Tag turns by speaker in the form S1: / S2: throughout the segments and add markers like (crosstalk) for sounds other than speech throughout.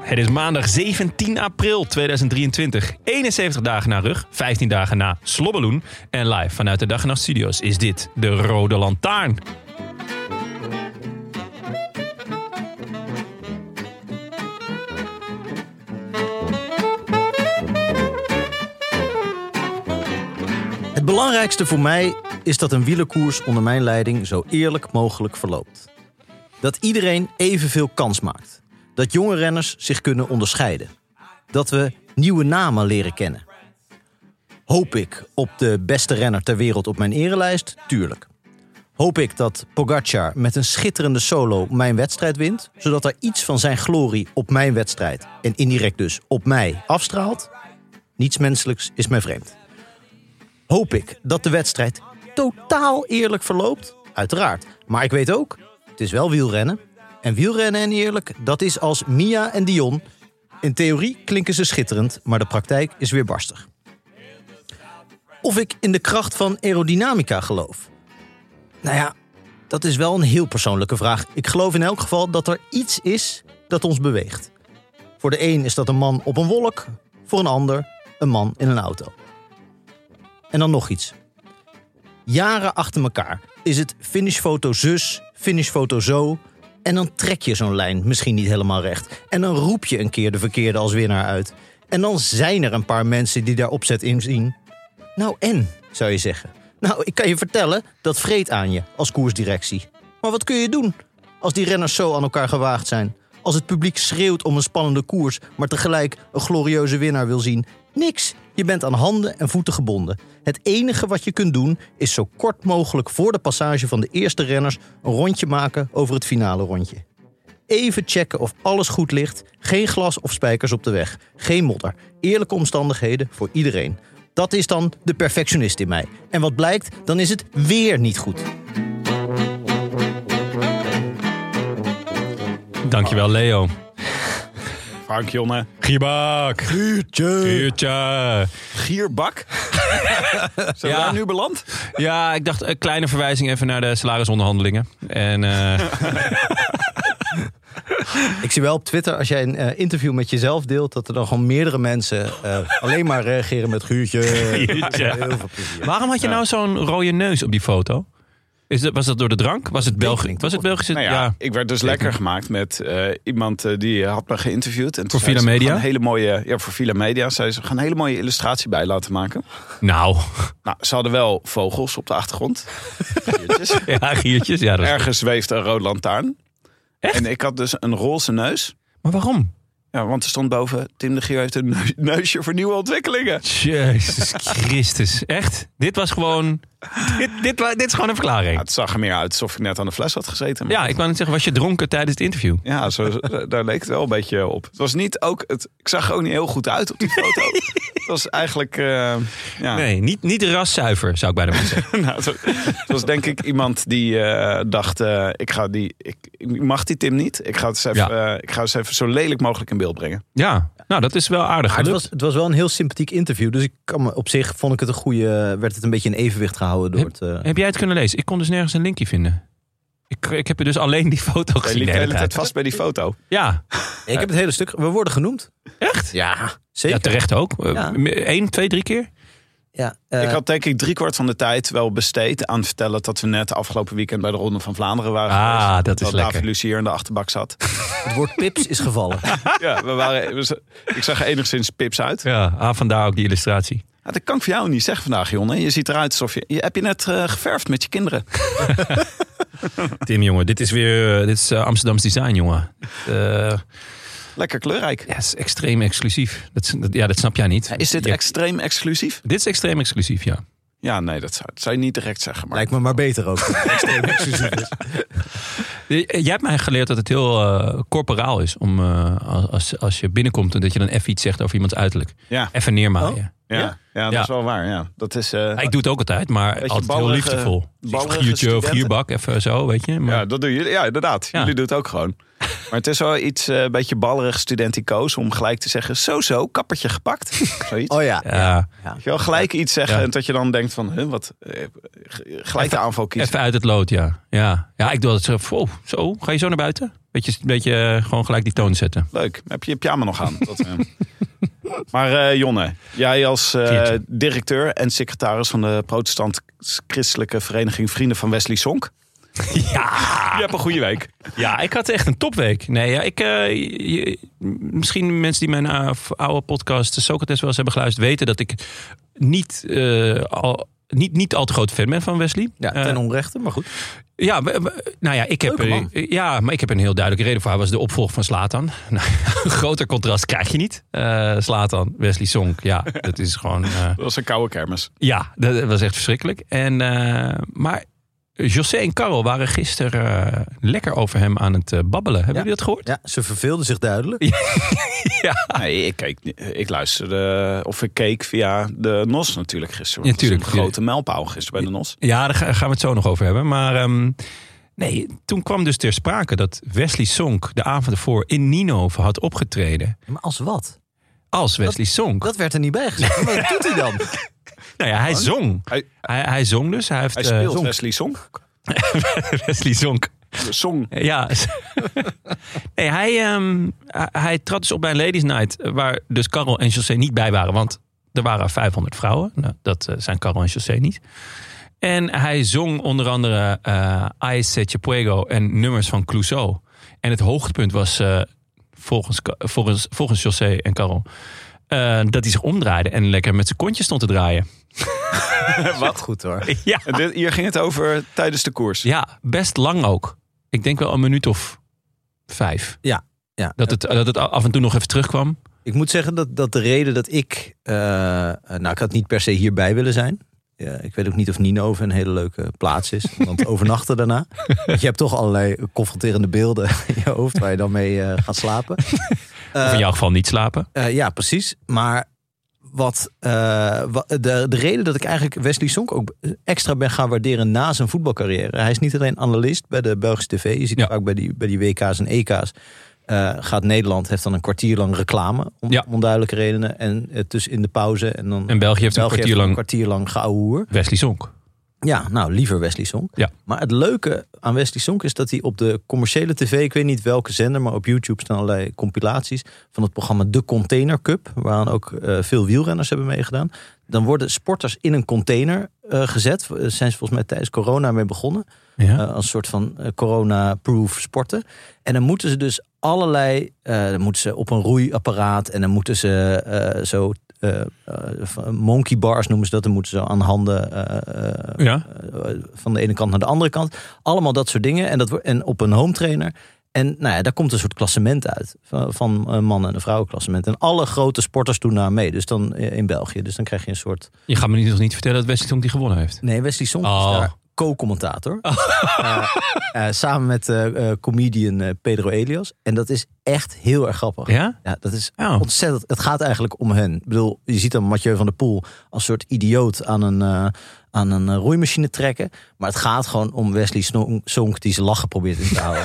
S1: Het is maandag 17 april 2023. 71 dagen na rug, 15 dagen na Slobbeloen. En live vanuit de Dag en Nacht Studios is dit de Rode Lantaarn.
S2: Het belangrijkste voor mij is dat een wielerkoers onder mijn leiding zo eerlijk mogelijk verloopt. Dat iedereen evenveel kans maakt. Dat jonge renners zich kunnen onderscheiden. Dat we nieuwe namen leren kennen. Hoop ik op de beste renner ter wereld op mijn erelijst? Tuurlijk. Hoop ik dat Pogacar met een schitterende solo mijn wedstrijd wint, zodat er iets van zijn glorie op mijn wedstrijd en indirect dus op mij afstraalt? Niets menselijks is mij vreemd hoop ik dat de wedstrijd totaal eerlijk verloopt. Uiteraard. Maar ik weet ook, het is wel wielrennen. En wielrennen en eerlijk, dat is als Mia en Dion. In theorie klinken ze schitterend, maar de praktijk is weer barstig. Of ik in de kracht van aerodynamica geloof. Nou ja, dat is wel een heel persoonlijke vraag. Ik geloof in elk geval dat er iets is dat ons beweegt. Voor de een is dat een man op een wolk, voor een ander een man in een auto. En dan nog iets. Jaren achter elkaar is het finishfoto zus, finishfoto zo. En dan trek je zo'n lijn misschien niet helemaal recht. En dan roep je een keer de verkeerde als winnaar uit. En dan zijn er een paar mensen die daar opzet in zien. Nou en, zou je zeggen. Nou, ik kan je vertellen, dat vreet aan je als koersdirectie. Maar wat kun je doen als die renners zo aan elkaar gewaagd zijn? Als het publiek schreeuwt om een spannende koers, maar tegelijk een glorieuze winnaar wil zien? Niks. Je bent aan handen en voeten gebonden. Het enige wat je kunt doen is zo kort mogelijk voor de passage van de eerste renners een rondje maken over het finale rondje. Even checken of alles goed ligt. Geen glas of spijkers op de weg. Geen modder. Eerlijke omstandigheden voor iedereen. Dat is dan de perfectionist in mij. En wat blijkt, dan is het weer niet goed.
S1: Dankjewel, Leo.
S3: Frank Jonne.
S1: Gierbak. Giertje.
S3: Gierbak. (laughs) Zijn
S1: Ja.
S3: we daar nu beland?
S1: Ja, ik dacht een kleine verwijzing even naar de salarisonderhandelingen. En eh,
S2: Ik zie wel op Twitter, als jij een eh, interview met jezelf deelt, dat er dan gewoon meerdere mensen eh, alleen maar reageren met guurtje.
S1: Guurtje.
S2: Heel veel plezier.
S1: waarom had je nou zo'n rode neus op die foto? Is dat, was dat door de drank? Was het, Belgisch?
S2: tekening,
S1: was het
S2: toch?
S1: Belgische?
S3: Nou ja,
S1: ja.
S3: ik werd dus lekker gemaakt met eh, iemand eh, die had me geïnterviewd. En toen
S1: Voor Villa
S3: zei ze, we
S1: Media?
S3: gaan Een hele mooie, ja, voor Villa Media. Zei ze, we gaan een hele mooie illustratie bij laten maken.
S1: Nou, (laughs)
S3: Nou, ze hadden wel vogels op de achtergrond. Diertjes.
S1: ja, giertjes. Ja, dat is-
S3: Ergens zweefde een rood lantaarn. En ik had dus een roze neus.
S1: Maar waarom?
S3: Ja, want er stond boven, Tim de Gier heeft een neu- neusje voor nieuwe ontwikkelingen.
S1: Jezus Christus. Echt? Dit was gewoon. Dit, dit, wa- dit is gewoon een
S3: Ja,
S1: verklaring.
S3: het zag er meer uit alsof ik net aan de fles had gezeten. maar-
S1: Ja, ik wou net zeggen, was je dronken tijdens het interview?
S3: Ja, zo, zo- daar leek het wel een beetje op. Het was niet ook, het, ik zag er ook niet heel goed uit op die foto. Het was eigenlijk, eh, ja,
S1: Nee, niet, niet raszuiver, zou ik bijna willen zeggen.
S3: (laughs) nou, het, was, het was denk ik iemand die eh, dacht, eh, ik, ga die, ik, ik mag die Tim niet. Ik ga, het eens even, eh, ik ga eens even zo lelijk mogelijk in beeld brengen.
S1: (laughs) Ja, nou, dat is wel aardig.
S2: Maar het,
S1: gelukt.
S2: was, het was wel een heel sympathiek interview. Dus ik kan me, op zich vond ik het een goede. werd het een beetje in evenwicht gehouden door het. eh,
S1: Heb jij het kunnen lezen? Ik kon dus nergens een linkje vinden. Ik, ik heb dus alleen die foto
S3: Hij
S1: gezien.
S3: liep
S1: de
S3: de hele
S1: hele
S3: tijd vast bij die foto.
S1: tijd. Ja,
S2: ik heb het hele stuk. We worden genoemd.
S1: echt?
S2: Ja, zeker.
S1: Ja, terecht ook.
S2: Ja.
S1: Eén, twee, drie keer.
S2: Ja, eh,
S3: ik had denk ik driekwart van de tijd wel besteed aan vertellen dat we net afgelopen weekend bij de Ronde van Vlaanderen waren
S1: Ah, dat is lekker.
S3: David Lucier in de
S1: (laughs)
S3: achterbak zat.
S2: Het woord pips is gevallen.
S3: ja, we waren, we z- ik zag er enigszins pips uit.
S1: Ja, ah, vandaar ook die illustratie.
S3: Ah, dat kan ik voor jou niet zeggen vandaag, Jonne. Je ziet eruit alsof je... je heb je net eh, geverfd met je kinderen? (laughs)
S1: Tim, jongen, dit is weer eh, dit is, eh, Amsterdams design, jongen. Eh,
S3: Lekker kleurrijk.
S1: ja, het is extreem exclusief. Dat, is- dat- ja, dat snap jij niet.
S3: Is dit
S1: Je-
S3: extreem exclusief?
S1: dit is extreem exclusief, ja.
S3: Ja, nee, dat zou, dat zou je niet direct zeggen. Maar
S2: Lijkt me maar beter ook. (laughs) Extreem exclusief is.
S1: Jij hebt mij geleerd dat het heel eh, corporaal is om eh, als, als je binnenkomt en dat je dan even iets zegt over iemands uiterlijk.
S3: ja,
S1: Even neermaaien.
S3: ja, ja,
S2: Ja.
S3: dat
S1: Ja.
S3: is wel waar. Ja. Dat is, eh,
S1: Ja, ik doe het ook altijd, maar
S3: Beetje
S1: altijd heel
S3: ballerige-
S1: liefdevol.
S3: ballerige
S1: Giertje of
S3: studenten.
S1: gierbak, even zo, weet je. Maar,
S3: ja, dat doen jullie. Ja, inderdaad.
S1: Ja.
S3: Jullie doen het ook gewoon.
S1: (laughs)
S3: Maar het is wel iets, eh, een beetje ballerig studenticoos om gelijk te zeggen... Zo, zo, kappertje
S1: (laughs)
S3: gepakt. Zoiets.
S2: Oh ja.
S1: ja,
S3: Weet je wel, gelijk iets zeggen
S1: Ja.
S3: en dat je dan denkt van... Huh, wat, eh, g- gelijk de aanval kiezen.
S1: even uit het lood, ja. Ja, ja ik doe dat zo, wow, zo, ga je zo naar buiten? Beetje, beetje eh, gewoon gelijk die toon zetten.
S3: Leuk. Heb je je pyjama nog
S1: (laughs)
S3: aan? Dat, eh. maar eh, Jonne, jij als eh,
S1: Geertje.
S3: directeur en secretaris van de protestant-christelijke vereniging Vrienden van Wesley Sonk.
S1: Ja,
S3: Je hebt een goede week.
S1: ja, ik had echt een topweek. Nee, ja, ik, eh, je- misschien mensen die mijn eh, oude podcast eh, Socrates wel eens hebben geluisterd... weten dat ik niet, eh, al, niet, niet al te groot fan ben van Wesley.
S2: Ja,
S1: Eh,
S2: ten onrechte, maar goed.
S1: Ja, we- we- nou ja, ik heb,
S2: Leuke man.
S1: eh, ja, maar ik heb een heel duidelijke reden voor. Hij was de opvolger van Slatan. (laughs) Nou, een groter contrast krijg je niet. Eh, Slatan, Wesley Sonk, ja, dat is gewoon. eh,
S3: Dat was een koude kermis.
S1: ja, dat was echt verschrikkelijk. En, eh, maar José en Karel waren gisteren eh, lekker over hem aan het eh, babbelen. Hebben
S2: Ja.
S1: jullie dat gehoord?
S2: Ja, ze verveelden zich duidelijk.
S1: Ah.
S3: Nee, ik, keek, niet- ik luisterde of ik keek via de NOS natuurlijk gisteren.
S1: Ja,
S3: Want dat was
S1: tuurlijk.
S3: Een grote mijlpaal gisteren bij de NOS.
S1: Ja, daar ga- gaan we het zo nog over hebben. Maar ehm, nee, toen kwam dus ter sprake dat Wesley Sonk de avond ervoor in Nino had opgetreden.
S2: Maar als wat?
S1: Als Wesley Sonk.
S2: Dat werd er niet bij gezegd. Maar Wat doet hij (laughs) dan?
S1: nou ja, hij zong.
S3: Hij,
S1: Hij, hij zong dus. Hij heeft
S3: hij
S1: eh,
S3: speelt
S1: zonk.
S3: Wesley Sonk.
S1: Wesley zonk.
S3: De Song.
S1: Ja. nee, hij, ehm, hij- hij trad dus op bij een ladies night. eh, Waar dus Carol en José niet bij waren. Want er waren 500 vrouwen. Nou, dat eh, zijn Carol en José niet. En hij zong onder andere eh I Set Your Puego en nummers van Clouseau. En het hoogtepunt was eh, volgens, Ka- volgens, volgens José en Carol. eh, dat hij zich omdraaide en lekker met zijn kontje stond te draaien.
S2: Wat goed hoor.
S1: Ja.
S3: En dit, hier ging het over tijdens de koers.
S1: Ja, best lang ook. Ik denk wel een minuut of vijf.
S2: Ja, ja.
S1: Dat, het, dat het af en toe nog even terugkwam.
S2: Ik moet zeggen dat, dat de reden dat ik... eh, eh, nou, ik had niet per se hierbij willen zijn. Ja, ik weet ook niet of Ninove een hele leuke plaats is. (laughs) Want overnachten daarna. Want je hebt toch allerlei confronterende beelden in je hoofd... waar je dan mee eh, gaat slapen.
S1: Of
S2: Eh,
S1: in jouw geval niet slapen.
S2: Eh, ja, precies. Maar wat, eh, wa- de, de reden dat ik eigenlijk Wesley Sonk ook extra ben gaan waarderen na zijn voetbalcarrière. Hij is niet alleen analist bij de Belgische tv. Je ziet
S1: Ja.
S2: het ook bij die, bij die WK's en EK's. Eh, gaat Nederland, heeft dan een kwartier lang reclame. Om,
S1: Ja.
S2: om onduidelijke redenen. En eh, tussen in de pauze. En dan
S1: En België heeft een kwartier
S2: heeft
S1: lang
S2: kwartier lang geouwehoer.
S1: Wesley Sonk.
S2: Ja, nou, liever Wesley Sonk.
S1: Ja.
S2: Maar het leuke aan Wesley Sonk is dat hij op de commerciële tv... ik weet niet welke zender, maar op YouTube staan allerlei compilaties... van het programma De Container Cup... waaraan ook eh, veel wielrenners hebben meegedaan. Dan worden sporters in een container eh, gezet. Eh, zijn ze volgens mij tijdens corona mee begonnen.
S1: Ja.
S2: Eh, als een soort van eh, corona-proof sporten. En dan moeten ze dus allerlei... eh, dan moeten ze op een roeiapparaat... en dan moeten ze eh, zo... eh, eh, van- monkey bars noemen ze dat. Dan moeten ze aan handen eh, eh,
S1: ja.
S2: eh, van de ene kant naar de andere kant. Allemaal dat soort dingen. En, dat, wo- en op een home trainer. En nou ja, daar komt een soort klassement uit. Van, van een man- en een vrouwenklassement. En alle grote sporters doen daar mee. Dus dan eh, in België. Dus dan krijg je een soort...
S1: Je gaat me niet- nog niet vertellen dat Wesley Sonk die gewonnen heeft.
S2: Nee, Wesley Song
S1: Oh.
S2: is daar
S1: (laughs)
S2: co-commentator. Eh, eh, samen met eh, eh, comedian eh, Pedro Elias. En dat is echt heel erg grappig.
S1: Ja?
S2: Ja, dat is
S1: Oh.
S2: ontzettend. Het gaat eigenlijk om hen. Ik bedoel, je ziet dan Mathieu van der Poel als soort idioot aan een, eh, aan een eh, roeimachine trekken. Maar het gaat gewoon om Wesley Snonk- Sonk die zijn lachen probeert in
S1: (laughs)
S2: te houden.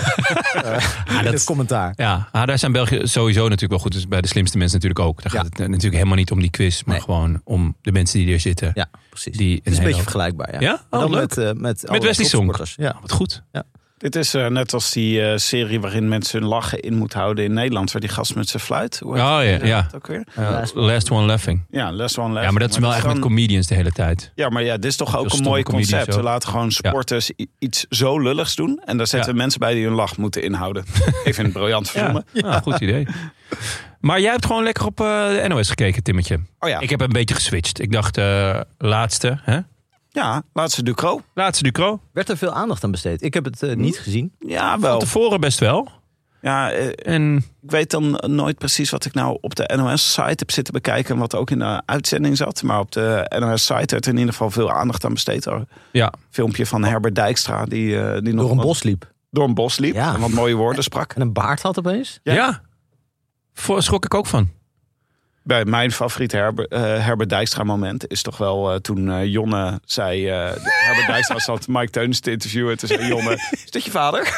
S2: Eh, in het commentaar.
S1: Ja, ah, daar zijn België sowieso natuurlijk wel goed. Dus bij de slimste mensen natuurlijk ook. Daar gaat
S2: Ja.
S1: het eh, natuurlijk helemaal niet om die quiz. Maar
S2: Nee.
S1: gewoon om de mensen die er zitten.
S2: Ja, precies.
S1: Die
S2: het is een
S1: hele
S2: beetje
S1: hoop-
S2: vergelijkbaar. Ja,
S1: Ja? Oh,
S2: Maar dan
S1: leuk.
S2: Met, eh, met, allerlei
S1: Wesley Sonk.
S2: topsporters. Ja.
S1: Wat goed.
S3: Dit is eh, net als die eh, serie waarin mensen hun lachen in moeten houden in Nederland. Waar die gast met zijn fluit. Hoe heet
S1: Oh, ja,
S3: die, eh,
S1: ja.
S3: dat Ook weer?
S1: Ja, last one laughing.
S3: Ja, les one les.
S1: Ja, maar dat is wel echt met comedians de hele tijd.
S3: Ja, maar ja, dit is toch ook een
S1: stomme
S3: mooi
S1: comedies
S3: concept.
S1: ook.
S3: We laten gewoon sporters i- iets zo lulligs doen. En daar zetten
S1: Ja.
S3: mensen bij die hun lach moeten
S1: (laughs)
S3: inhouden. Ik vind het briljant filmen.
S1: Nou, goed idee. Maar jij hebt gewoon lekker op eh, de NOS gekeken, Timmetje.
S3: Oh ja.
S1: Ik heb een beetje geswitcht. Ik dacht, eh, laatste, hè?
S3: ja, laatste Ducro.
S1: Laatste Ducro.
S2: Werd er veel aandacht aan besteed? Ik heb het eh, niet
S1: Hm?
S2: gezien.
S3: Ja,
S1: Van
S3: wel.
S1: tevoren best wel.
S3: Ja, eh,
S1: En
S3: ik weet dan nooit precies wat ik nou op de NOS-site heb zitten bekijken. En wat ook in de uitzending zat. Maar op de NOS-site werd er in ieder geval veel aandacht aan besteed. Een
S1: ja,
S3: filmpje van Herbert Dijkstra. Die, eh, die nog
S2: Door een
S3: wat-
S2: bos liep.
S3: door een bos liep.
S2: Ja.
S3: En wat mooie woorden sprak.
S2: En een baard had opeens.
S1: ja.
S3: Ja.
S1: Voor, schrok ik ook van.
S3: Bij mijn favoriete Herber, eh, Herbert Dijkstra moment is toch wel eh, toen eh, Jonne zei... eh, (laughs) Herbert Dijkstra zat Mike Teuns te interviewen. Toen zei Jonne, (laughs) is dat je vader?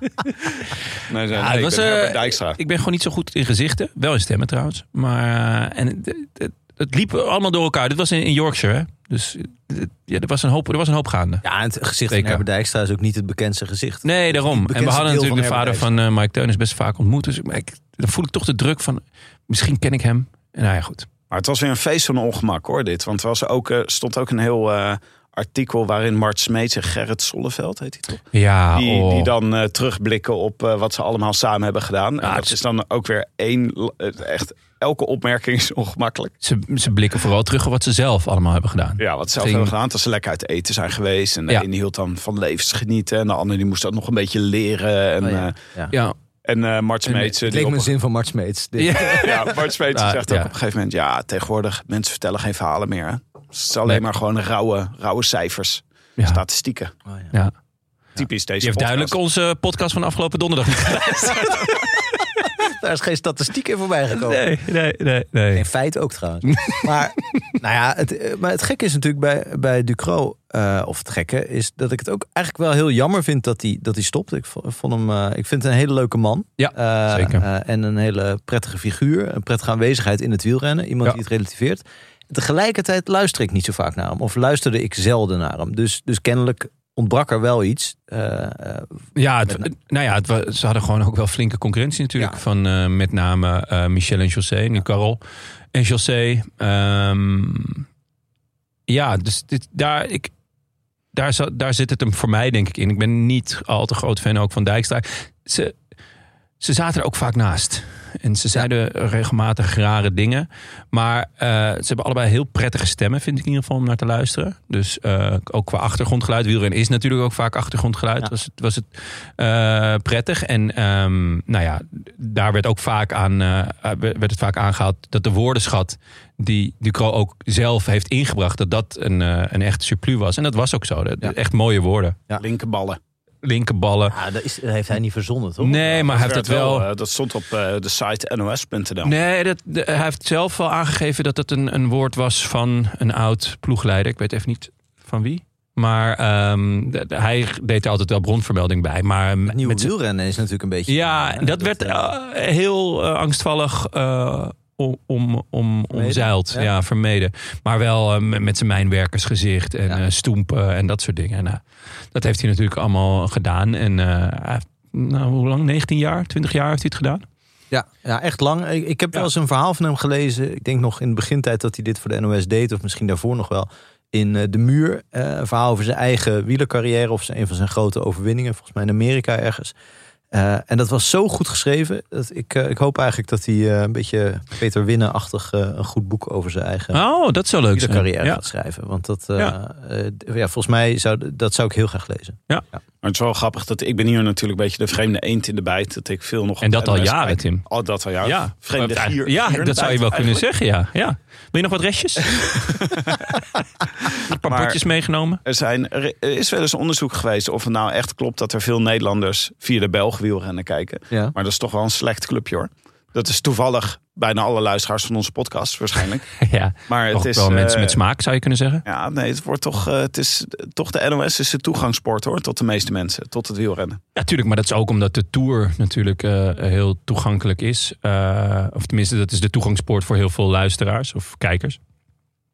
S3: nee, zei,
S1: Ja,
S3: nee,
S1: het
S3: ik
S1: was,
S3: ben Herbert
S1: eh,
S3: Dijkstra.
S1: Ik ben gewoon niet zo goed in gezichten. Wel in stemmen trouwens. Maar eh, en, het- het- het liep allemaal door elkaar. Dit was in, in Yorkshire, hè? Dus eh, ja, er, was een hoop, er was een hoop gaande.
S2: Ja, en het gezicht
S1: Zeker.
S2: van Herbert Dijkstra is ook niet het bekendste gezicht.
S1: Nee, daarom.
S2: Het
S1: En we hadden
S2: bekendste deel
S1: natuurlijk de
S2: van
S1: vader
S2: Herbert
S1: van eh, Mike Teunis best vaak ontmoet. Dus ik, maar ik- dan voel ik toch de druk van, misschien ken ik hem. En nou ja, goed.
S3: Maar het was weer een feest van ongemak hoor dit. Want er was ook, eh, stond ook een heel eh, artikel waarin Mart Smeets en Gerrit Solleveld, heet hij toch?
S1: Ja,
S3: Die,
S1: oh.
S3: die dan eh, terugblikken op eh, wat ze allemaal samen hebben gedaan.
S1: Ja,
S3: en
S1: het
S3: dat
S1: is-
S3: is dan ook weer één, eh, echt elke opmerking is ongemakkelijk.
S1: ze, ze blikken vooral terug op wat ze zelf allemaal hebben gedaan.
S3: Ja, wat ze zelf
S1: Ging-
S3: hebben gedaan. Dat ze lekker uit eten zijn geweest. En de
S1: Ja.
S3: een die hield dan van levensgenieten. En de ander die moest dat nog een beetje leren. En,
S2: Oh ja.
S3: eh,
S2: Ja.
S1: Ja,
S3: en eh Mart
S1: En
S3: Smeets...
S2: Het
S3: eh, die
S2: leek me
S3: op-
S2: een zin van Mart Smeets. Dit-
S1: ja.
S3: (laughs) Ja, Bart
S1: (laughs)
S3: Smeets
S1: Ah,
S3: zegt ook
S1: ja.
S3: op een gegeven moment... Ja, tegenwoordig, mensen vertellen geen verhalen meer. Hè. Het is alleen
S1: Nee.
S3: maar gewoon rauwe, rauwe cijfers.
S1: Ja.
S3: Statistieken.
S2: Oh, ja.
S1: ja.
S3: Typisch deze
S1: Je hebt
S3: podcast.
S1: duidelijk onze podcast van afgelopen donderdag (laughs) niet
S2: Daar is geen statistiek in voorbij gekomen.
S1: Nee, nee, nee. nee.
S2: In feite ook
S1: (laughs)
S2: trouwens. maar, nou ja, het, eh, maar het gekke is natuurlijk bij, bij Ducro, eh, of het gekke, is dat ik het ook eigenlijk wel heel jammer vind dat hij, dat hij stopt. Ik, vo- vond hem, eh, ik vind het een hele leuke man.
S1: Ja,
S2: Eh,
S1: zeker.
S2: eh, en een hele prettige figuur, een prettige aanwezigheid in het wielrennen. Iemand
S1: Ja.
S2: die het relativeert. Tegelijkertijd luister ik niet zo vaak naar hem, of luisterde ik zelden naar hem. Dus, dus kennelijk ontbrak er wel iets. Eh, eh,
S1: Ja, het- nou ja, het wa- ze hadden gewoon ook wel flinke concurrentie natuurlijk.
S2: Ja.
S1: Van eh, met name eh, Michel en José, nu Carol. En José. ehm, ja, dus dit, daar, ik, daar, za- daar zit het hem voor mij denk ik in. Ik ben niet al te groot fan ook van Dijkstra. Ze, ze zaten er ook vaak naast. En ze zeiden regelmatig rare dingen. Maar eh, ze hebben allebei heel prettige stemmen, vind ik in ieder geval, om naar te luisteren. Dus eh, ook qua achtergrondgeluid. Wielrennen is natuurlijk ook vaak achtergrondgeluid.
S2: Ja.
S1: Was het, was het eh, prettig. En ehm, nou ja, daar werd ook vaak aan, eh, werd het vaak aangehaald dat de woordenschat die Ducro ook zelf heeft ingebracht, dat dat een, eh, een echt surplus was. En dat was ook zo. Dat-
S2: Ja.
S1: Echt mooie woorden.
S3: Linkerballen.
S1: Linkerballen.
S2: ah, dat, is, dat heeft hij niet verzonnen, toch?
S1: Nee, maar hij heeft dat wel.
S3: eh, dat stond op eh, de site nos.nl.
S1: Nee, dat, de- hij heeft zelf wel aangegeven dat het een, een woord was van een oud ploegleider. Ik weet even niet van wie. Maar ehm, de- de- hij deed er altijd wel bronvermelding bij. Maar
S2: Het nieuwe
S1: met z'n-
S2: wielrennen is natuurlijk een beetje...
S1: ja,
S2: eh,
S1: dat werd
S2: eh,
S1: eh, heel eh, angstvallig eh, om, om, om, omzeild. Ja.
S2: Ja.
S1: vermeden. Maar wel eh, met- met zijn mijnwerkersgezicht en
S2: Ja.
S1: eh, stoempen en dat soort dingen. En, eh, dat heeft hij natuurlijk allemaal gedaan. En eh, hij heeft- nou, hoe lang? 19 jaar? 20 jaar heeft hij het gedaan?
S2: Ja, ja echt lang. Ik, ik heb wel eens een verhaal van hem gelezen. Ik denk nog in de begintijd dat hij dit voor de NOS deed, of misschien daarvoor nog wel. In eh, De Muur. eh, een verhaal over zijn eigen wielercarrière of zijn, een van zijn grote overwinningen, volgens mij in Amerika ergens. Eh, en dat was zo goed geschreven. Dat ik, eh, ik hoop eigenlijk dat hij eh, een beetje Peter Winnen-achtig eh, een goed boek over zijn eigen
S1: Oh, dat zou leuk zijn.
S2: wielercarrière
S1: Ja.
S2: gaat schrijven. Want dat, eh,
S1: Ja.
S2: eh, d- ja, volgens mij zou, dat zou ik heel graag lezen.
S3: Maar het is wel grappig dat ik ben hier natuurlijk een beetje de vreemde eend in de bijt. Dat ik veel nog.
S1: En dat
S3: op de
S1: al
S3: NOS
S1: jaren,
S3: kijk.
S1: Tim.
S3: Al dat al jaren.
S1: Ja,
S3: Vreemde
S1: Ja,
S3: gier.
S1: ja
S3: gier in de
S1: dat zou je wel
S3: bijt
S1: kunnen
S3: eigenlijk.
S1: zeggen, ja. ja. Wil je nog wat restjes? een paar
S3: Maar-
S1: bordjes meegenomen?
S3: Er, zijn, er is wel eens onderzoek geweest of het nou echt klopt dat er veel Nederlanders via de Belg wielrennen kijken.
S2: Ja.
S3: Maar dat is toch wel een slecht clubje hoor. Dat is toevallig bijna alle luisteraars van onze
S1: (laughs)
S3: podcast waarschijnlijk.
S1: ja,
S3: Maar het
S1: toch
S3: is
S1: wel mensen
S3: eh,
S1: met smaak, zou je kunnen zeggen.
S3: Ja, nee, het wordt toch, eh, het is, toch de NOS is de toegangspoort hoor, tot de meeste mensen, tot het wielrennen.
S1: Natuurlijk, maar dat is ook omdat de Tour natuurlijk eh, heel toegankelijk is. Eh, of tenminste, dat is de toegangspoort voor heel veel luisteraars of kijkers.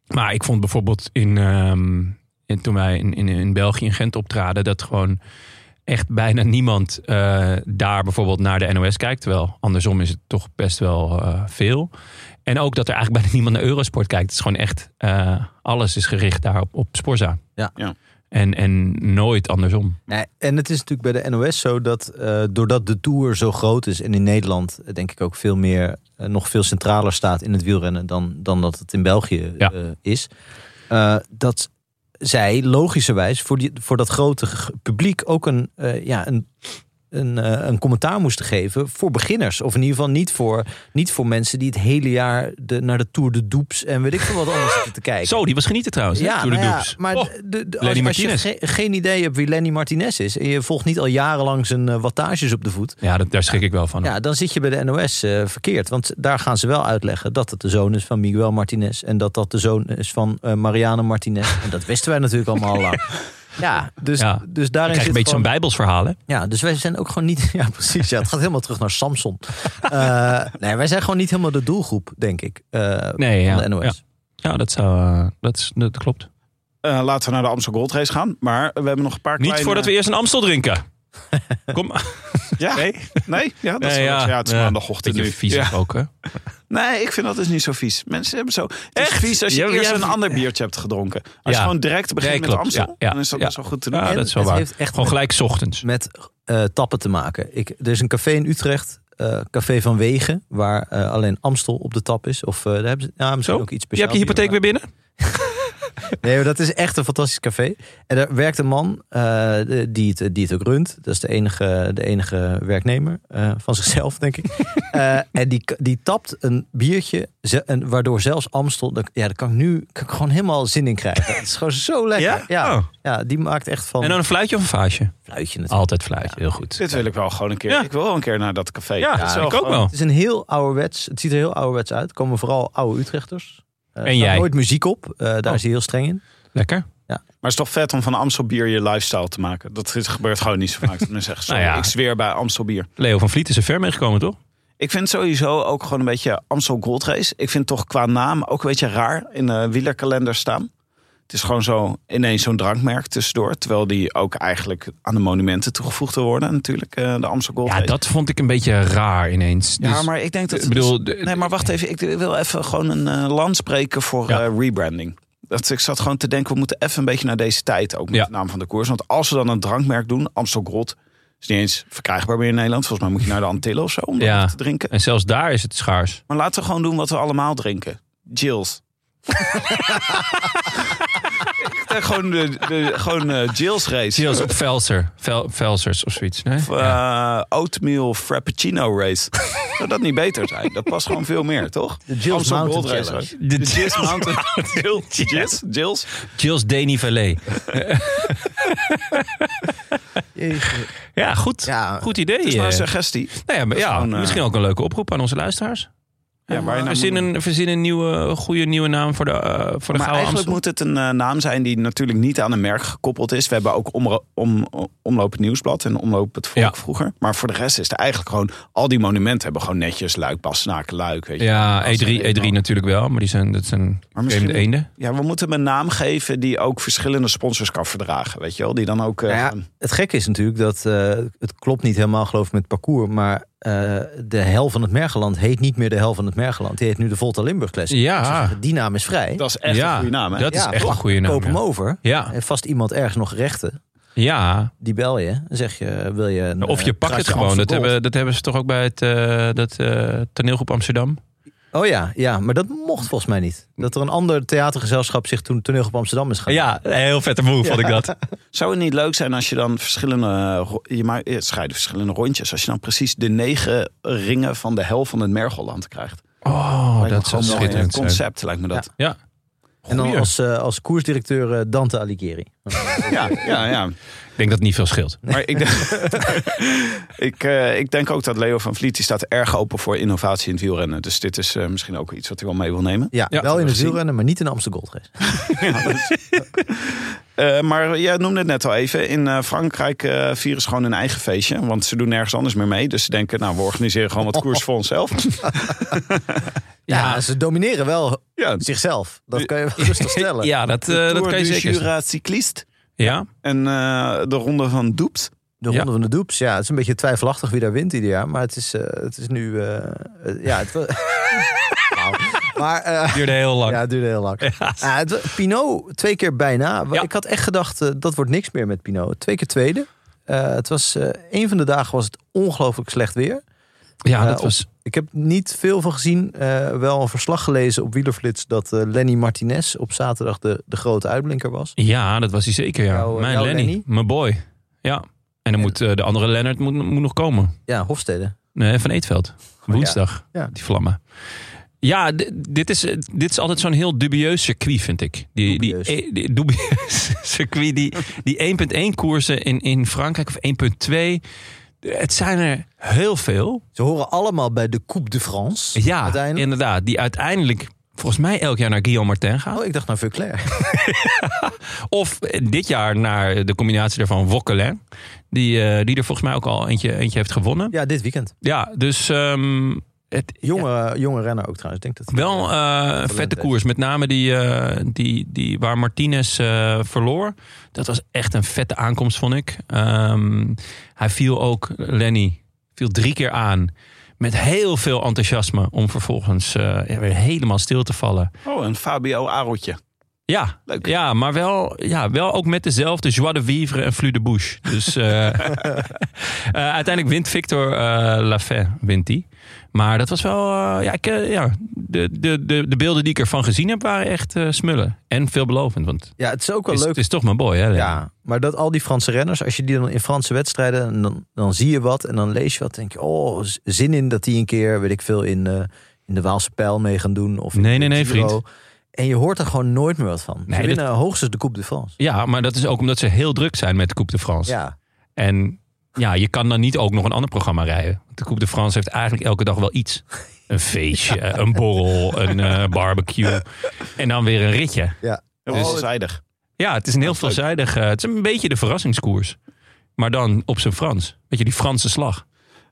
S1: Maar ik vond bijvoorbeeld in, ehm, en toen wij in, in, in België in Gent optraden, dat gewoon echt bijna niemand eh, daar bijvoorbeeld naar de NOS kijkt. Terwijl andersom is het toch best wel eh, veel. En ook dat er eigenlijk bijna niemand naar Eurosport kijkt. Het is gewoon echt, eh, alles is gericht daar op, op Sporza.
S2: Ja.
S3: Ja.
S1: En, en nooit andersom.
S2: Nee, en het is natuurlijk bij de NOS zo dat eh, doordat de Tour zo groot is en in Nederland eh, denk ik ook veel meer, eh, nog veel centraler staat in het wielrennen dan, dan dat het in België
S1: Ja.
S2: eh, is. eh, dat zij logischerwijs voor, die, voor dat grote g- publiek ook een, eh, ja, een, een, eh, een commentaar moesten geven voor beginners. Of in ieder geval niet voor, niet voor mensen die het hele jaar de, naar de Tour de Doeps en weet ik veel wat anders zitten te kijken.
S1: Zo, die was genieten trouwens. Ja, Tour de
S2: nou ja,
S1: Doeps.
S2: maar
S1: Oh.
S2: de- de- de-
S1: Lenny
S2: als, als je
S1: Martinez.
S2: ge- geen idee hebt wie Lenny Martinez is... en je volgt niet al jarenlang zijn eh, wattages op de voet...
S1: Ja, dat, daar schrik ik wel van.
S2: Ja, dan zit je bij de NOS eh, verkeerd. Want daar gaan ze wel uitleggen dat het de zoon is van Miguel Martinez... en dat dat de zoon is van eh Mariano Martinez. En dat wisten wij natuurlijk allemaal
S1: (laughs)
S2: al lang. Ja, dus,
S1: Ja.
S2: dus
S1: Dan
S2: daarin
S1: krijg je
S2: zit
S1: een beetje zo'n
S2: gewoon-
S1: bijbelsverhaal, hè?
S2: ja, dus wij zijn ook gewoon niet. (laughs) Ja, precies. Ja, het gaat helemaal terug naar
S1: (laughs)
S2: Samson. Eh, nee, wij zijn gewoon niet helemaal de doelgroep, denk ik. eh,
S1: Nee,
S2: van
S1: ja.
S2: de NOS.
S1: Ja. Ja, dat, zou, eh, dat, is- dat klopt.
S3: Eh, laten we naar de Amstel Gold Race gaan. Maar we hebben nog een paar
S1: Niet
S3: kleine...
S1: voordat we eerst een Amstel drinken.
S3: (laughs)
S1: Kom.
S3: Ja, nee?
S1: Nee?
S3: Ja, dat is
S1: Nee,
S3: wel- ja. het is
S1: Ja,
S3: maandagochtend
S1: Beetje
S3: nu.
S1: vies
S3: Ja.
S1: ook, hè?
S3: Nee, ik vind dat dus niet zo vies. Mensen hebben zo... Het is
S1: Echt?
S3: vies als je
S1: Ja,
S3: eerst
S1: ja,
S3: een ander biertje hebt gedronken. Als je
S1: Ja.
S3: gewoon direct begint
S1: Nee,
S3: met
S1: klopt.
S3: Amstel,
S1: Ja, ja,
S3: dan is dat
S1: ja.
S3: best wel goed te doen.
S1: Ja,
S2: En
S1: Nou, dat is wel
S2: het
S1: waar.
S2: heeft echt
S1: Gewoon
S2: met-
S1: gelijk 's ochtends.
S2: met eh, tappen te maken. Ik, er is een café in Utrecht, eh, Café van Wegen, waar eh, alleen Amstel op de tap is. Of eh, daar hebben ze ja, misschien
S1: Zo?
S2: ook iets
S1: Je
S2: speciaals.
S1: hebt je hypotheek weer binnen?
S2: Nee, maar dat is echt een fantastisch café. En daar werkt een man eh, die, het, die het ook runt. Dat is de enige, de enige werknemer eh, van zichzelf,
S1: (laughs)
S2: denk ik. Eh, en die, die tapt een biertje, ze- en waardoor zelfs Amstel... dat- Ja, daar kan ik nu kan ik gewoon helemaal zin in krijgen. Het is gewoon zo lekker.
S1: Ja?
S2: Ja,
S1: Oh.
S2: ja, die maakt echt van...
S1: En dan Oh, een fluitje of een vaasje?
S2: fluitje natuurlijk.
S1: Altijd fluitje, heel goed.
S3: Dit wil ik wel gewoon een keer.
S1: Ja.
S3: Ik wil wel een keer naar dat café.
S1: Ja,
S3: Het is
S1: dat ik ook
S3: gewoon-
S1: wel.
S2: Het is een heel ouderwets. Het ziet er heel ouderwets uit. Er komen vooral oude Utrechters. Eh, er staat
S1: jij?
S2: nooit muziek op. Eh, daar
S1: Oh.
S2: is hij heel streng in.
S1: Lekker.
S3: Maar het is toch vet om van Amstel bier je lifestyle te maken. Dat is- gebeurt gewoon niet zo
S1: (laughs)
S3: vaak. Dat mensen zeggen, sorry,
S1: Nou ja.
S3: ik zweer bij Amstel bier.
S1: Leo van Vliet is er ver mee gekomen, toch?
S3: Ik vind sowieso ook gewoon een beetje Amstel Gold Race. Ik vind toch qua naam ook een beetje raar in de wielerkalender staan. Het is gewoon zo ineens zo'n drankmerk tussendoor. Terwijl die ook eigenlijk aan de monumenten toegevoegd te worden natuurlijk. eh, De Amstel Gold
S1: Ja,
S3: Race.
S1: dat vond ik een beetje raar ineens.
S3: Ja,
S1: Dus-
S3: maar ik denk dat...
S1: Ik bedoel, de-
S3: nee, maar wacht even. Ik wil even gewoon een eh, land spreken voor
S1: Ja.
S3: eh, rebranding. Dat, ik zat gewoon te denken, we moeten even een beetje naar deze tijd. Ook met
S1: Ja.
S3: de naam van de koers. Want als we dan een drankmerk doen, Amstel Gold... is niet eens verkrijgbaar meer in Nederland. Volgens mij moet je naar de Antillen of zo om dat
S1: Ja.
S3: te drinken.
S1: En zelfs daar is het schaars.
S3: Maar laten we gewoon doen wat we allemaal drinken. Jills. (laughs) ik denk gewoon de, de gewoon eh, Jills race.
S1: Sales op Velser. Vel, Velsers of zoiets, nee?
S3: Of eh,
S1: Ja.
S3: oatmeal frappuccino race. Zou dat niet beter zijn? Dat past gewoon veel meer, toch?
S2: De Jill's
S3: Amstel
S2: Mountain
S3: Gold Race
S2: Challenge.
S3: Race. De Jills Mountain. (laughs) Jills? Jills?
S1: Jills Denivelé. Ja, goed.
S2: Ja,
S1: Goed idee.
S3: Dat is maar een
S1: eh.
S3: suggestie.
S1: Nou ja, maar
S3: is
S1: ja,
S3: gewoon, eh,
S1: misschien ook een leuke oproep aan onze luisteraars.
S3: Ja, waar je nou
S1: verzin,
S3: moet-
S1: een, verzin een nieuwe, goede nieuwe naam voor de, eh, voor de
S3: Maar
S1: Gouden
S3: eigenlijk
S1: Amstel.
S3: moet het een eh, naam zijn die natuurlijk niet aan een merk gekoppeld is. We hebben ook omro- om, o- Omloop het Nieuwsblad en Omloop het Volk
S1: Ja.
S3: vroeger. Maar voor de rest is het eigenlijk gewoon... Al die monumenten hebben gewoon netjes Luik, Bastenaken, Luik. Weet je.
S1: Ja, E
S3: Als-
S1: E3, E3 natuurlijk wel, maar die zijn, dat zijn
S3: Maar misschien-
S1: vreemde eenden.
S3: Ja, we moeten hem een naam geven die ook verschillende sponsors kan verdragen. Weet je wel? Die dan ook...
S2: (laughs)
S3: eh,
S2: Nou ja,
S3: gewoon-
S2: het gekke is natuurlijk dat eh, het klopt niet helemaal geloof ik met het parcours. Maar eh, de hel van het Mergeland heet niet meer de hel van het Mergeland. Die heet nu de Volta Limburg Classic.
S1: Ja.
S2: Ik zou zeggen, Die naam is vrij.
S3: dat is echt
S1: ja,
S3: een goede naam, hè?
S1: Dat is
S2: Ja,
S1: echt een goede naam.
S2: Koop hem
S1: ja.
S2: over.
S1: Ja.
S2: En vast iemand ergens nog rechten.
S1: ja,
S2: Die bel je. Dan zeg je, wil je... een,
S1: of
S2: eh,
S1: je pakt het
S2: kratje
S1: gewoon. Dat
S2: Amstel Gold?
S1: hebben, dat hebben ze toch ook bij het, eh, dat, eh, toneelgroep Amsterdam?
S2: Oh ja, ja, maar dat mocht volgens mij niet. Dat er een ander theatergezelschap zich toen toneel op Amsterdam is gaan.
S1: Ja, een heel vette move vond ik dat.
S3: Zou het niet leuk zijn als je dan verschillende... eh, ro- Je ma- eh, scheiden verschillende rondjes. Als je dan precies de negen ringen van de hel van het Mergelland krijgt.
S1: Oh,
S3: Lijkt me
S1: dat zou
S3: gewoon wel een
S1: schitterend zijn.
S3: concept lijkt me dat.
S1: Ja.
S2: En dan
S1: Goeie.
S2: als, eh, als koersdirecteur eh, Dante Alighieri.
S3: Ja, ja, ja.
S1: Ik denk dat het niet veel scheelt.
S3: Maar ik, denk- ik, eh, ik denk ook dat Leo van Vliet die staat erg open voor innovatie in het wielrennen. Dus dit is eh, misschien ook iets wat hij wel mee wil nemen.
S2: Ja,
S1: Ja,
S2: wel in
S3: we
S2: het
S3: zien.
S2: wielrennen, maar niet in de Amsterdam Gold Race.
S3: Eh, maar jij noemde het net al even. In eh, Frankrijk eh, vieren ze gewoon hun eigen
S1: (laughs)
S3: feestje. Want ze doen nergens anders meer mee. Dus ze denken, nou, we organiseren gewoon wat koers voor onszelf.
S2: Ja,
S1: Ja.
S2: ze domineren wel
S3: Ja,
S2: zichzelf. Dat kan je wel rustig stellen.
S1: Ja, dat, eh,
S3: de
S1: dat
S3: Tour
S1: kan je
S3: du
S1: zeker.
S3: Jura Cyclist
S1: Ja,
S3: en eh, de Ronde van Doept.
S2: De Ronde van de Doeps, ja, het is een beetje twijfelachtig wie daar wint ieder jaar. Maar het is, eh, het is nu... eh, eh, ja, het, wa- (laughs) Nou, maar eh,
S1: duurde heel lang.
S2: ja, het duurde heel lang. Ja, het wa- Pinot twee keer bijna. Wa-
S1: Ja.
S2: Ik had echt gedacht, eh, dat wordt niks meer met Pinot. Twee keer tweede. Eh, het was, eh een van de dagen was het ongelooflijk slecht weer.
S1: Ja,
S2: Eh,
S1: dat
S2: op-
S1: was.
S2: Ik heb niet veel van gezien. Eh, wel een verslag gelezen op Wielerflits dat eh, Lenny Martinez op zaterdag de, de grote uitblinker was.
S1: Ja, dat was hij zeker. Ja.
S2: Jouw, eh,
S1: Mijn
S2: jouw
S1: Lenny,
S2: Lenny?
S1: mijn boy. Ja. En dan moet eh, de andere Lennart moet, moet nog komen.
S2: Ja, Hofstede.
S1: Nee, van Eetveld. Woensdag.
S2: Oh, Ja.
S1: Die vlammen. Ja, d- dit is, eh, dit is altijd zo'n heel dubieus circuit, vind ik. Die, die,
S2: Dubieus.
S1: eh, die dubieus (laughs) circuit. Die, die 1.1 koersen in, in Frankrijk of 1.2. Het zijn er heel veel.
S2: Ze horen allemaal bij de Coupe de France.
S1: Ja,
S2: uiteindelijk.
S1: inderdaad. Die uiteindelijk volgens mij elk jaar naar Guillaume Martin gaan.
S2: Oh, ik dacht naar Vuclair.
S1: Of eh, dit jaar naar de combinatie daarvan Wokkelin. Die, eh, die er volgens mij ook al eentje, eentje heeft gewonnen.
S2: Ja, dit weekend.
S1: Ja, dus ehm, het,
S2: Jonge, jonge renner ook trouwens. Ik Denk dat
S1: wel eh, een vette koers. Met name die, eh, die, die waar Martinez eh, verloor. Dat was echt een vette aankomst, vond ik. Ehm, hij viel ook, Lenny, viel drie keer aan. Met heel veel enthousiasme om vervolgens eh, ja, weer helemaal stil te vallen.
S3: Oh, en Fabio Arotje.
S1: Ja,
S3: Leuk.
S1: ja maar wel, ja, wel ook met dezelfde joie de vivre en flux de bouche. Dus
S2: (laughs)
S1: eh, eh, uiteindelijk wint Victor eh Lafay, wint die. Maar dat was wel, eh, ja, ik, eh, ja de, de, de, de beelden die ik ervan gezien heb waren echt eh, smullen. En veelbelovend, want het
S2: Ja, het is ook wel
S1: is,
S2: leuk.
S1: het is toch mijn boy. Hè, Lenny?
S2: Ja, maar dat al die Franse renners, als je die dan in Franse wedstrijden, dan, dan zie je wat en dan lees je wat. denk je, oh, z- zin in dat die een keer, weet ik veel, in, eh, in de Waalse Pijl mee gaan doen. Of in
S1: Nee,
S2: de
S1: nee, nee,
S2: Giro.
S1: vriend.
S2: En je hoort er gewoon nooit meer wat van.
S1: Nee,
S2: Ze
S1: dat-
S2: winnen hoogstens de Coupe de France.
S1: ja, maar dat is ook omdat ze heel druk zijn met de Coupe de France.
S2: Ja,
S1: En ja, je kan dan niet ook nog een ander programma rijden. Want de Coupe de France heeft eigenlijk elke dag wel iets. Een feestje, (laughs) eh, een borrel, een eh, barbecue. En dan weer een ritje.
S3: Heel
S1: Dus-
S3: veelzijdig.
S1: Ja, het is een heel
S3: Dat is leuk.
S1: veelzijdig. eh, het is een beetje de verrassingskoers. Maar dan op zijn Frans. Weet je, die Franse slag.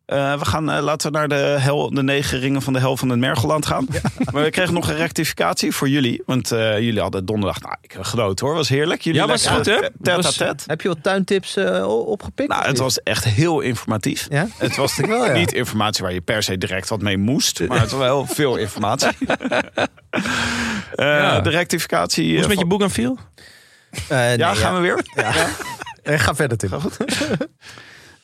S3: Eh, we gaan, eh, laten we naar de, hel, de negen ringen van de hel van het Mergeland gaan. (laughs) Maar we kregen nog een rectificatie voor jullie. Want eh, jullie hadden donderdag, nou, ik genoot hoor, was heerlijk. Jullie
S1: Ja, was
S3: lekker,
S1: goed, hè?
S3: eh, Tête à
S1: Was-
S3: tête.
S2: heb je wat tuintips eh, o- opgepikt?
S3: Nou, het was echt heel informatief.
S2: Ja? Eh,
S3: Het was
S2: wel, ja.
S3: niet informatie waar je per se direct wat mee moest, maar het was wel veel informatie. Eh,
S1: Ja.
S3: De rectificatie.
S1: Hoe is
S3: eh,
S1: het met je
S3: van-
S1: boek aan viel?
S2: Eh, nee,
S3: ja, gaan we weer?
S2: Eh, ga verder, Tim.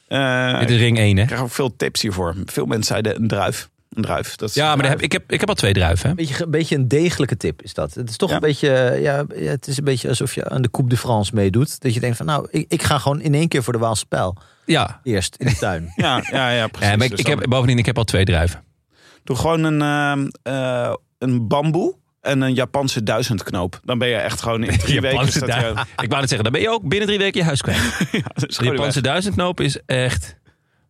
S3: Eh,
S1: Dit is ring 1, hè?
S3: Ik krijg ook veel tips hiervoor. Veel mensen zeiden een druif. Een druif. Dat is
S1: Ja, maar daar heb, ik, heb, ik heb al twee druiven. Hè?
S2: Beetje, ge- beetje een degelijke tip is dat. Het is toch
S3: Ja.
S2: een beetje, eh, ja, ja, het is een beetje alsof je aan de Coupe de France meedoet. Dat je denkt van, nou, ik, ik ga gewoon in één keer voor de Waalse Pijl.
S1: Ja.
S2: Eerst in de tuin.
S3: Ja, ja, ja precies.
S1: (laughs) Ja, maar ik,
S3: Dus
S1: ik
S3: dan
S1: heb, bovendien, ik heb al twee druiven.
S3: Doe gewoon een, eh, eh, een bamboe en een Japanse duizendknoop. Dan ben je echt gewoon
S1: (laughs)
S3: in drie weken...
S1: Japanse
S3: staat je- (laughs)
S1: duif- Ik wou net zeggen, dan ben je ook binnen drie weken je huis kwijt.
S3: Ja, dat is
S1: De
S3: gewoon
S1: Japanse duizendknoop is echt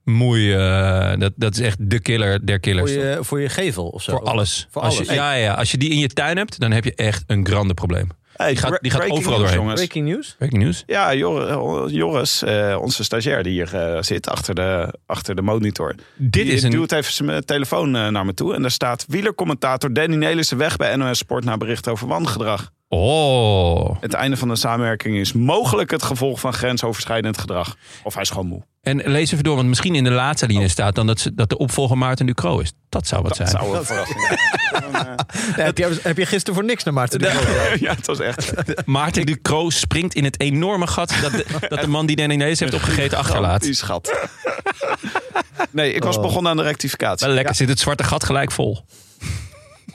S1: moei. eh, dat, dat is echt de killer der
S2: Voor
S1: killers.
S2: je, voor je gevel of zo.
S1: Voor alles.
S2: Voor
S1: als
S2: alles.
S1: Je, ja, ja, als je die in je tuin hebt, dan heb je echt een grande probleem.
S3: weg. Hey,
S1: die gaat- die gaat
S3: breaking
S1: overal
S3: news,
S1: doorheen.
S3: jongens.
S2: Breaking news.
S1: Breaking news.
S3: Ja, Jor- Joris, eh, onze stagiair die hier eh, zit achter de, achter de monitor.
S1: Dit
S3: die
S1: is een...
S3: duwt even zijn telefoon eh, naar me toe. En daar staat wielercommentator Danny Nelissen weg bij NOS Sport... na bericht over wangedrag.
S1: Oh.
S3: Het einde van de samenwerking is mogelijk het gevolg van grensoverschrijdend gedrag. Of hij is gewoon moe.
S1: En lees even door, want misschien in de laatste linie staat dan dat, ze, dat de opvolger Maarten Ducro is. Dat zou wat
S3: Oh. Dat
S1: zijn.
S3: zou een verrassing
S1: (laughs)
S3: zijn.
S2: heb, je, heb je gisteren voor niks naar Maarten de Groot?
S3: ja, het was echt...
S1: Maarten Ducro springt in het enorme gat dat
S3: (laughs)
S1: de, dat de man die Danny Nees heeft opgegeten achterlaat. Oh.
S3: Die schat. Nee, ik was begonnen aan de rectificatie.
S1: Wel lekker, zit het zwarte gat gelijk vol.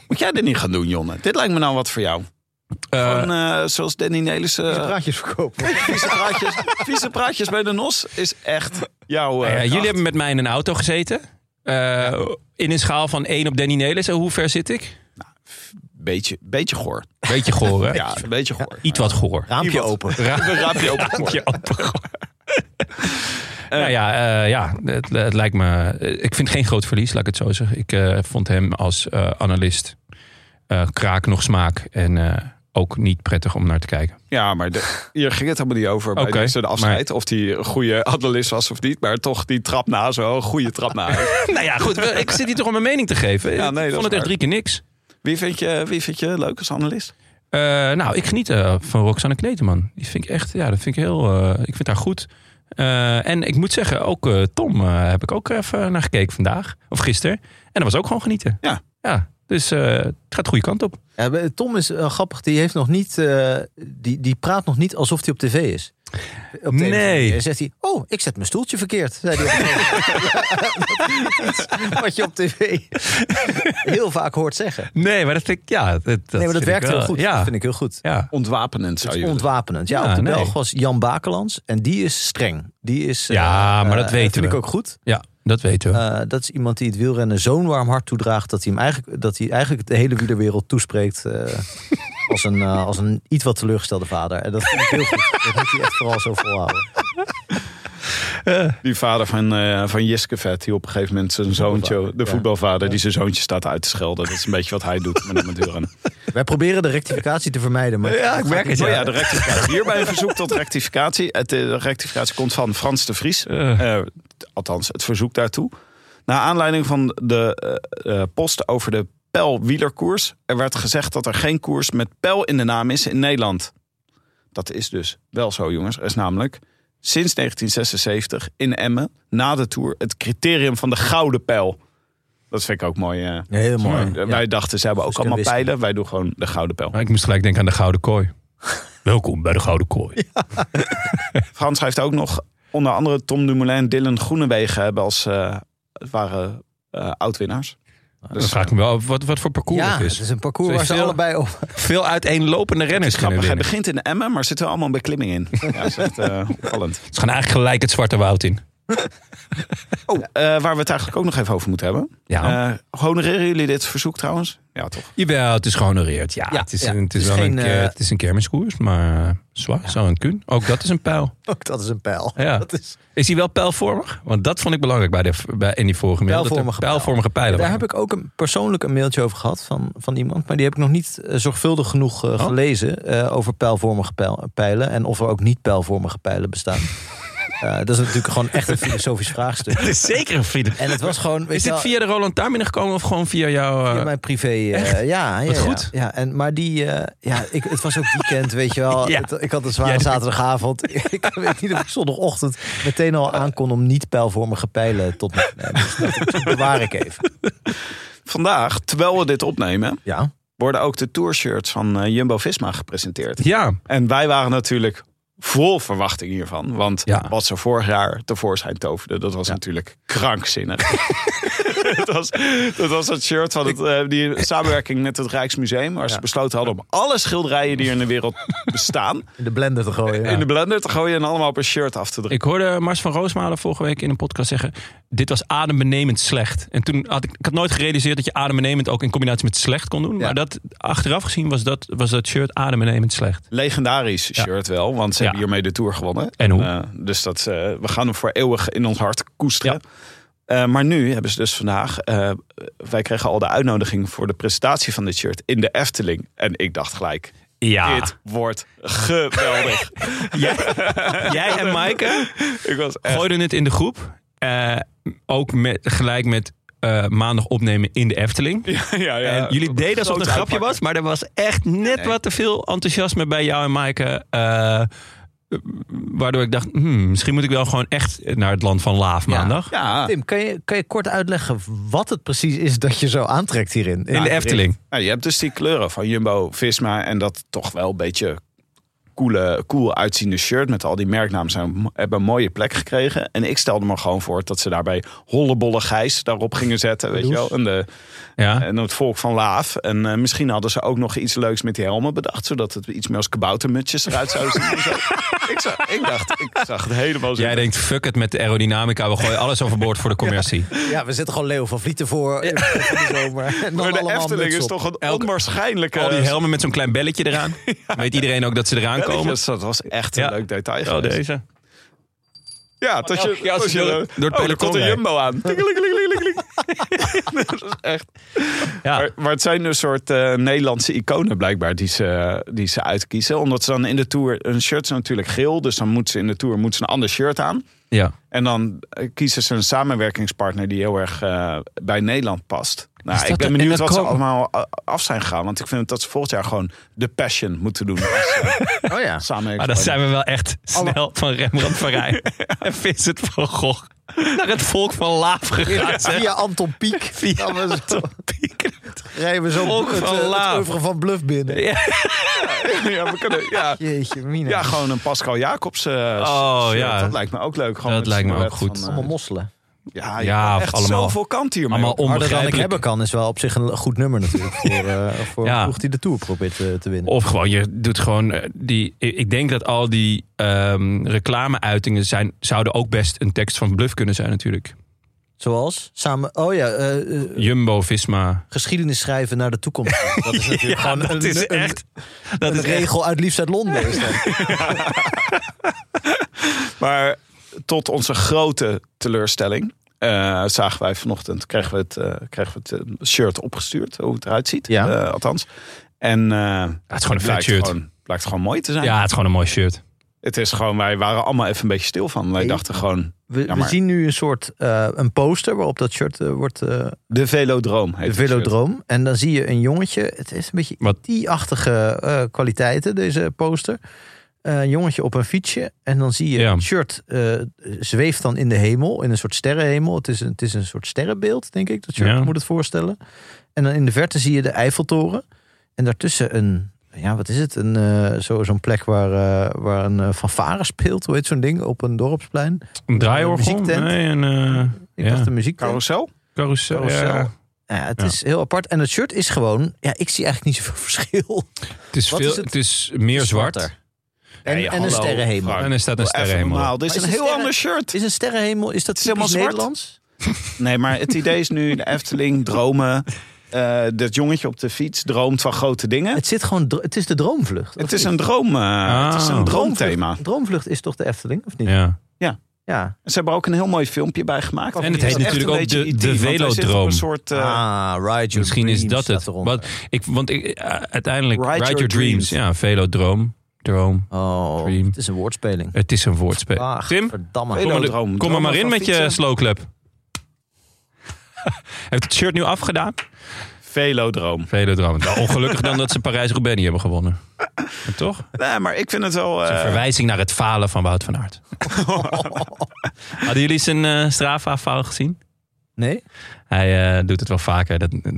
S3: Moet jij dit niet gaan doen, Jonne? Dit lijkt me nou wat voor jou.
S1: Eh,
S3: Gewoon, eh, zoals Danny Nelissen... eh,
S2: Praatjes
S1: (laughs)
S2: verkopen.
S3: Vieze praatjes, vieze praatjes bij de NOS is echt jouw... eh,
S1: Nou ja,
S3: kracht.
S1: jullie hebben met mij in een auto gezeten. Eh, In een schaal van 1 op Danny Nelis. En hoe ver zit ik?
S3: Beetje, beetje goor.
S1: Beetje goor, (laughs) hè?
S3: Ja, een beetje goor.
S1: Iets wat goor. (laughs)
S2: Raampje
S3: Iemand.
S2: open.
S3: (laughs) Een raampje open.
S1: Raampje open gooien. nou ja, eh, ja het, het lijkt me. eh, Ik vind geen groot verlies, laat ik het zo zeggen. Ik eh, vond hem als eh, analist eh, kraak nog smaak. En eh, ook niet prettig om naar te (laughs) kijken.
S3: Ja, maar (laughs) de, hier ging het helemaal niet over bij
S1: Oké,
S3: zijn afscheid. Of die een goede analist was of niet. Maar toch die trap na zo, een goede trap na. (laughs)
S1: nou ja, goed. Ik zit hier toch om mijn mening te geven.
S3: Ja, nee,
S1: ik
S3: dat
S1: vond
S3: is
S1: het echt
S3: waar.
S1: drie keer niks.
S3: Wie vind je, wie vind je leuk als analist?
S1: Eh, nou, ik geniet eh, van Roxanne Kleteman. Die vind ik echt, ja, dat vind ik heel, eh, ik vind haar goed. Eh, en ik moet zeggen, ook eh, Tom eh, heb ik ook even naar gekeken vandaag. Of gisteren. En dat was ook gewoon genieten.
S3: Ja.
S1: Ja, dus eh, het gaat de goede kant op.
S2: Ja, maar Tom is wel grappig. Die, heeft nog niet, eh, die, die praat nog niet alsof hij op tv is. Op de een of andere
S1: Nee.
S2: manier zegt hij, oh, ik zet mijn stoeltje verkeerd. Zei hij op een gegeven moment. (laughs) Wat je op tv (laughs) heel vaak hoort zeggen.
S1: Nee, maar dat vind ik, ja. Dat,
S2: nee, maar dat
S1: vind ik
S2: werkt heel
S1: wel-
S2: goed.
S1: Ja,
S2: Dat vind ik heel goed.
S1: ja.
S3: Ontwapenend
S2: Het
S3: zou
S2: is
S3: je
S2: ontwapenend. Ja,
S1: Ja,
S2: op de
S1: nee.
S2: Belg was Jan Bakelands. En die is streng. Die is, eh,
S1: Ja, maar dat
S2: eh,
S1: weten
S2: vind
S1: we.
S2: ik ook goed.
S1: ja, dat weten we.
S2: Eh, dat is iemand die het wielrennen zo'n warm hart toedraagt... dat hij, hem eigenlijk, dat hij eigenlijk de hele wielerwereld toespreekt... eh, als, een, eh, als een iets wat teleurgestelde vader. En dat vind ik heel goed. Dat moet hij echt vooral zo volhouden.
S3: Die vader van, eh van Jiskevet, die op een gegeven moment zijn zoontje, de
S2: ja.
S3: voetbalvader, die zijn zoontje staat uit te schelden. Dat is een beetje wat hij (laughs) doet met hem duren.
S2: Wij proberen de rectificatie te vermijden. Maar
S1: ja, ik merk het.
S3: Maar
S1: Ja.
S3: Oh ja, de rectificatie. Hierbij een verzoek tot rectificatie. Het, eh, de rectificatie komt van Frans de Vries. Eh, t- althans, het verzoek daartoe. Naar aanleiding van de eh, eh, post over de pijlwielerkoers. Er werd gezegd dat er geen koers met pijl in de naam is in Nederland. Dat is dus wel zo, jongens. Er is namelijk sinds 1976 in Emmen, na de Tour, het criterium van de gouden pijl. Dat vind ik ook mooi. eh.
S2: Ja, heel mooi.
S3: Eh, Wij dachten, ze hebben ook
S2: Dus
S3: allemaal
S2: kunnen
S3: pijlen. Wij doen gewoon de gouden pijl.
S1: Maar ik moest gelijk denken aan de Gouden
S2: (laughs)
S1: Kooi. Welkom bij de Gouden Kooi.
S3: Frans heeft ook nog onder andere Tom Dumoulin en Dylan Groenewegen hebben als eh, het waren eh oud-winnaars.
S1: Dan vraag ik me wel af wat, wat voor parcours
S2: Ja,
S1: het
S2: het
S1: is.
S2: is een parcours waar ze
S1: Veel-
S2: allebei op... (laughs)
S1: Veel uiteenlopende renners kunnen
S3: Grappig, hij
S1: winnen.
S3: begint in Emmen, maar zit er allemaal een beklimming (laughs) in. Ja, dat is echt eh, opvallend.
S1: Ze gaan eigenlijk gelijk het Zwarte Woud in.
S3: Oh, eh, waar we het eigenlijk ook nog even over moeten hebben.
S1: Ja.
S3: Eh, honoreren jullie dit verzoek trouwens? Ja, toch?
S1: Jawel, het is gehonoreerd. Ja,
S2: Ja,
S1: het is,
S2: ja.
S1: Een, het is
S2: Het is
S1: wel
S2: geen,
S1: een, keer-
S2: eh,
S1: het is een kermiskoers, maar eh, zwaar zou een kun. Ook dat is een pijl.
S2: (laughs) Ook dat is een pijl.
S1: Ja.
S2: Dat is...
S1: Is hij wel pijlvormig? Want dat vond ik belangrijk bij de, bij, in die vorige mail. dat er
S2: Pijlvormige pijl.
S1: pijlvormige pijlen
S2: Daar
S1: waren.
S2: heb ik ook een, persoonlijk een mailtje over gehad van, van iemand. Maar die heb ik nog niet eh, zorgvuldig genoeg eh, gelezen. eh, over pijlvormige pijl- pijlen. En of er ook niet pijlvormige pijlen (laughs) bestaan. Eh, dat is natuurlijk gewoon echt een filosofisch (laughs) vraagstuk.
S1: Het is zeker een vriend.
S2: En het was gewoon.
S1: (laughs)
S2: weet
S1: Is dit
S2: je wel,
S1: via de Roland Taar binnengekomen of gewoon via jouw... eh,
S2: via mijn privé. eh, ja, ja,
S1: Wat
S2: ja.
S1: goed.
S2: Ja, en, maar die. eh, ja, ik, het was ook weekend, weet je (laughs) wel.
S1: Ja.
S2: Het- ik had een zware
S1: Ja, dat-
S2: (laughs) zaterdagavond. ik weet niet of ik zondagochtend meteen al aankon om niet pijlvormige pijlen tot me te nemen. Dus dat- dat bewaar ik even.
S3: Vandaag, terwijl we dit opnemen,
S2: Ja.
S3: worden ook de tourshirts van eh, Jumbo-Visma gepresenteerd.
S1: Ja,
S3: En wij waren natuurlijk vol verwachting hiervan. Want
S1: Ja.
S3: wat ze vorig jaar tevoorschijn toverden, dat was natuurlijk krankzinnig. (laughs) dat, was, dat was het shirt van het, eh, die samenwerking met het Rijksmuseum. Waar ze besloten hadden om alle schilderijen die er in de wereld bestaan...
S2: In de blender te gooien. (laughs)
S3: in de blender te gooien en allemaal op een shirt af te drukken.
S1: ik hoorde Mars van Roosmalen vorige week in een podcast zeggen... dit was adembenemend slecht. En toen had ik, ik had nooit gerealiseerd dat je adembenemend ook in combinatie met slecht kon doen.
S2: Ja.
S1: Maar dat, achteraf gezien was dat, was dat shirt adembenemend slecht.
S3: Legendarisch shirt wel, want ze
S1: Ja.
S3: hebben hiermee de Tour gewonnen.
S1: En hoe?
S3: Eh, dus dat, eh, we gaan hem voor eeuwig in ons hart koesteren. Eh, maar nu hebben ze dus vandaag. eh, wij kregen al de uitnodiging voor de presentatie van dit shirt in de Efteling. En ik dacht gelijk:
S1: Ja.
S3: dit wordt
S1: (laughs)
S3: geweldig.
S1: Jij en (laughs) Maaike
S3: ik was echt.
S1: gooiden het in de groep. Eh, ook met, gelijk met eh, maandag opnemen in de Efteling.
S3: (laughs) Ja, ja,
S1: en jullie deden alsof het een
S3: Groot
S1: grapje was. Maar er was echt net wat te veel enthousiasme bij jou en Maaike. eh, waardoor ik dacht, hmm, misschien moet ik wel gewoon echt naar het land van Laaf maandag.
S3: Ja,
S2: Tim, kan je, kan je kort uitleggen wat het precies is dat je zo aantrekt hierin?
S1: In de Efteling.
S3: Nou, je hebt dus die kleuren van Jumbo Visma en dat toch wel een beetje coole, cool uitziende shirt met al die merknamen zijn, hebben een mooie plek gekregen. En ik stelde me gewoon voor dat ze daarbij hollebolle gijs daarop gingen zetten, weet je wel. En, de,
S1: Ja.
S3: en het volk van Laaf. En eh, misschien hadden ze ook nog iets leuks met die helmen bedacht, zodat het iets meer als kaboutermutjes eruit zou zien.
S1: (laughs)
S3: en zo. ik, zag, ik dacht, ik zag het helemaal zo.
S1: Jij denkt, fuck het met de aerodynamica. We gooien alles overboord
S3: (laughs)
S1: voor de commercie.
S2: Ja, we zetten gewoon Leo van Vlieten voor in de (laughs) zomer. En dan
S3: maar de
S2: allemaal
S3: Efteling
S2: muts
S3: is
S2: op.
S3: toch een
S1: Elke-
S3: onwaarschijnlijke...
S1: Al die helmen met zo'n klein belletje
S3: (laughs)
S1: eraan. Weet iedereen ook dat ze eraan komen.
S3: Belletjes, Dat was echt een
S1: Ja.
S3: leuk detail.
S1: Oh,
S3: geweest.
S1: deze.
S3: Ja, tot je,
S1: elke keer nou, als
S3: tot
S1: je
S3: je
S1: door- door het
S3: oh, er
S1: peloton
S3: komt een
S1: rijdt.
S3: (laughs) jumbo aan. Tingelingelingeling. dat is echt.
S1: Ja, Ah.
S3: Maar, maar het zijn een soort eh, Nederlandse iconen blijkbaar die ze, die ze uitkiezen. Omdat ze dan in de Tour... Een shirt is natuurlijk geel, dus dan moet ze in de Tour moet ze een ander shirt aan.
S1: ja.
S3: En dan eh, kiezen ze een samenwerkingspartner die heel erg eh, bij Nederland past.
S1: Is
S3: Nou,
S1: dat
S3: ik ben
S1: de- en
S3: benieuwd
S1: dat
S3: wat ze
S1: komen-
S3: allemaal eh, af zijn gegaan. Want ik vind dat ze volgend jaar gewoon de passion moeten
S1: (laughs)
S3: doen. Als, eh,
S2: Oh ja.
S1: Maar dan
S3: samenwerkingspartner.
S1: zijn we wel echt snel van Rembrandt van (laughs) Rijn en Vincent van Gogh naar het volk van Laaf gegaan. zeg.
S2: (laughs) Via Anton Pieck
S1: Via
S2: gaan we zo- rijden we zo
S1: Volk
S2: het,
S1: van
S2: eh, het
S1: Laaf.
S2: oeuvre van Bluff binnen.
S3: (laughs) ja, we kunnen, ja.
S2: Jeetje, mina.
S3: ja, gewoon een Pascal Jacobs. eh,
S1: Oh,
S3: shirt.
S1: ja.
S3: Dat lijkt me ook leuk. Gewoon
S1: Dat
S3: met
S1: lijkt me
S3: silhouet
S1: ook goed.
S3: van, eh,
S2: Allemaal mosselen.
S3: ja,
S1: Ja,
S3: ja
S1: of
S3: Ah, echt
S1: allemaal-
S3: zoveel kant hier
S1: allemaal om-
S2: Harder dan ik
S1: Onbegrijpelijk.
S2: hebben kan is wel op zich een goed nummer (laughs) natuurlijk. Voor, eh voor
S1: Ja.
S2: een ploeg die de Tour probeert eh, te winnen.
S1: Of gewoon, je doet gewoon eh, die. Ik ik denk dat al die ehm, reclameuitingen zijn, zouden ook best een tekst van bluff kunnen zijn, natuurlijk.
S2: Zoals samen... Oh ja, eh, eh,
S1: Jumbo, Visma.
S2: geschiedenis schrijven naar de (laughs) toekomst. Dat is natuurlijk
S1: Ja,
S2: gewoon
S1: dat
S2: een,
S1: is
S2: een-
S1: echt. Dat
S2: een
S1: is echt.
S2: regel uit liefst uit Londen. Is dat.
S3: Maar tot onze grote teleurstelling eh, zagen wij vanochtend, kregen we het, eh, kregen we het eh, shirt opgestuurd, hoe het eruit ziet,
S2: Ja.
S3: eh, althans. En eh,
S1: Het is gewoon een vet
S3: blijkt,
S1: shirt.
S3: gewoon, blijkt gewoon mooi te zijn.
S1: Ja, het is gewoon een mooi shirt.
S3: Het is gewoon, wij waren allemaal even een beetje stil van. Wij
S2: Nee.
S3: dachten gewoon,
S2: We,
S3: Ja,
S2: we
S3: maar-
S2: zien nu een soort eh, een poster waarop dat shirt eh, wordt eh,
S3: de Velodroom heet
S2: de
S3: het shirt.
S2: velodroom. En dan zie je een jongetje. Het is een beetje
S1: Wat?
S2: IT-achtige eh, kwaliteiten, deze poster. Eh, een jongetje op een fietsje. En dan zie je
S1: Ja.
S2: het shirt eh, zweeft dan in de hemel. In een soort sterrenhemel. Het is een, het is een soort sterrenbeeld, denk ik. Dat shirt
S1: Ja.
S2: moet het voorstellen. En dan in de verte zie je de Eiffeltoren. En daartussen een... Ja, wat is het? Een, eh, zo, zo'n plek waar, eh, waar een eh, fanfare speelt. Hoe heet zo'n ding? Op een dorpsplein.
S1: Een draaiorgel.
S2: muziektent.
S1: Nee, een eh,
S2: Ik
S1: Ja.
S2: dacht de muziek.
S3: Carousel?
S1: carousel.
S3: Oh,
S2: Carousel.
S1: Ja.
S2: Ja, het
S1: Ja.
S2: is heel apart. En het shirt is gewoon... Ja, ik zie eigenlijk niet zoveel (laughs) verschil.
S1: Het, is
S2: Wat
S1: veel,
S2: is
S1: het?
S2: het?
S1: is meer zwart.
S2: Zwarter. En,
S3: Hey,
S2: en
S3: hallo,
S2: een sterrenhemel.
S3: Frank.
S1: En er staat een
S3: Even
S1: sterrenhemel.
S3: normaal. Dit is,
S2: Maar
S3: een
S2: is
S3: heel
S2: een
S3: ander shirt.
S2: Is een sterrenhemel, is dat
S3: Het is
S2: typisch
S3: helemaal zwart.
S2: Nederlands?
S3: Nee, maar het idee is nu de Efteling, (laughs) dromen. eh, dat jongetje op de fiets droomt van grote dingen.
S2: Het zit gewoon, dr- het is de droomvlucht. of
S3: Het is
S2: niet?
S3: een, droom, eh, het is
S1: Ah.
S3: een droomthema.
S2: Droomvlucht, droomvlucht is toch de Efteling, of niet? Ja.
S1: Ja.
S3: Ze hebben er ook een heel mooi filmpje bij gemaakt.
S1: En het heet
S3: Echt
S1: natuurlijk
S3: een
S1: ook
S3: beetje
S1: de-
S3: IT,
S1: de
S3: want hij zit op
S1: velodroom.
S3: Een soort, eh,
S2: ah, Ride Your
S1: Misschien is
S2: Dreams
S1: dat het.
S2: staat eronder.
S1: Wat, ik, want ik, eh, uiteindelijk,
S3: Ride
S1: Ride,
S3: your
S1: Your, Dreams.
S3: dreams.
S1: Ja, velodroom. Droom.
S2: Oh,
S1: Dream.
S2: het is een woordspeling.
S1: Het is een woordspel.
S2: Ah,
S1: Tim?
S2: verdamme.
S3: Velo-
S1: Kom, er-
S3: Velodroom.
S1: kom er maar
S3: Dromen
S1: in
S3: van
S1: met je
S3: fietsen.
S1: slow club. (laughs) Heeft het shirt nu afgedaan?
S3: velodroom.
S1: Velodroom. Nou, ongelukkig dan dat ze Parijs-Roubaix niet hebben gewonnen. Maar toch? Het
S3: Nee, maar ik vind het wel...
S1: is
S3: eh,
S1: een verwijzing naar het falen van Wout van
S3: (laughs)
S1: Aert. Hadden jullie zijn eh Strava-faal gezien?
S2: Nee?
S1: Hij eh, doet het wel vaker. Dat eh,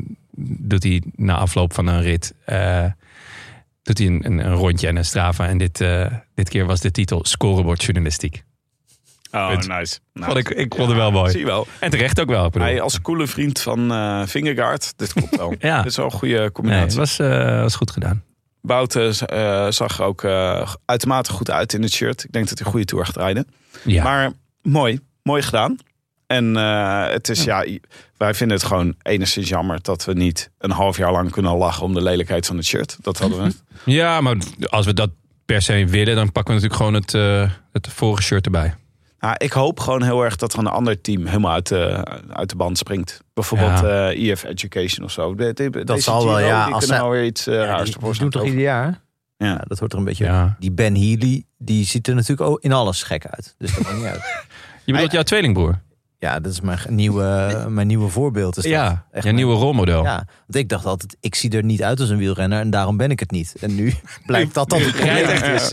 S1: doet hij na afloop van een rit. eh, doet hij een, een, een rondje en een Strava. En dit, eh, dit keer was de titel Scorebord Journalistiek.
S3: oh,
S1: het-
S3: nice. nice.
S1: Vond ik, ik vond het wel mooi.
S3: Zie je wel.
S1: En terecht ook wel. ik bedoel.
S3: Hij als coole vriend van eh Vingegaard. Dit klopt wel.
S1: (laughs) Ja.
S3: Dit is wel een goede
S1: Nee, het
S3: combinatie.
S1: was, eh, was goed gedaan.
S3: Bouten eh, zag er ook eh, uitermate goed uit in het shirt. Ik denk dat hij een goede tour gaat rijden.
S1: Ja.
S3: Maar mooi, mooi gedaan. En eh, het is ja. wij vinden het gewoon enigszins jammer dat we niet een half jaar lang kunnen lachen om de lelijkheid van het shirt. Dat hadden
S1: (laughs)
S3: we.
S1: Ja, maar als we dat per se willen, dan pakken we natuurlijk gewoon het, eh, het vorige shirt erbij.
S3: Nou, ik hoop gewoon heel erg dat er een ander team helemaal uit de, uit de band springt. Bijvoorbeeld
S1: Ja.
S3: eh IF Education of zo. De- de- deze
S2: zal wel,
S3: Giro,
S2: ja,
S3: Die
S2: als
S3: kunnen
S2: zij-
S3: alweer iets eh raars
S2: die, die
S3: ervoor
S2: doen toch ieder jaar?
S3: Ja.
S2: Ja, dat hoort er een beetje
S1: Ja.
S2: Die Ben Healy, die ziet er natuurlijk ook in alles gek uit. Dus dat maakt niet uit.
S1: Je bedoelt jouw tweelingbroer?
S2: Ja, dat is mijn ge- nieuwe, mijn nieuwe voorbeeld. Is dat.
S1: Ja,
S2: echt
S1: jouw
S2: een-
S1: nieuwe rolmodel.
S2: Ja, want ik dacht altijd, ik zie er niet uit als een wielrenner en daarom ben ik het niet. En nu (laughs) blijkt dat dat het probleem
S1: rijdt
S2: is.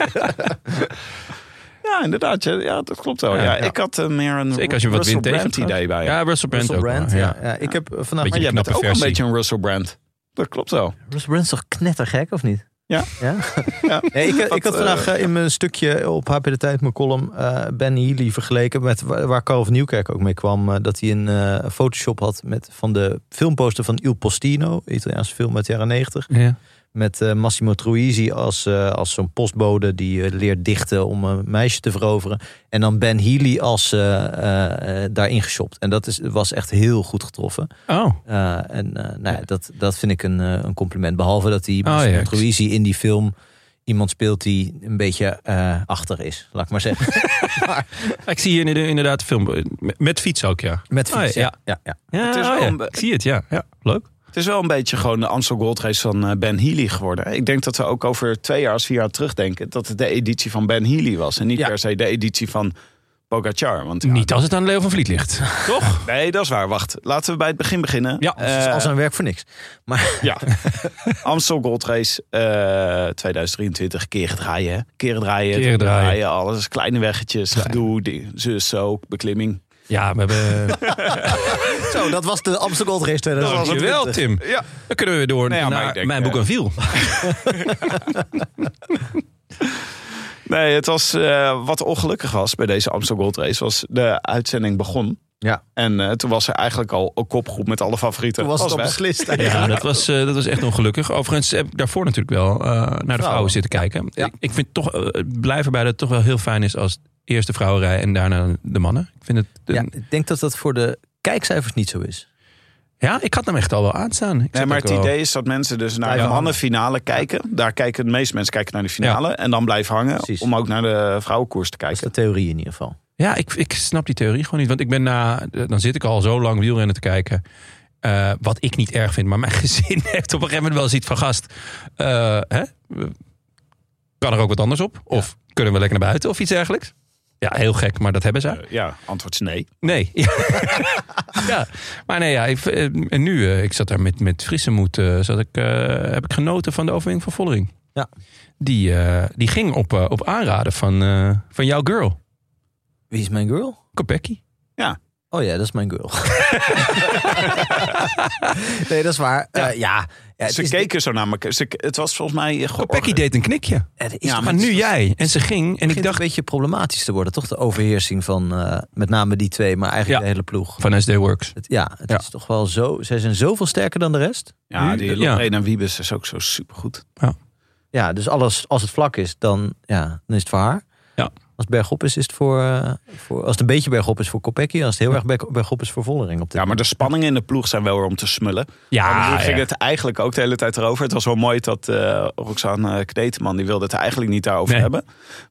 S3: Ja, inderdaad. Ja, ja, dat klopt wel.
S1: Ja,
S3: Ja,
S1: ja.
S3: Ik had eh, meer een
S1: Zeker als je wat
S3: Russell
S1: wind tegen
S3: Brand idee bij.
S1: Ja, Russell Brand
S2: Russell
S1: ook.
S2: Brand,
S1: wel,
S2: ja.
S1: ja.
S2: Ja. Ik heb eh, vandaag...
S1: Beetje
S3: Maar jij bent ook
S1: knappe
S3: een
S1: versie.
S3: beetje een Russell Brand. Dat klopt wel.
S2: Russell Brand is toch knettergek, of niet?
S3: Ja.
S2: ja?
S3: Ja.
S2: Nee, ik,
S3: Dat,
S2: ik had vandaag eh, in mijn stukje op HP De Tijd, mijn column, eh, Ben Healy vergeleken met waar, waar Carl van Nieuwkerk ook mee kwam. eh, dat hij een eh, Photoshop had met, van de filmposter van Il Postino, Italiaanse film uit de jaren negentig.
S1: Ja.
S2: Met eh, Massimo Troisi als, eh, als zo'n postbode die eh, leert dichten om een meisje te veroveren. En dan Ben Healy als eh, eh, eh, daarin geshopt. En dat is, was echt heel goed getroffen.
S1: Oh,
S2: Eh, en eh, nou ja, dat, dat vind ik een, eh, een compliment. Behalve dat die
S1: ja,
S2: Massimo
S1: ik-
S2: Troisi in die film iemand speelt die een beetje eh, achter is, laat ik maar (laughs) zeggen.
S1: Ik zie hier inderdaad een film. Met, met fiets ook, ja.
S2: Met
S1: Oh,
S2: fiets.
S1: ja.
S2: ja. Ja, ja.
S1: Ja,
S3: Het is
S1: oh
S3: wel
S1: ja,
S3: een be-
S1: ik zie het, ja. ja. Leuk.
S3: Het is wel een beetje gewoon de Amstel Gold Race van eh, Ben Healy geworden. Ik denk dat we ook over twee jaar, als vier jaar terugdenken... dat het de editie van Ben Healy was. En niet
S2: Ja.
S3: per se de editie van Pogacar. Want, ja,
S1: Niet als het aan Leo van Vliet ligt. Toch?
S3: Nee, dat is waar. Wacht, laten we bij het begin beginnen.
S1: (laughs) Ja,
S2: Het is
S3: Eh,
S2: al zijn werk voor niks. Maar
S3: ja. (laughs) Amstel Gold Race eh, 2023. Keren draaien, hè? Keren draaien,
S1: Keren draaien.
S3: Alles, kleine weggetjes, gedoe, die- zus, zo, beklimming.
S1: (laughs) Ja, we hebben...
S2: zo, dat was de Amsterdam Gold (laughs) Race
S3: was
S2: 2020.
S3: het.
S1: Dankjewel, Tim.
S3: Ja.
S1: Dan kunnen we weer door
S3: Nou ja, maar
S1: naar
S3: ik denk,
S1: Mijn Boek
S3: eh,
S1: en (laughs) Viel.
S3: Nee, het was eh, wat ongelukkig was bij deze Amstel Gold Race was de uitzending begon.
S2: Ja.
S3: En eh, toen was er eigenlijk al een kopgroep met alle favorieten.
S2: Toen was het al
S3: weg.
S2: beslist. (laughs)
S1: Ja, dat was, eh, dat was echt ongelukkig. Overigens heb ik daarvoor natuurlijk wel eh, naar de vrouwen,
S2: Vrouwen.
S1: zitten kijken. Ik, ik vind toch, eh, het blijven erbij dat het toch wel heel fijn is als eerst de vrouwenrij en daarna de mannen. Ik vind het...
S2: Ja,
S1: ja.
S2: ik denk dat dat voor de kijkcijfers niet zo is.
S1: ik had hem echt al wel aanstaan. Ik
S3: Nee,
S1: zat
S3: maar
S1: ook
S3: het
S1: wel-
S3: idee is dat mensen dus naar de
S2: Blijven
S3: mannenfinale kijken. Daar kijken de meeste mensen kijken naar de finale. En dan blijven hangen
S2: Precies.
S3: om ook naar de vrouwenkoers te
S2: Dat is de
S3: kijken.
S2: theorie in ieder geval.
S1: Ja, ik, ik snap die theorie gewoon niet. Want ik ben na, dan zit ik al zo lang wielrennen te kijken. eh, wat ik niet erg vind. Maar mijn (laughs) gezin heeft op een gegeven moment wel ziet van gast. eh, hè? Kan er ook wat anders op? Of kunnen we lekker naar buiten of iets dergelijks? Ja, heel gek, maar dat hebben ze.
S3: Ja, antwoord is nee.
S1: Nee. (laughs) ja. Maar nee, ja, ik, eh, en nu, eh, ik zat daar met, met frisse moed. eh, zat ik, eh, heb ik genoten van de overwinning van Vollering.
S2: Ja.
S1: Die, eh, die ging op, eh, op aanraden van, eh, van jouw girl,
S2: Wie is mijn girl?
S1: Kopecky.
S2: Oh ja, dat is mijn girl. (laughs) nee, dat is waar. Eh, Ja, ja. het
S3: ze
S2: is-
S3: keken zo naar elkaar. Ze- Het was volgens mij eh,
S1: Kopecky
S3: georganiseerd.
S1: deed een knikje.
S2: het is
S3: Ja,
S2: toch-
S1: maar
S2: het
S1: nu
S2: is-
S1: jij. En ze ging. En ik
S2: begint
S1: dacht
S2: een beetje problematisch te worden, toch? De overheersing van eh, met name die twee, maar eigenlijk
S1: Ja.
S2: de hele ploeg.
S1: van SD Works.
S2: Het, ja, het
S1: Ja.
S2: is toch wel zo. Zij zijn zoveel sterker dan de rest.
S3: Ja, die
S1: Ja.
S3: Lorena Wiebes is ook zo supergoed.
S2: Ja, dus alles als het vlak is, dan, ja, dan is het voor haar.
S1: Ja.
S2: Als het bergop is, is het voor, eh, voor. Als het een beetje bergop is voor Kopecky, als het heel erg berg- bergop is voor Vollering. Op dit
S3: Ja, maar de spanningen in de ploeg zijn wel weer om te smullen. En
S1: Ja,
S3: toen ging
S1: ja.
S3: het eigenlijk ook de hele tijd erover. Het was wel mooi dat eh Roxane Kneteman, die wilde het eigenlijk niet daarover
S1: Nee.
S3: hebben.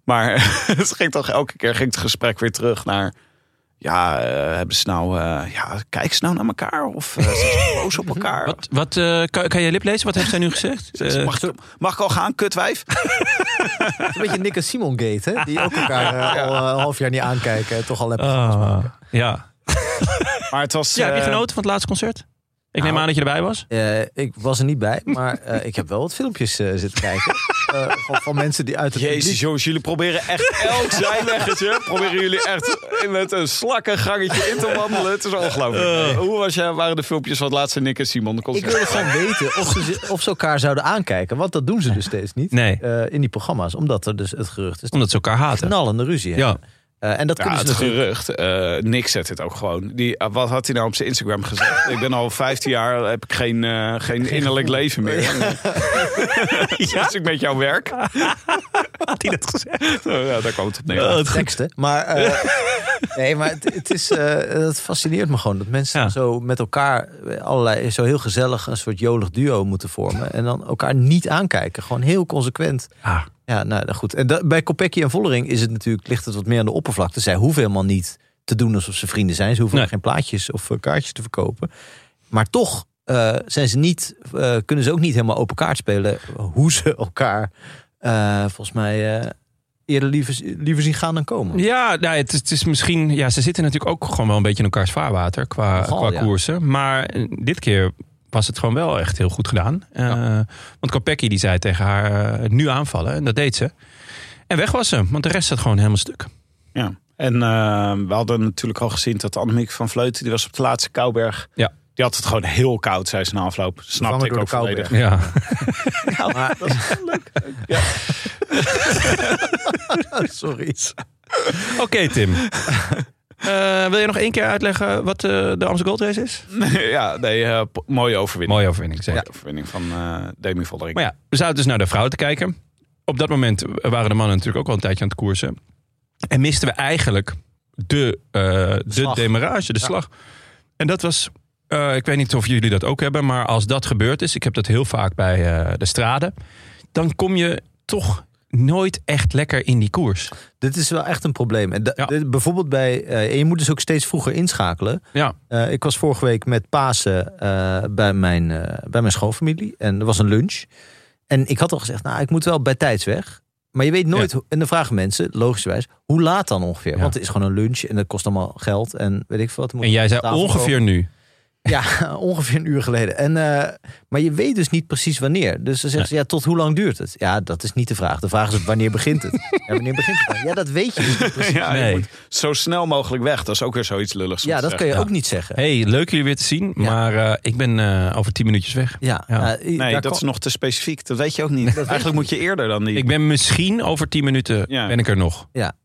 S3: Maar (laughs) het ging toch elke keer ging het gesprek weer terug naar... Ja, eh, hebben ze nou... eh, ja, kijken ze nou naar elkaar? Of eh, zijn
S1: (laughs)
S3: ze boos op elkaar?
S1: Wat, wat eh, kan, kan jij lip lezen? Wat heeft zij nu gezegd?
S3: Ze- ze-
S1: Eh,
S3: Mag, ik, mag ik al gaan, kutwijf?
S2: Een beetje Nick en Simon Gate, hè? Die ook elkaar eh, al eh, een half jaar niet aankijken. en Toch al hebben.
S1: ah, ja.
S3: Maar het was...
S1: ja. Heb je
S3: eh,
S1: genoten van het laatste concert? Ik neem
S2: nou,
S1: aan dat je erbij was.
S2: Eh, ik was er niet bij, maar eh, ik heb wel wat filmpjes eh, zitten kijken. Eh, van, van mensen die uit het
S3: Jezus,
S2: publiek-
S3: jongens, jullie proberen
S1: (laughs)
S3: echt elk zijweggetje. proberen jullie echt met een slakkengangetje in te wandelen. Het is ongelooflijk.
S1: Eh.
S3: Hoe was jij, waren de filmpjes van het laatste Nick en Simon?
S2: Ik wilde gewoon weten of ze, of ze elkaar zouden aankijken. Want dat doen ze dus steeds niet
S1: Nee.
S2: eh, in die programma's. Omdat er dus het gerucht is. dat
S1: Omdat ze elkaar
S2: ze
S1: haten.
S2: Knallende ruzie. hebben.
S1: Ja.
S2: Eh, en dat
S3: Ja,
S2: kunnen ze
S3: het
S2: natuurlijk-
S3: gerucht. eh Nick zet het ook gewoon. Die, eh, wat had hij nou op zijn Instagram gezegd? ik ben al 15 jaar, heb ik geen, eh, geen innerlijk leven meer. (laughs) ja? Dus ik met jouw werk.
S1: Had hij dat gezegd?
S3: Nou, ja, daar kwam het op neer.
S2: teksten. Oh, Maar, eh, nee, maar het, het is, eh, dat fascineert me gewoon. Dat mensen
S1: Ja.
S2: zo met elkaar eh, allerlei, zo heel gezellig een soort jolig duo moeten vormen. En dan elkaar niet aankijken. Gewoon heel consequent.
S1: Ja.
S2: Ja, nou goed. En dat- bij Kopecky en Vollering is het natuurlijk, ligt het wat meer aan de oppervlakte. Zij hoeven helemaal niet te doen alsof ze vrienden zijn. Ze hoeven
S1: Nee.
S2: geen plaatjes of eh, kaartjes te verkopen. Maar toch eh, zijn ze niet, eh, kunnen ze ook niet helemaal open kaart spelen. Hoe ze elkaar eh, volgens mij eh, eerder liever, liever zien gaan dan komen.
S1: Ja, nou, het, is- het is misschien. Ja, ze zitten natuurlijk ook gewoon wel een beetje in elkaars vaarwater qua,
S2: Nogal,
S1: qua
S2: ja.
S1: koersen. Maar eh, dit keer was het gewoon wel echt heel goed gedaan. Eh, Want Kopecky die zei tegen haar: eh, nu aanvallen. En dat deed ze. En weg was ze, want de rest zat gewoon helemaal stuk.
S3: Ja. En eh, we hadden natuurlijk al gezien dat Annemiek van Vleuten, die was op de laatste Kouberg.
S1: Ja.
S3: Die had het gewoon heel koud, zei ze na afloop. Snapte
S2: Vervangen
S3: ik
S2: door
S3: ook
S2: de Kouberg.
S3: volledig.
S1: Ja. nou,
S2: Maar- (laughs) Sorry.
S1: (laughs) Oké, (laughs) Tim. Eh, wil je nog één keer uitleggen wat eh, de Amsterdam Gold Race is?
S3: (laughs) ja, nee, eh, po- mooie overwinning.
S1: Mooie overwinning, zeker.
S3: Mooie overwinning van eh, Demi Vollering.
S1: Maar ja, we zaten dus naar de vrouwen te kijken. Op dat moment waren de mannen natuurlijk ook al een tijdje aan het koersen. En misten we eigenlijk de, eh, de
S2: slag.
S1: demarage, de slag. En dat was, eh, ik weet niet of jullie dat ook hebben, maar als dat gebeurd is, ik heb dat heel vaak bij eh, de straden, dan kom je toch nooit echt lekker in die koers.
S2: Dit is wel echt een probleem. En da-
S1: Ja.
S2: dit- bijvoorbeeld bij, eh, en je moet dus ook steeds vroeger inschakelen.
S1: Ja.
S2: Eh, ik was vorige week met Pasen eh, bij, mijn, eh, bij mijn schoonfamilie. En er was een lunch. En ik had al gezegd, nou, ik moet wel bij tijds weg. Maar je weet nooit, hoe- en dan vragen mensen, logischerwijs, hoe laat dan ongeveer?
S1: Ja.
S2: Want het is gewoon een lunch en dat kost allemaal geld en weet ik veel wat. er moet
S1: En jij
S2: op
S1: zei
S2: tafel
S1: ongeveer nu.
S2: ja, (laughs) ongeveer een uur geleden. En, eh, maar je weet dus niet precies wanneer. Dus dan zeggen ze, ja, tot hoe lang duurt het? Ja, dat is niet de vraag. De vraag is, wanneer begint
S1: (laughs)
S2: het? Ja, wanneer begint het? Ja, dat weet je niet precies.
S3: (laughs) Ja, je
S1: Nee.
S3: moet zo snel mogelijk weg. Dat is ook weer zoiets lulligs. om
S2: Ja,
S3: te
S2: dat
S3: zeggen.
S2: kun je
S1: Ja.
S2: ook niet zeggen.
S1: hey, leuk jullie weer te zien.
S2: Ja.
S1: Maar eh, ik ben eh, over tien minuutjes weg.
S2: Ja,
S1: Ja.
S2: eh, daar
S3: Nee,
S2: kan-
S3: dat is nog te specifiek. Dat weet je ook niet. Eigenlijk moet je eerder dan die.
S1: Ik ben misschien over tien minuten
S3: Ja.
S1: ben ik er nog.
S2: ja.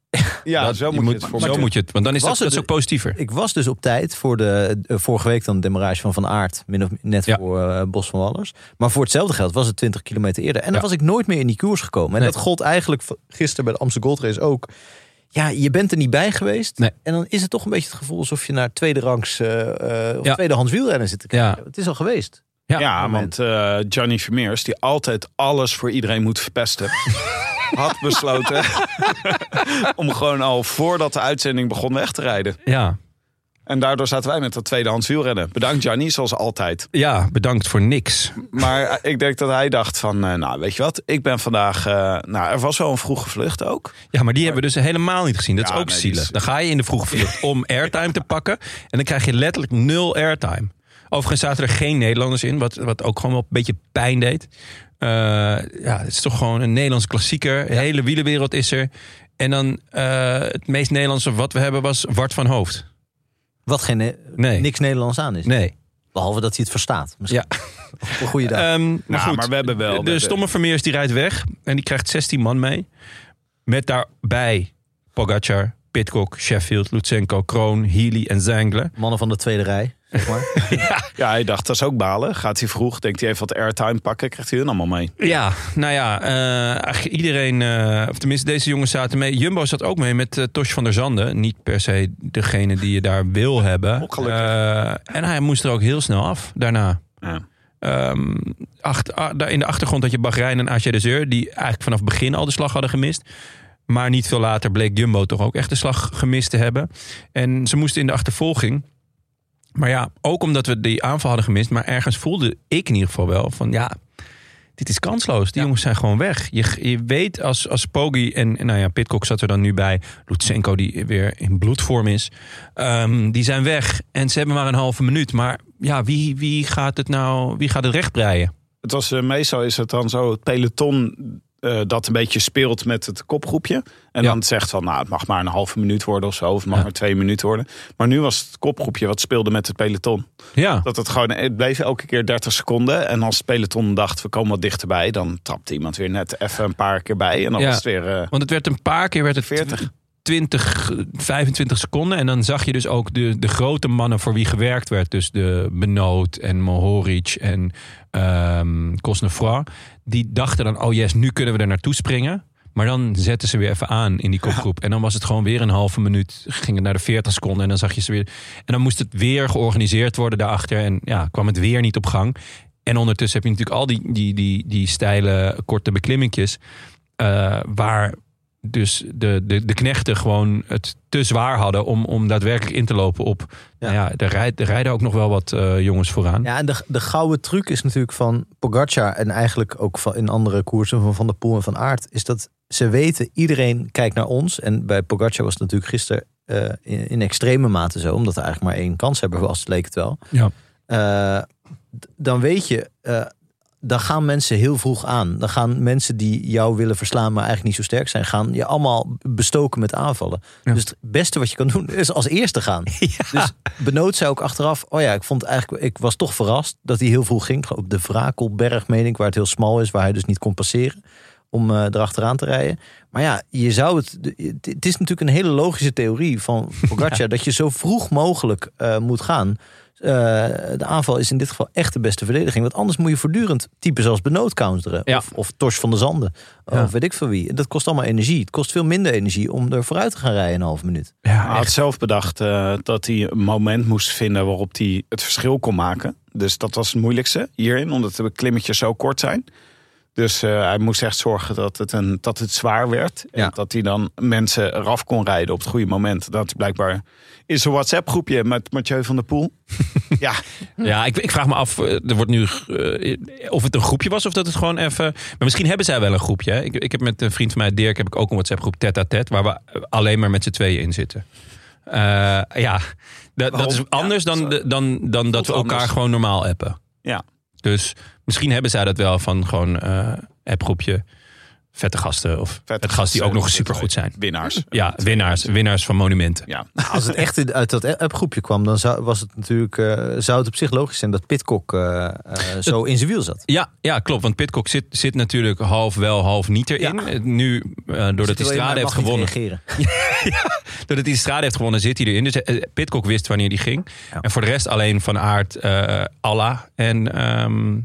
S3: ja,
S1: Dat-
S3: zo moet je het voor
S1: zo moet je het. Want dan is
S2: Was
S1: dat,
S2: het
S1: dat is ook
S2: de-
S1: positiever.
S2: Ik was dus op tijd voor de eh, vorige week dan de demarrage van Van Aert. Min of, net
S1: Ja.
S2: voor eh, Bos van Wallers. Maar voor hetzelfde geld was het 20 kilometer eerder. En
S1: Ja.
S2: dan was ik nooit meer in die koers gekomen. En
S1: Nee.
S2: dat gold eigenlijk v- gisteren bij de Amsterdam Gold Race ook. Ja, je bent er niet bij geweest.
S1: Nee.
S2: En dan is het toch een beetje het gevoel alsof je naar tweede rangs eh, eh, of
S1: Ja.
S2: tweedehands wielrennen zit te kijken.
S1: Ja.
S2: Het is al geweest.
S1: Ja,
S3: Ja,
S2: moment.
S3: want eh, Johnny Vermeers, die altijd alles voor iedereen moet verpesten, had besloten (laughs) om gewoon al voordat de uitzending begon weg te rijden.
S1: ja.
S3: En daardoor zaten wij met dat tweedehands wielrennen. Bedankt Johnny, zoals altijd.
S1: ja, bedankt voor niks.
S3: Maar eh, ik denk dat hij dacht van, eh, nou weet je wat, ik ben vandaag... eh, nou, er was wel een vroege vlucht ook.
S1: Ja, maar die hebben we dus helemaal niet gezien. Dat
S3: Ja,
S1: is ook
S3: nee, die
S1: zielig.
S3: is-
S1: Dan ga je in de vroege
S3: (laughs)
S1: vlucht om airtime te pakken. En dan krijg je letterlijk nul airtime. Overigens zaten er geen Nederlanders in, wat, wat ook gewoon wel een beetje pijn deed. Eh, ja, het is toch gewoon een Nederlands klassieker. De hele wielenwereld is er. En dan eh, het meest Nederlandse wat we hebben was Wart van Hoofd.
S2: Wat geen, eh,
S1: Nee.
S2: niks Nederlands aan is.
S1: Nee.
S2: Behalve dat hij het verstaat. Misschien
S1: Ja.
S2: (laughs) op een goede dag.
S1: Ehm, maar
S3: Nou,
S1: goed,
S3: maar we hebben wel- we
S1: De,
S3: hebben-
S1: stomme Vermeers die rijdt weg. En die krijgt 16 man mee. Met daarbij Pogacar, Pitcock, Sheffield, Lutsenko, Kroon, Healy en Zengler.
S2: Mannen van de tweede rij,
S1: (laughs)
S2: zeg maar.
S3: Ja, hij dacht, dat is ook balen. Gaat hij vroeg, denkt hij even wat airtime pakken, krijgt hij hun allemaal mee.
S1: Ja, nou ja, eh, eigenlijk iedereen, eh, of tenminste deze jongens zaten mee. Jumbo zat ook mee met eh, Tosh van der Zande. Niet per se degene die je daar wil hebben.
S3: Ook gelukkig.
S1: Eh, en hij moest er ook heel snel af daarna.
S3: Ja.
S1: Ehm, acht- a- daar in de achtergrond had je Bahrein en AG de Zeur... die eigenlijk vanaf het begin al de slag hadden gemist. Maar niet veel later bleek Jumbo toch ook echt de slag gemist te hebben. En ze moesten in de achtervolging. Maar ja, ook omdat we die aanval hadden gemist... maar ergens voelde ik in ieder geval wel van... ja, dit is kansloos. Die jongens zijn gewoon weg. Je, je weet als, als Poggi en en nou ja, Pitcock zat er dan nu bij... Lutsenko die weer in bloedvorm is... Ehm, die zijn weg en ze hebben maar een halve minuut. Maar ja, wie, wie gaat het nou, wie gaat het recht breien?
S3: Het was, eh, meestal is het dan zo, het peloton eh, dat een beetje speelt met het kopgroepje. En
S1: Ja.
S3: dan zegt van, nou, het mag maar een halve minuut worden of zo. Of het mag
S1: Ja.
S3: maar twee minuten worden. Maar nu was het kopgroepje wat speelde met het peloton.
S1: Ja,
S3: Dat het gewoon, het bleef elke keer 30 seconden. En als het peloton dacht, we komen wat dichterbij. Dan trapte iemand weer net even een paar keer bij. En dan
S1: Ja.
S3: was het weer... eh,
S1: want het werd een paar keer werd het
S3: 40.
S1: 20, 25 seconden. En dan zag je dus ook de, de grote mannen voor wie gewerkt werd. Dus de Benoot en Mohoric en ehm Cosnefroid. Die dachten dan, oh yes, nu kunnen we er naartoe springen. Maar dan zetten ze weer even aan in die kopgroep. En dan was het gewoon weer een halve minuut. Ging het naar de 40 seconden en dan zag je ze weer. En dan moest het weer georganiseerd worden daarachter. En ja, kwam het weer niet op gang. En ondertussen heb je natuurlijk al die, die, die, die steile, korte beklimmingjes. eh, waar dus de, de, de knechten gewoon het te zwaar hadden om, om daadwerkelijk in te lopen op. Nou ja, er, rijd, er rijden ook nog wel wat eh, jongens vooraan.
S2: Ja, en de, de gouden truc is natuurlijk van Pogacar en eigenlijk ook van, in andere koersen van Van der Poel en Van Aert, is dat ze weten, iedereen kijkt naar ons. En bij Pogacar was het natuurlijk gisteren eh, in, in extreme mate zo, omdat er eigenlijk maar één kanshebber was, leek het wel.
S1: Ja.
S2: Eh, d- dan weet je, eh, dan gaan mensen heel vroeg aan. Dan gaan mensen die jou willen verslaan, maar eigenlijk niet zo sterk zijn, gaan je allemaal bestoken met aanvallen.
S1: Ja.
S2: Dus het beste wat je kan doen, is als eerste gaan. Dus benoot zij ook achteraf. Oh ja, ik vond eigenlijk, ik was toch verrast dat hij heel vroeg ging. Op de Vrakelberg, meen ik, waar het heel smal is, waar hij dus niet kon passeren. Om eh, erachteraan te rijden. Maar ja, je zou het. Het het is natuurlijk een hele logische
S1: (laughs)
S2: theorie van Pogacar. Dat je zo vroeg mogelijk eh, moet gaan. Eh, de aanval is in dit geval echt de beste verdediging. Want anders moet je voortdurend types als Benoot counteren.
S1: Ja.
S2: Of, of Tors van de Zanden.
S1: Ja.
S2: Of weet ik van wie. En Dat kost allemaal energie. Het kost veel minder energie om er vooruit te gaan rijden in een halve minuut.
S3: Hij had zelf bedacht eh, dat hij een moment moest vinden waarop hij het verschil kon maken. Dus dat was het moeilijkste hierin, omdat de klimmetjes zo kort zijn. Dus eh, hij moest echt zorgen dat het, een, dat het zwaar werd. En
S2: Ja.
S3: dat hij dan mensen eraf kon rijden op het goede moment. Dat is blijkbaar in zijn WhatsApp groepje met Mathieu van der
S1: (laughs)
S3: Poel. ja,
S1: Ja, ik, ik vraag me af, eh, er wordt nu, eh, of het een groepje was of dat het gewoon even... Maar misschien hebben zij wel een groepje. Hè? Ik, ik heb met een vriend van mij, Dirk, heb ik ook een WhatsApp groep tête à tête. Waar we eh, alleen maar met z'n tweeën in zitten. Eh, ja, dat, dat is
S3: Ja,
S1: anders dan,
S3: zo.
S1: de- dan, dan dat we elkaar
S3: anders.
S1: gewoon normaal appen.
S3: Ja.
S1: Dus misschien hebben zij dat wel van gewoon eh appgroepje. Vette gasten of
S3: Vette
S1: het gast die
S3: gasten,
S1: ook nog
S3: dat
S1: supergoed
S3: weet
S1: zijn.
S3: winnaars.
S1: Ja, winnaars, winnaars van monumenten.
S3: Ja. Ah,
S2: Als het echt in- uit dat appgroepje kwam, dan zou, was het natuurlijk, eh, zou het op zich logisch zijn dat Pitcock eh, eh, zo in zijn wiel zat.
S1: Ja, ja, klopt. Want Pitcock zit, zit natuurlijk half wel, half niet erin.
S2: Ja.
S1: Eh, Nu, eh, doordat hij
S2: Terwijl je maar
S1: Strade heeft
S2: mag niet
S1: gewonnen,
S2: reageren.
S1: doordat hij Strade heeft gewonnen, zit hij erin. Dus eh, Pitcock wist wanneer die ging.
S2: Ja.
S1: En voor de rest alleen Van Aert, eh Alla en ehm,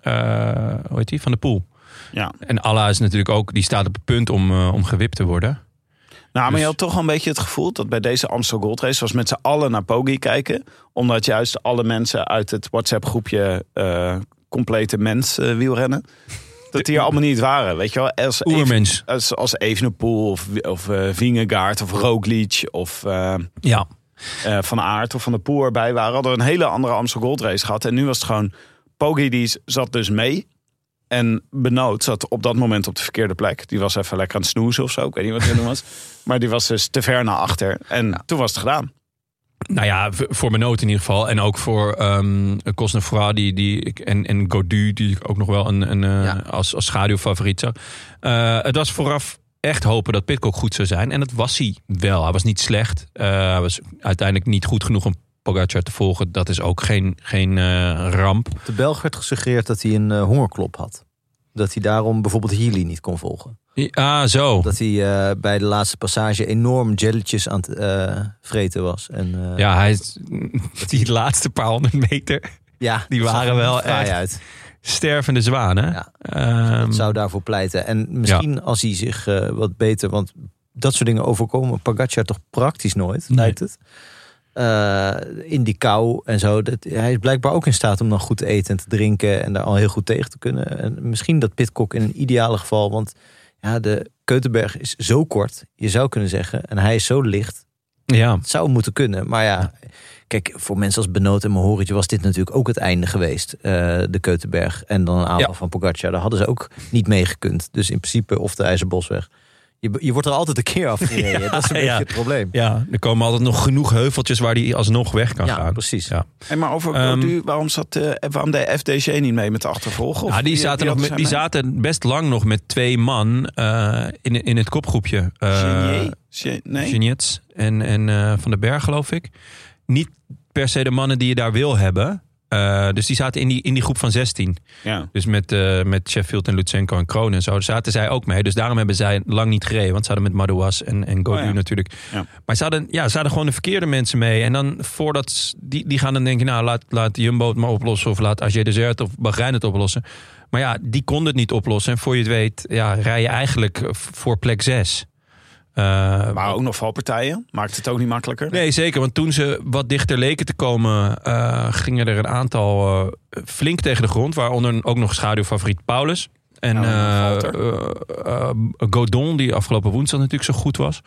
S1: eh, hoe heet die? Van de Poel.
S3: Ja.
S1: En Alla is natuurlijk ook, die staat op het punt om, eh, om gewipt te worden.
S3: Nou, maar
S1: Dus-
S3: je had toch wel een beetje het gevoel dat bij deze Amstel Gold Race was met z'n allen naar Poggi kijken. Omdat juist alle mensen uit het WhatsApp groepje eh, complete mens eh, wielrennen. Dat die er allemaal niet waren, weet je wel. Als, even,
S1: Oermens.
S3: als, als Evenepoel of, of eh, Vingegaard of Roglic of eh, eh,
S1: Ja.
S3: Van Aert of Van der Poel erbij waren. Hadden we een hele andere Amstel Gold Race gehad. En nu was het gewoon, Poggi die zat dus mee. En Benoot zat op dat moment op de verkeerde plek. Die was even lekker aan het snoezen of zo. Ik weet niet wat hij doen (laughs) was. Maar die was dus te ver naar achter. En toen was het gedaan.
S1: Nou ja, v- voor mijn nood in ieder geval. En ook voor ehm Cosnefra die, die ik, en, en Godu, die ik ook nog wel een, een, eh,
S2: Ja.
S1: als, als schaduwfavoriet zag. Eh, het was vooraf echt hopen dat Pitcock goed zou zijn. En dat was hij wel. Hij was niet slecht. Eh, hij was uiteindelijk niet goed genoeg om Pogacar te volgen. Dat is ook geen, geen eh, ramp.
S2: De Belg werd gesuggereerd dat hij een eh, hongerklop had. Dat hij daarom bijvoorbeeld Healy niet kon volgen.
S1: Ah, zo.
S2: Dat hij eh, bij de laatste passage enorm jelletjes aan het eh, vreten was. En, eh,
S1: Ja, hij is (laughs) die laatste paar honderd meter
S2: ja,
S1: die
S2: dat zag
S1: waren
S2: er
S1: wel
S2: niet fraai
S1: echt-
S2: uit.
S1: stervende zwanen.
S2: Ja.
S1: Ehm,
S2: Het zou daarvoor pleiten. En misschien als hij zich eh, wat beter... Want dat soort dingen overkomen Pogacar toch praktisch nooit,
S1: Nee.
S2: lijkt het. Eh, in die kou en zo. Dat, hij is blijkbaar ook in staat om dan goed te eten en te drinken... en daar al heel goed tegen te kunnen. En misschien dat Pitcock in een ideale geval... want ja, de Keutenberg is zo kort, je zou kunnen zeggen... en hij is zo licht,
S1: ja.
S2: het zou moeten kunnen. Maar ja, kijk, voor mensen als Benoot en Mahoretje was dit natuurlijk ook het einde geweest. eh, de Keutenberg en dan een aanval
S1: Ja.
S2: van Pogacar. Daar hadden ze ook niet mee gekund. Dus in principe, of de IJzerbosweg. Je, je wordt er altijd een keer afgereden. dat is een beetje
S1: (laughs) ja.
S2: het probleem.
S1: Ja, er komen altijd nog genoeg heuveltjes waar die alsnog weg kan
S2: Ja,
S1: gaan.
S2: precies.
S1: Ja.
S3: En maar over
S1: Ehm,
S3: Cordu, waarom, zat, eh, waarom de FDG niet mee met de achtervolgen?
S1: Ja, die, zaten nog met, die zaten best lang nog met twee man eh, in, in het kopgroepje. Eh
S3: nee?
S1: Geniets en, en eh, Van den Berg, geloof ik. Niet per se de mannen die je daar wil hebben. Eh, dus die zaten in die, in die groep van 16.
S3: Ja.
S1: Dus met, eh, met Sheffield en Lutsenko en Kroon en zo. Daar zaten zij ook mee. Dus daarom hebben zij lang niet gereden. Want ze hadden met Madouas en, en Godu
S3: Oh ja.
S1: natuurlijk.
S3: Ja.
S1: Maar ze hadden, ja, ze hadden gewoon de verkeerde mensen mee. En dan voordat ze- die, die gaan dan denken... nou, laat, laat Jumbo het maar oplossen. Of laat AG Desert of Bahrein het oplossen. Maar ja, die konden het niet oplossen. En voor je het weet, ja, rij je eigenlijk voor plek 6.
S3: Maar ook nog valpartijen. Maakt het ook niet makkelijker.
S1: Eh, Nee, zeker. Want toen ze wat dichter leken te komen, eh, gingen er een aantal eh, flink tegen de grond. Waaronder ook nog schaduwfavoriet Paulus. En
S3: Ja,
S1: eh,
S3: Nou, Walter.
S1: eh, eh, Godon, die afgelopen woensdag natuurlijk zo goed was.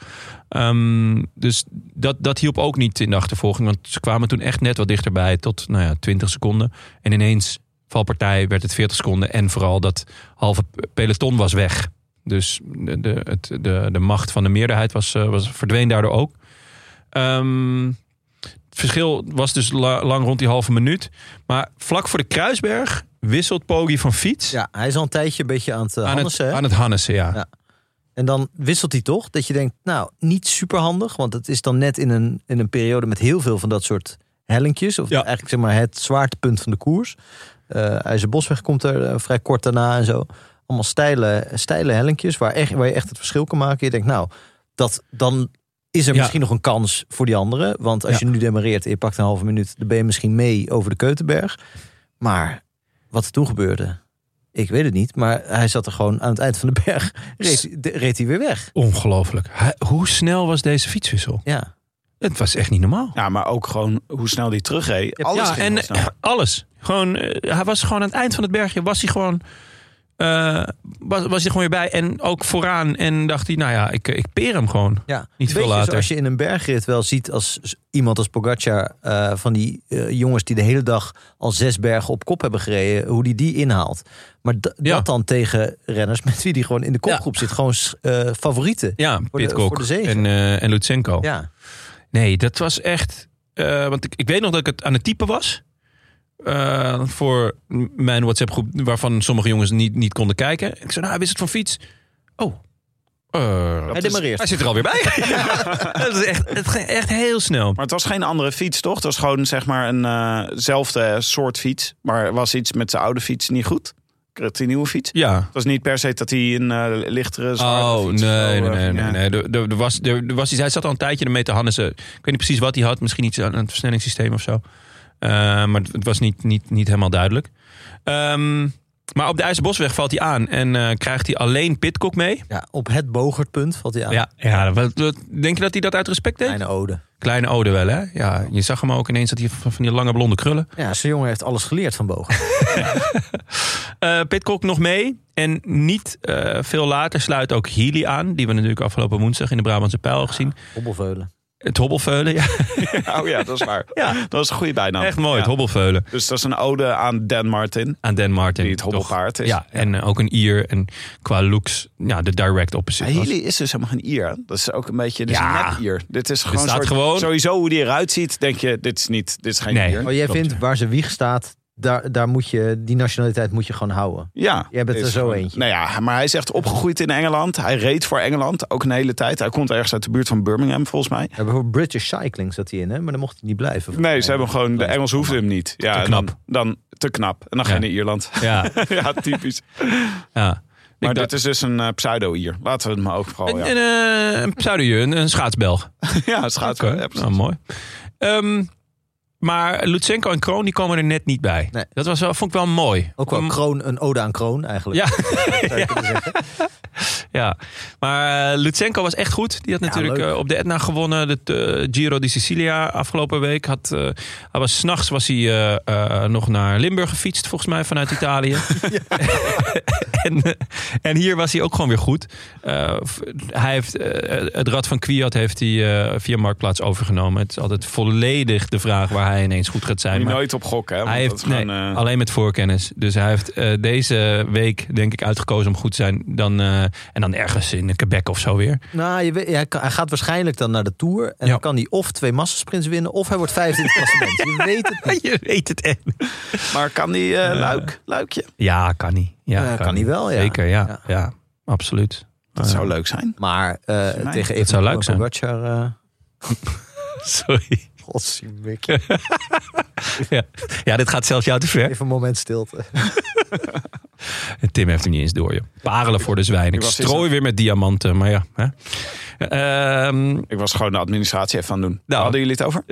S1: Ehm, dus dat, dat hielp ook niet in de achtervolging. Want ze kwamen toen echt net wat dichterbij, tot nou ja, 20 seconden. En ineens, valpartij, werd het 40 seconden. En vooral dat halve peloton was weg. Dus de, de, het, de, de macht van de meerderheid was, eh, was, verdween daardoor ook. Ehm, het verschil was dus la- lang rond die halve minuut. Maar vlak voor de Kruisberg wisselt Poggi van fiets.
S2: Ja, hij is al een tijdje een beetje aan het eh,
S1: aan,
S2: Hannessen,
S1: het,
S2: hè?
S1: aan het Hannessen, ja.
S2: Ja. En dan wisselt hij toch. Dat je denkt, nou, niet super handig. Want het is dan net in een, in een periode met heel veel van dat soort hellinkjes. Of
S1: Ja.
S2: eigenlijk zeg maar het zwaartepunt van de koers. Eh IJzerbosweg komt er eh, vrij kort daarna en zo. Allemaal steile, steile hellinkjes waar, echt, waar je echt het verschil kan maken. Je denkt, nou, dat, dan is er
S1: Ja.
S2: misschien nog een kans voor die anderen. Want als
S1: Ja.
S2: je nu demareert en je pakt een halve minuut... dan ben je misschien mee over de Keutenberg. Maar wat er toen gebeurde... Ik weet het niet, maar hij zat er gewoon aan het eind van de
S1: (laughs)
S2: berg. Reed, de- reed hij weer weg.
S1: Ongelooflijk. Hij- hoe snel was deze fietswissel?
S2: Ja.
S1: Het was echt niet normaal.
S3: Ja, maar ook gewoon hoe snel die terugreed. Alles
S1: ja,
S3: ging heel
S1: en
S3: snel.
S1: alles. Gewoon, eh, hij was gewoon aan het eind van het bergje, was hij gewoon eh, was, was hij gewoon weer bij. En ook vooraan. En dacht hij, nou ja, ik, ik peer hem gewoon.
S2: Ja,
S1: Niet
S2: een
S1: veel
S2: beetje
S1: later.
S2: zoals je in een bergrit wel ziet als s- iemand als Pogacar... eh, van die eh, jongens die de hele dag al zes bergen op kop hebben gereden... hoe die die inhaalt. Maar d-
S1: Ja.
S2: dat dan tegen renners met wie die gewoon in de kopgroep zit. Gewoon s- eh, favorieten.
S1: Ja,
S2: de-
S1: Pitcock
S2: voor de zegen.
S1: en, eh, en Lutsenko.
S2: Ja,
S1: Nee, dat was echt... eh, want ik, ik weet nog dat ik het aan het typen was. eh, voor m- mijn WhatsApp groep. Waarvan sommige jongens niet, niet konden kijken. Ik zei, nou, hij wist het van fiets. Oh. eh,
S2: hij demareert.
S1: hij zit er alweer
S2: (laughs)
S1: bij. (laughs) dat is echt, het ging echt heel snel.
S3: Maar het was geen andere fiets, toch? Het was gewoon zeg maar eenzelfde soort fiets. Maar er was iets met zijn oude fiets niet goed. Kreeg hij een nieuwe fiets.
S1: Ja.
S3: Het was niet per se dat hij een eh, lichtere, zwaardere
S1: Oh,
S3: fiets of zo,
S1: nee, nee,
S3: eh,
S1: nee.
S3: (laughs)
S1: nee,
S3: ja.
S1: nee. Er, er- er was, er, er was iets, hij zat al een tijdje ermee te hannissen. Ik weet niet precies wat hij had. Misschien iets aan het versnellingssysteem of zo. Eh, maar het, het was niet, niet, niet helemaal duidelijk. Ehm, maar op de IJzerbosweg valt hij aan. En eh, krijgt hij alleen Pitcock mee.
S2: Ja, op het bogertpunt valt hij aan.
S1: Ja, ja wat, wat- denk je dat hij dat uit respect deed? Kleine,
S2: Kleine
S1: ode
S2: ode.
S1: wel, hè? Ja, je zag hem ook ineens dat hij van van die lange blonde krullen.
S2: Ja, zo'n jongen heeft alles geleerd van bogen.
S1: Eh Pitcock nog mee. En niet eh, veel later sluit ook Healy aan. Die we natuurlijk afgelopen woensdag in de Brabantse Pijl gezien.
S2: Hobbelveulen.
S1: Het hobbelveulen, ja.
S3: Oh ja, dat is waar.
S1: Ja.
S3: Dat was een goede bijnaam.
S1: Echt mooi,
S3: Ja.
S1: het hobbelveulen.
S3: Dus dat is een ode aan Dan Martin.
S1: Aan Dan Martin.
S3: Die het hobbelpaard
S1: Toch,
S3: is.
S1: Ja, en eh, ook een ier. En qua looks, ja, de direct opposite. was.
S3: Healy is dus helemaal geen ier. hè? Dat is ook een beetje dit is
S1: Ja.
S3: een nep-ier. Dit is gewoon,
S1: staat
S3: soort-
S1: gewoon-
S3: sowieso hoe die eruit ziet. Denk je, dit is niet, dit is geen
S1: Nee.
S3: ier.
S2: Oh, jij
S1: Klopt,
S2: vindt
S1: ja.
S2: waar zijn wieg staat, daar, daar moet je, die nationaliteit moet je gewoon houden.
S3: Ja.
S2: Jij bent
S3: Is
S2: er zo
S3: gewoon-
S2: eentje.
S3: Nou ja, maar hij is echt opgegroeid in Engeland. Hij reed voor Engeland ook een hele tijd. Hij komt ergens uit de buurt van Birmingham volgens mij.
S2: Ja, bijvoorbeeld British Cycling zat hij in, hè? maar dan mocht hij niet blijven.
S3: Nee, ze hebben gewoon, de Engels hoefden hem niet. Ja,
S1: Te knap.
S3: Dan, dan te knap. En dan
S1: Ja.
S3: ging hij naar Ierland. (laughs)
S1: Ja,
S3: ja, typisch.
S1: ja.
S3: Maar
S1: Ik
S3: dit
S1: dacht-
S3: is dus een eh, pseudo-ier. Laten we het maar ook vooral.
S1: Een,
S3: Ja,
S1: een, eh, een pseudo-ier, een, een schaatsbelg.
S3: ja schaats.
S1: Oké, nou, mooi. Ehm, maar Lutsenko en Kroon die komen er net niet bij.
S2: Nee.
S1: Dat was wel, vond ik wel mooi.
S2: Ook wel
S1: Mm,
S2: kroon, een ode aan kroon eigenlijk.
S1: (laughs) Ja,
S2: (laughs) zou je kunnen zeggen.
S1: ja. maar eh, Lutsenko was echt goed. Die had natuurlijk
S2: leuk.
S1: eh, op de Etna gewonnen. De eh, Giro di Sicilia afgelopen week. Had, eh, hij was, s'nachts was hij eh, eh, nog naar Limburg gefietst, volgens mij, vanuit Italië. (laughs) en, eh, en hier was hij ook gewoon weer goed. Eh, v- hij heeft, eh, het rad van Kwiat heeft hij eh, via Marktplaats overgenomen. Het is altijd volledig de vraag waar hij ineens goed gaat zijn.
S3: Moet je
S1: Maar-
S3: nooit op gokken. Hè, want
S1: Hij
S3: dat
S1: heeft
S3: is gewoon,
S1: nee,
S3: eh,
S1: alleen met voorkennis. Dus hij heeft eh, deze week, denk ik, uitgekozen om goed te zijn. Dan, eh, en dan ergens in Quebec of zo weer.
S2: Nou, je weet, hij, kan- hij gaat waarschijnlijk dan naar de Tour. En
S1: Ja.
S2: dan kan hij of twee massasprints winnen, of hij wordt vijfde in het klassement. Je weet het niet.
S1: Je weet het echt.
S3: Maar kan die eh, luik, luikje?
S1: Ja, kan niet. Ja,
S2: Eh, kan hij wel, ja.
S1: Zeker, ja.
S2: Ja.
S1: ja. absoluut.
S3: Dat zou leuk zijn.
S2: Maar eh,
S3: mij.
S2: tegen
S1: Dat zou leuk
S2: Evenepoel en
S1: zijn.
S2: Pogacar... eh
S1: Sorry.
S2: Godzijdank.
S1: Ja. ja, dit gaat zelfs jou te ver.
S2: Even een moment stilte.
S1: Tim heeft hem niet eens door, joh. Parelen voor de zwijn. Ik
S3: was
S1: strooi
S3: gisteren-
S1: weer met diamanten, maar ja. Hè. Ehm,
S3: Ik was gewoon de administratie even aan het doen.
S1: Nou.
S3: Hadden jullie het over?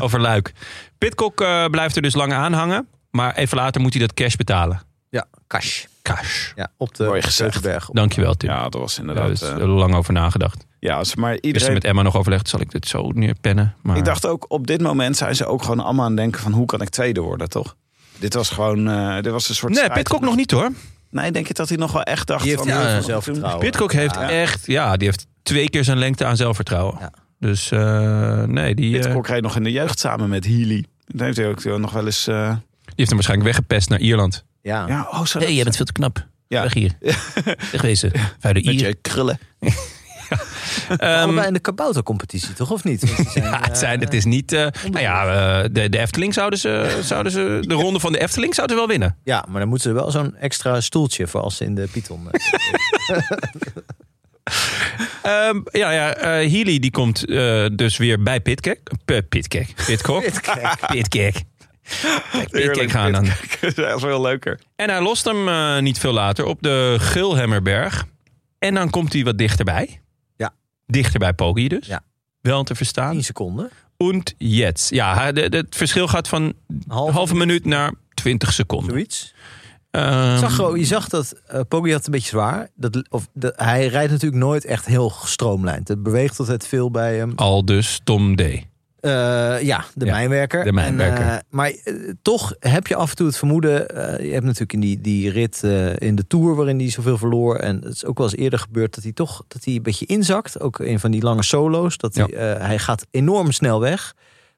S1: over Luik. Pitcock eh, blijft er dus lang aan hangen. Maar even later moet hij dat cash betalen.
S2: Ja, cash.
S1: Cash.
S2: Ja, op de
S3: Mooi gezegd.
S2: Keukenberg.
S1: Dankjewel, Tim.
S3: Ja, dat was
S1: Daar
S3: inderdaad.
S1: is
S3: eh,
S1: er lang over nagedacht.
S3: ja, als- maar
S1: Eerst
S3: iedereen.
S1: met Emma nog overlegd, zal ik dit zo neerpennen? Maar...
S3: Ik dacht ook, op dit moment zijn ze ook gewoon allemaal aan het denken van hoe kan ik tweede worden, toch? Dit was gewoon, eh, dit was een soort
S1: Nee,
S3: strijd
S1: Pitcock
S3: om-
S1: nog niet hoor.
S3: Nee, denk je dat hij nog wel echt dacht
S2: Die heeft
S3: van...
S2: heel
S3: eh,
S2: veel
S3: doen?
S2: zelfvertrouwen.
S1: Pitcock heeft
S2: Ja.
S1: echt, ja, die heeft twee keer zijn lengte aan zelfvertrouwen.
S2: Ja.
S1: Dus eh, nee, die, eh,
S3: Pitcock reed nog in de jeugd samen met Healy. Dat heeft hij ook eh, nog wel eens... eh,
S1: die heeft hem waarschijnlijk weggepest naar Ierland.
S2: Ja.
S3: ja, oh, zo
S1: hey, jij bent veel te knap.
S3: Ja.
S1: Weg hier. Wegwezen. Vuile
S3: met
S1: Ier.
S3: je krullen. (laughs)
S1: Ehm,
S2: Allebei in de kaboutercompetitie, toch? Of niet? Want die
S1: (laughs)
S2: zijn,
S1: ja, het,
S2: eh,
S1: zijn, het is niet... eh, nou ja, eh, de, de Efteling zouden ze, zouden ze... De ronde van de Efteling zouden ze wel winnen.
S2: (laughs) ja, maar dan moeten ze wel zo'n extra stoeltje voor als ze in de Python... eh,
S1: Ehm, ja, ja eh, Healy die komt eh, dus weer bij Pitcock. Eh, Pitcock. Pitcock. Pitcock. Pitcock. Kijk, Pitcock gaan dan.
S3: dat is wel leuker.
S1: En hij lost hem eh, niet veel later op de Gulhemmerberg. En dan komt hij wat dichterbij.
S2: Ja.
S1: Dichter bij Poggi dus.
S2: Ja.
S1: Wel te
S2: 10
S1: verstaan.
S2: seconden.
S1: Und jetzt. Ja, hij- de- de- het verschil gaat van
S2: Half,
S1: een halve minuut naar 20 seconden.
S2: zoiets.
S1: Ehm,
S2: Zag gewoon- je zag dat eh Poggi had het een beetje zwaar. Dat, of, dat- hij rijdt natuurlijk nooit echt heel gestroomlijnd. Het beweegt altijd veel bij hem.
S1: al dus Tom D.
S2: Eh, ja, de
S1: Ja,
S2: mijnwerker.
S1: de mijnwerker.
S2: En, eh, maar eh, toch heb je af en toe het vermoeden. eh, je hebt natuurlijk in die, die rit eh, in de Tour waarin hij zoveel verloor. En het is ook wel eens eerder gebeurd dat hij toch dat hij een beetje inzakt. Ook in van die lange solo's. Dat
S1: Ja.
S2: hij, eh, hij gaat enorm snel weg.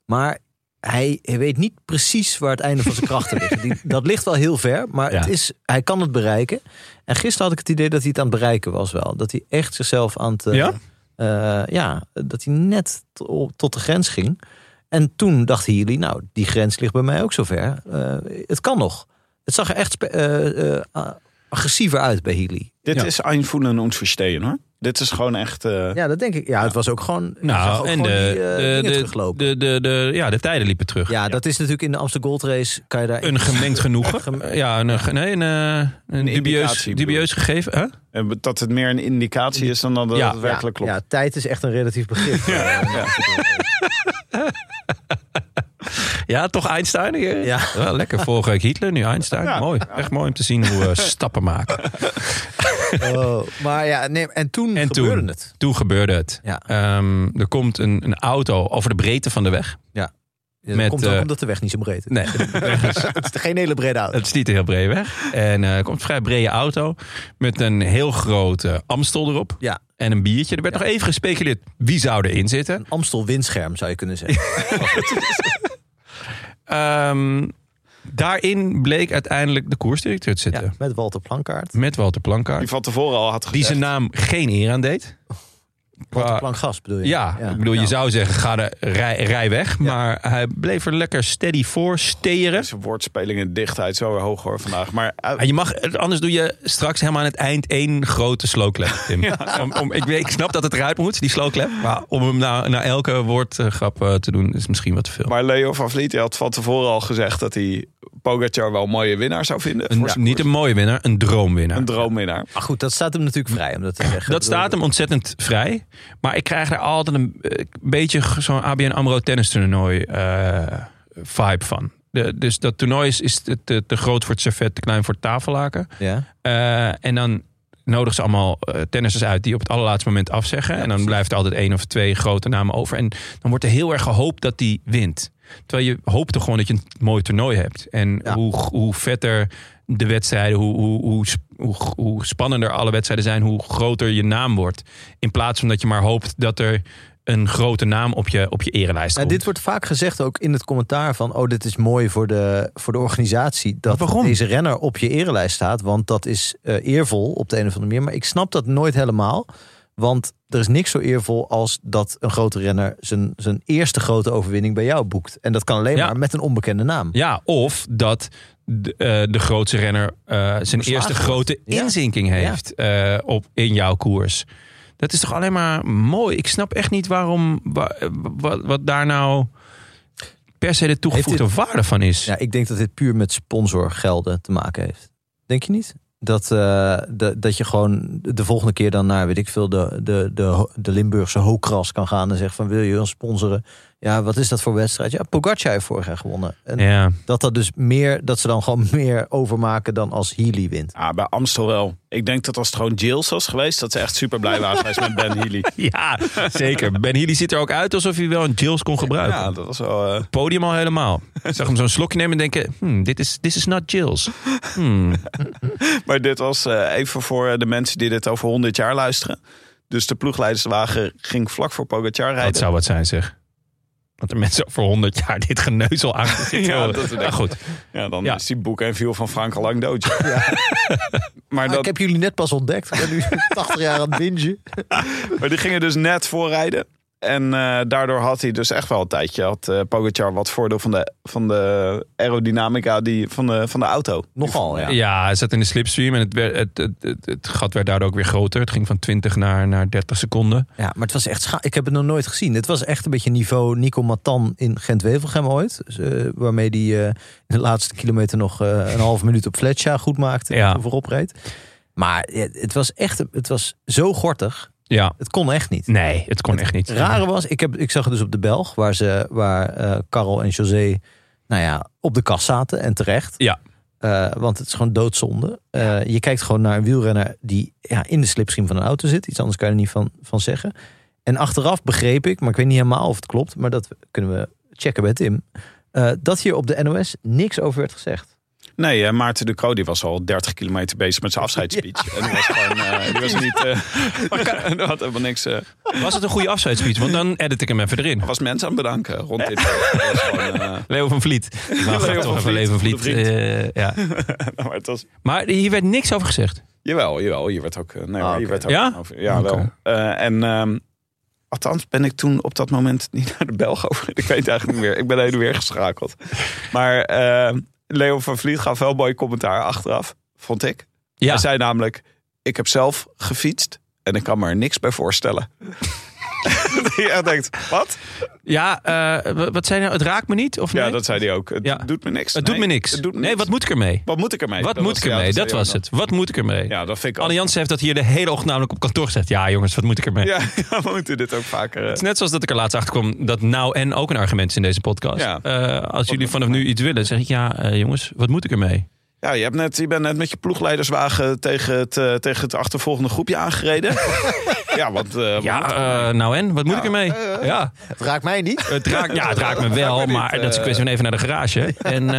S2: Maar hij, hij weet niet precies waar het einde van zijn krachten ligt. (laughs) Die, dat ligt wel heel ver, maar
S1: Ja.
S2: het is, hij kan het bereiken. En gisteren had ik het idee dat hij het aan het bereiken was wel. Dat hij echt zichzelf aan het... eh,
S1: Ja?
S2: eh, ja, dat hij net to- tot de grens ging. En toen dachten jullie, nou, die grens ligt bij mij ook zover. Eh het kan nog. Het zag er echt spe- eh, eh, a- agressiever uit bij Healy.
S3: Dit
S1: Ja.
S3: is einvoelen ons verstehen hoor. Dit is gewoon echt. eh,
S2: Ja, dat denk ik. Ja, het was ook gewoon. ik zag ook
S1: Nou, en
S2: gewoon die, eh,
S1: de,
S2: dingen
S1: de, de,
S2: teruglopen.
S1: de, de, de- ja, de tijden liepen terug.
S2: ja, dat is natuurlijk in de Amsterdam Gold Race. Kan je daar
S1: Een
S2: (laughs)
S1: gemengd genoegen. ja, een, ge- nee, een, eh, een dubieus,
S3: indicatie bedoel
S1: dubieus gegeven. Huh?
S3: eh, dat het meer een indicatie is dan dat het
S1: Ja.
S3: werkelijk
S2: ja,
S3: klopt.
S2: ja, tijd is echt een
S1: (laughs)
S2: relatief begrip. Oh. ja,
S1: Ja, toch Einstein? hier?
S2: Ja.
S1: Wel, lekker. Vorige week Hitler, nu Einstein.
S3: Ja.
S1: Mooi. Echt mooi om te zien hoe we stappen maken.
S2: Oh, maar ja, nee, en toen
S1: En
S2: gebeurde
S1: toen,
S2: het.
S1: toen gebeurde het.
S2: Ja.
S1: Ehm, er komt een, een auto over de breedte van de weg.
S2: Dat
S1: Met,
S2: komt ook
S1: eh,
S2: omdat de weg niet zo breed is.
S1: (laughs) Nee,
S2: (laughs) Het is geen hele brede auto.
S1: Het is niet een heel breed weg. En eh, er komt een vrij brede auto met een heel grote Amstel erop.
S2: Ja.
S1: En een biertje. Er werd nog even gespeculeerd wie zou erin zitten.
S2: Een Amstel windscherm zou je
S1: (laughs)
S2: kunnen zeggen.
S1: Ehm, daarin bleek uiteindelijk de koersdirecteur te zitten.
S2: Ja, met Walter Plankaart.
S1: Met Walter Plankaart.
S3: Die van tevoren al had
S1: Die
S3: gezegd.
S1: zijn naam geen eer aan deed.
S2: Walter
S1: Qua-
S2: Plankgas bedoel je?
S1: Ja, ik bedoel, je
S2: Ja.
S1: zou zeggen, ga de rij, rij weg. Maar hij bleef er lekker steady voor, steren.
S3: Zijn woordspelingen dichtheid zo weer hoog hoor vandaag. Maar eh,
S1: En je mag, anders doe je straks helemaal aan het eind één grote slowclap, Tim. (laughs) om, om, ik, weet- ik snap dat het eruit moet, die slowclap. Maar om hem na, na elke woordgrap eh, te doen, is misschien wat te veel.
S3: Maar Leo van Vliet die had van tevoren al gezegd dat hij Pogacar wel een mooie winnaar zou vinden.
S1: Een,
S3: Voor zijn
S1: niet
S3: koers.
S1: een mooie winnaar, een droomwinnaar.
S3: een droomwinnaar.
S2: Maar goed, dat staat hem natuurlijk vrij om dat te zeggen.
S1: dat staat hem ontzettend vrij. Maar ik krijg er altijd een, eh, beetje g- zo'n ABN AMRO tennis toernooi eh, vibe van. De, dus dat toernooi is, is te, te, te groot voor het servet, te klein voor het tafellaken.
S2: Ja,
S1: Eh, en dan nodigen ze allemaal eh, tennissers uit die op het allerlaatste moment afzeggen. en dan blijft er altijd één of twee grote namen over. En dan wordt er heel erg gehoopt dat die wint. Terwijl je hoopt toch gewoon dat je een mooi toernooi hebt. En
S2: Ja.
S1: hoe, hoe vetter de wedstrijden, hoe, hoe, hoe, sp- hoe, hoe spannender alle wedstrijden zijn, hoe groter je naam wordt. In plaats van dat je maar hoopt dat er een grote naam op je, op je erelijst komt.
S2: nou, dit wordt vaak gezegd ook in het commentaar van... oh, dit is mooi voor de, voor de organisatie dat
S1: Maar waarom?
S2: deze renner op je erenlijst staat. Want dat is eh, eervol op de een of andere manier. Maar ik snap dat nooit helemaal. Want er is niks zo eervol als dat een grote renner... zijn, zijn eerste grote overwinning bij jou boekt. En dat kan alleen
S1: Ja.
S2: maar met een onbekende naam.
S1: Ja, of dat de, eh, de grootste renner eh, zijn eerste
S2: wordt.
S1: grote
S2: Ja.
S1: inzinking heeft eh, op, in jouw koers. Dat is toch alleen maar mooi. Ik snap echt niet waarom wa- wat, wat daar nou per se de toegevoegde
S2: Heeft
S1: waarde van is.
S2: Ja, ik denk dat dit puur met sponsorgelden te maken heeft. Denk je niet? Dat, eh, dat, dat je gewoon de volgende keer dan naar, weet ik veel, de, de, de, ho- de Limburgse hoogkras kan gaan en zegt van wil je ons sponsoren? Ja, wat is dat voor wedstrijd? Ja, Pogacar heeft vorig jaar gewonnen. En
S1: Ja.
S2: dat dat dus meer, dat ze dan gewoon (laughs) meer overmaken dan als Healy wint.
S3: Ah, bij Amstel wel. Ik denk dat als het gewoon Jills was geweest, dat ze echt super blij waren geweest met Ben (laughs) Healy.
S1: ja, zeker. (laughs) Ben Healy ziet er ook uit alsof hij wel een Jills kon gebruiken.
S3: Ja, dat was wel. eh,
S1: Podium al helemaal. Ik zag hem zo'n slokje nemen en denken, hmm, dit is, this is not Jills. Hmm.
S3: Maar dit was eh, even voor eh, de mensen die dit over 100 jaar luisteren. Dus de ploegleiderswagen ging vlak voor Pogacar rijden.
S1: Dat zou wat zijn, zeg. Dat er mensen over 100 jaar dit geneuzel aan zitten.
S3: Ja,
S1: horen.
S3: dat is
S1: Nou,
S3: denk ik.
S1: goed.
S3: Ja, dan
S1: Ja.
S3: is die boek en viel van Frank al lang dood. (laughs) maar,
S2: Ah,
S3: dat,
S2: Ik heb jullie net pas ontdekt. Ik ben nu (laughs) 80 jaar aan het bingen.
S3: maar die gingen dus net voorrijden. En eh, daardoor had hij dus echt wel een tijdje, had eh, Pogacar wat voordeel van de, van de aerodynamica die, van, de, van de auto.
S2: Nogal, ja.
S1: Ja, hij zat in de slipstream en het, werd, het, het, het, het gat werd daardoor ook weer groter. Het ging van 20 naar, naar 30 seconden.
S2: Ja, maar het was echt scha- Ik heb het nog nooit gezien. Het was echt een beetje niveau Nico Matan in Gent-Wevelgem ooit. Dus, eh, waarmee die eh, in de laatste kilometer nog eh, een halve minuut op Fletcher goed maakte.
S1: Ja.
S2: Ja. Voorop reed. Maar eh, het was echt het was zo gortig.
S1: Ja,
S2: Het kon echt niet.
S1: nee, het kon echt niet.
S2: Het rare was, ik, heb, ik zag het dus op de Belg. Waar, ze, waar eh Karel en José nou ja, op de kast zaten. En terecht.
S1: Ja.
S2: Eh, want het is gewoon doodzonde. Eh, je kijkt gewoon naar een wielrenner die ja, in de slipstream van een auto zit. Iets anders kan je er niet van, van zeggen. En achteraf begreep ik, maar ik weet niet helemaal of het klopt, maar dat kunnen we checken bij Tim, eh, dat hier op de NOS niks over werd gezegd.
S3: Nee, eh, Maarten de Croo die was al 30 kilometer bezig met zijn afscheidsspeech. En die was gewoon, eh,
S2: (laughs)
S3: die was niet, eh (laughs) die had helemaal niks, eh,
S1: Was het een goede afscheidsspeech? Want dan edit ik hem even erin.
S3: was mensen aan het bedanken rond dit. Het was gewoon, eh, (laughs)
S1: Leo van Vliet. Nou, gaat
S3: Leo
S1: toch
S3: van
S1: even
S3: Vliet,
S1: Leo van Vliet.
S3: goede vriend.
S1: eh, ja.
S3: maar het was,
S1: Maar hier werd niks over gezegd.
S3: jawel, jawel, je werd ook, eh, nee,
S2: Ah,
S3: je
S2: oké.
S3: werd ook
S1: Ja?
S3: over- ja
S1: Oké.
S3: wel. Eh, en ehm, althans ben ik toen op dat moment (laughs) niet naar de Belg over. Ik weet het eigenlijk niet meer. Ik ben heen en weer geschakeld. Maar eh, Leo van Vliet gaf wel mooi commentaar achteraf, vond ik.
S1: Ja.
S3: Hij zei namelijk, ik heb zelf gefietst en ik kan me er niks bij voorstellen. (laughs) Dat je echt denkt, wat?
S1: Ja, eh, wa- wat zei nou? Het raakt me niet? Of
S3: Ja,
S1: nee?
S3: dat zei hij ook. Het
S1: Ja.
S3: doet me niks.
S1: Het doet
S3: Nee,
S1: me niks.
S3: Het doet me
S1: nee,
S3: niks.
S1: wat moet ik ermee?
S3: Wat moet ik ermee?
S1: Wat
S3: Dat
S1: moet
S3: was-
S1: ik
S3: ja,
S1: ermee? Dat
S3: zei
S1: was
S3: hij ook
S1: het. Wat moet ik ermee?
S3: nog. Ja, dat vind ik ook.
S1: Anne Jansen heeft dat hier de hele ochtend namelijk op kantoor gezegd. Ja, jongens, wat moet ik ermee?
S3: Ja, ja, we moeten dit ook (laughs) vaker... eh,
S1: Het is net zoals dat ik er laatst achter kwam dat nou en ook een argument is in deze podcast.
S3: Ja.
S1: Eh, als jullie vanaf nu iets willen, zeg ik ja, eh, jongens, wat moet ik ermee?
S3: Ja, je, hebt net, je bent net met je ploegleiderswagen tegen het, eh, tegen het achtervolgende groepje
S1: (laughs)
S3: aangereden. ja, want... eh,
S1: Ja, eh, nou en, wat moet ik ermee? ja.
S2: Het raakt mij niet.
S1: Het raakt, ja, het raakt me wel,
S3: me niet,
S1: maar dat is een kwestie van even naar de garage. En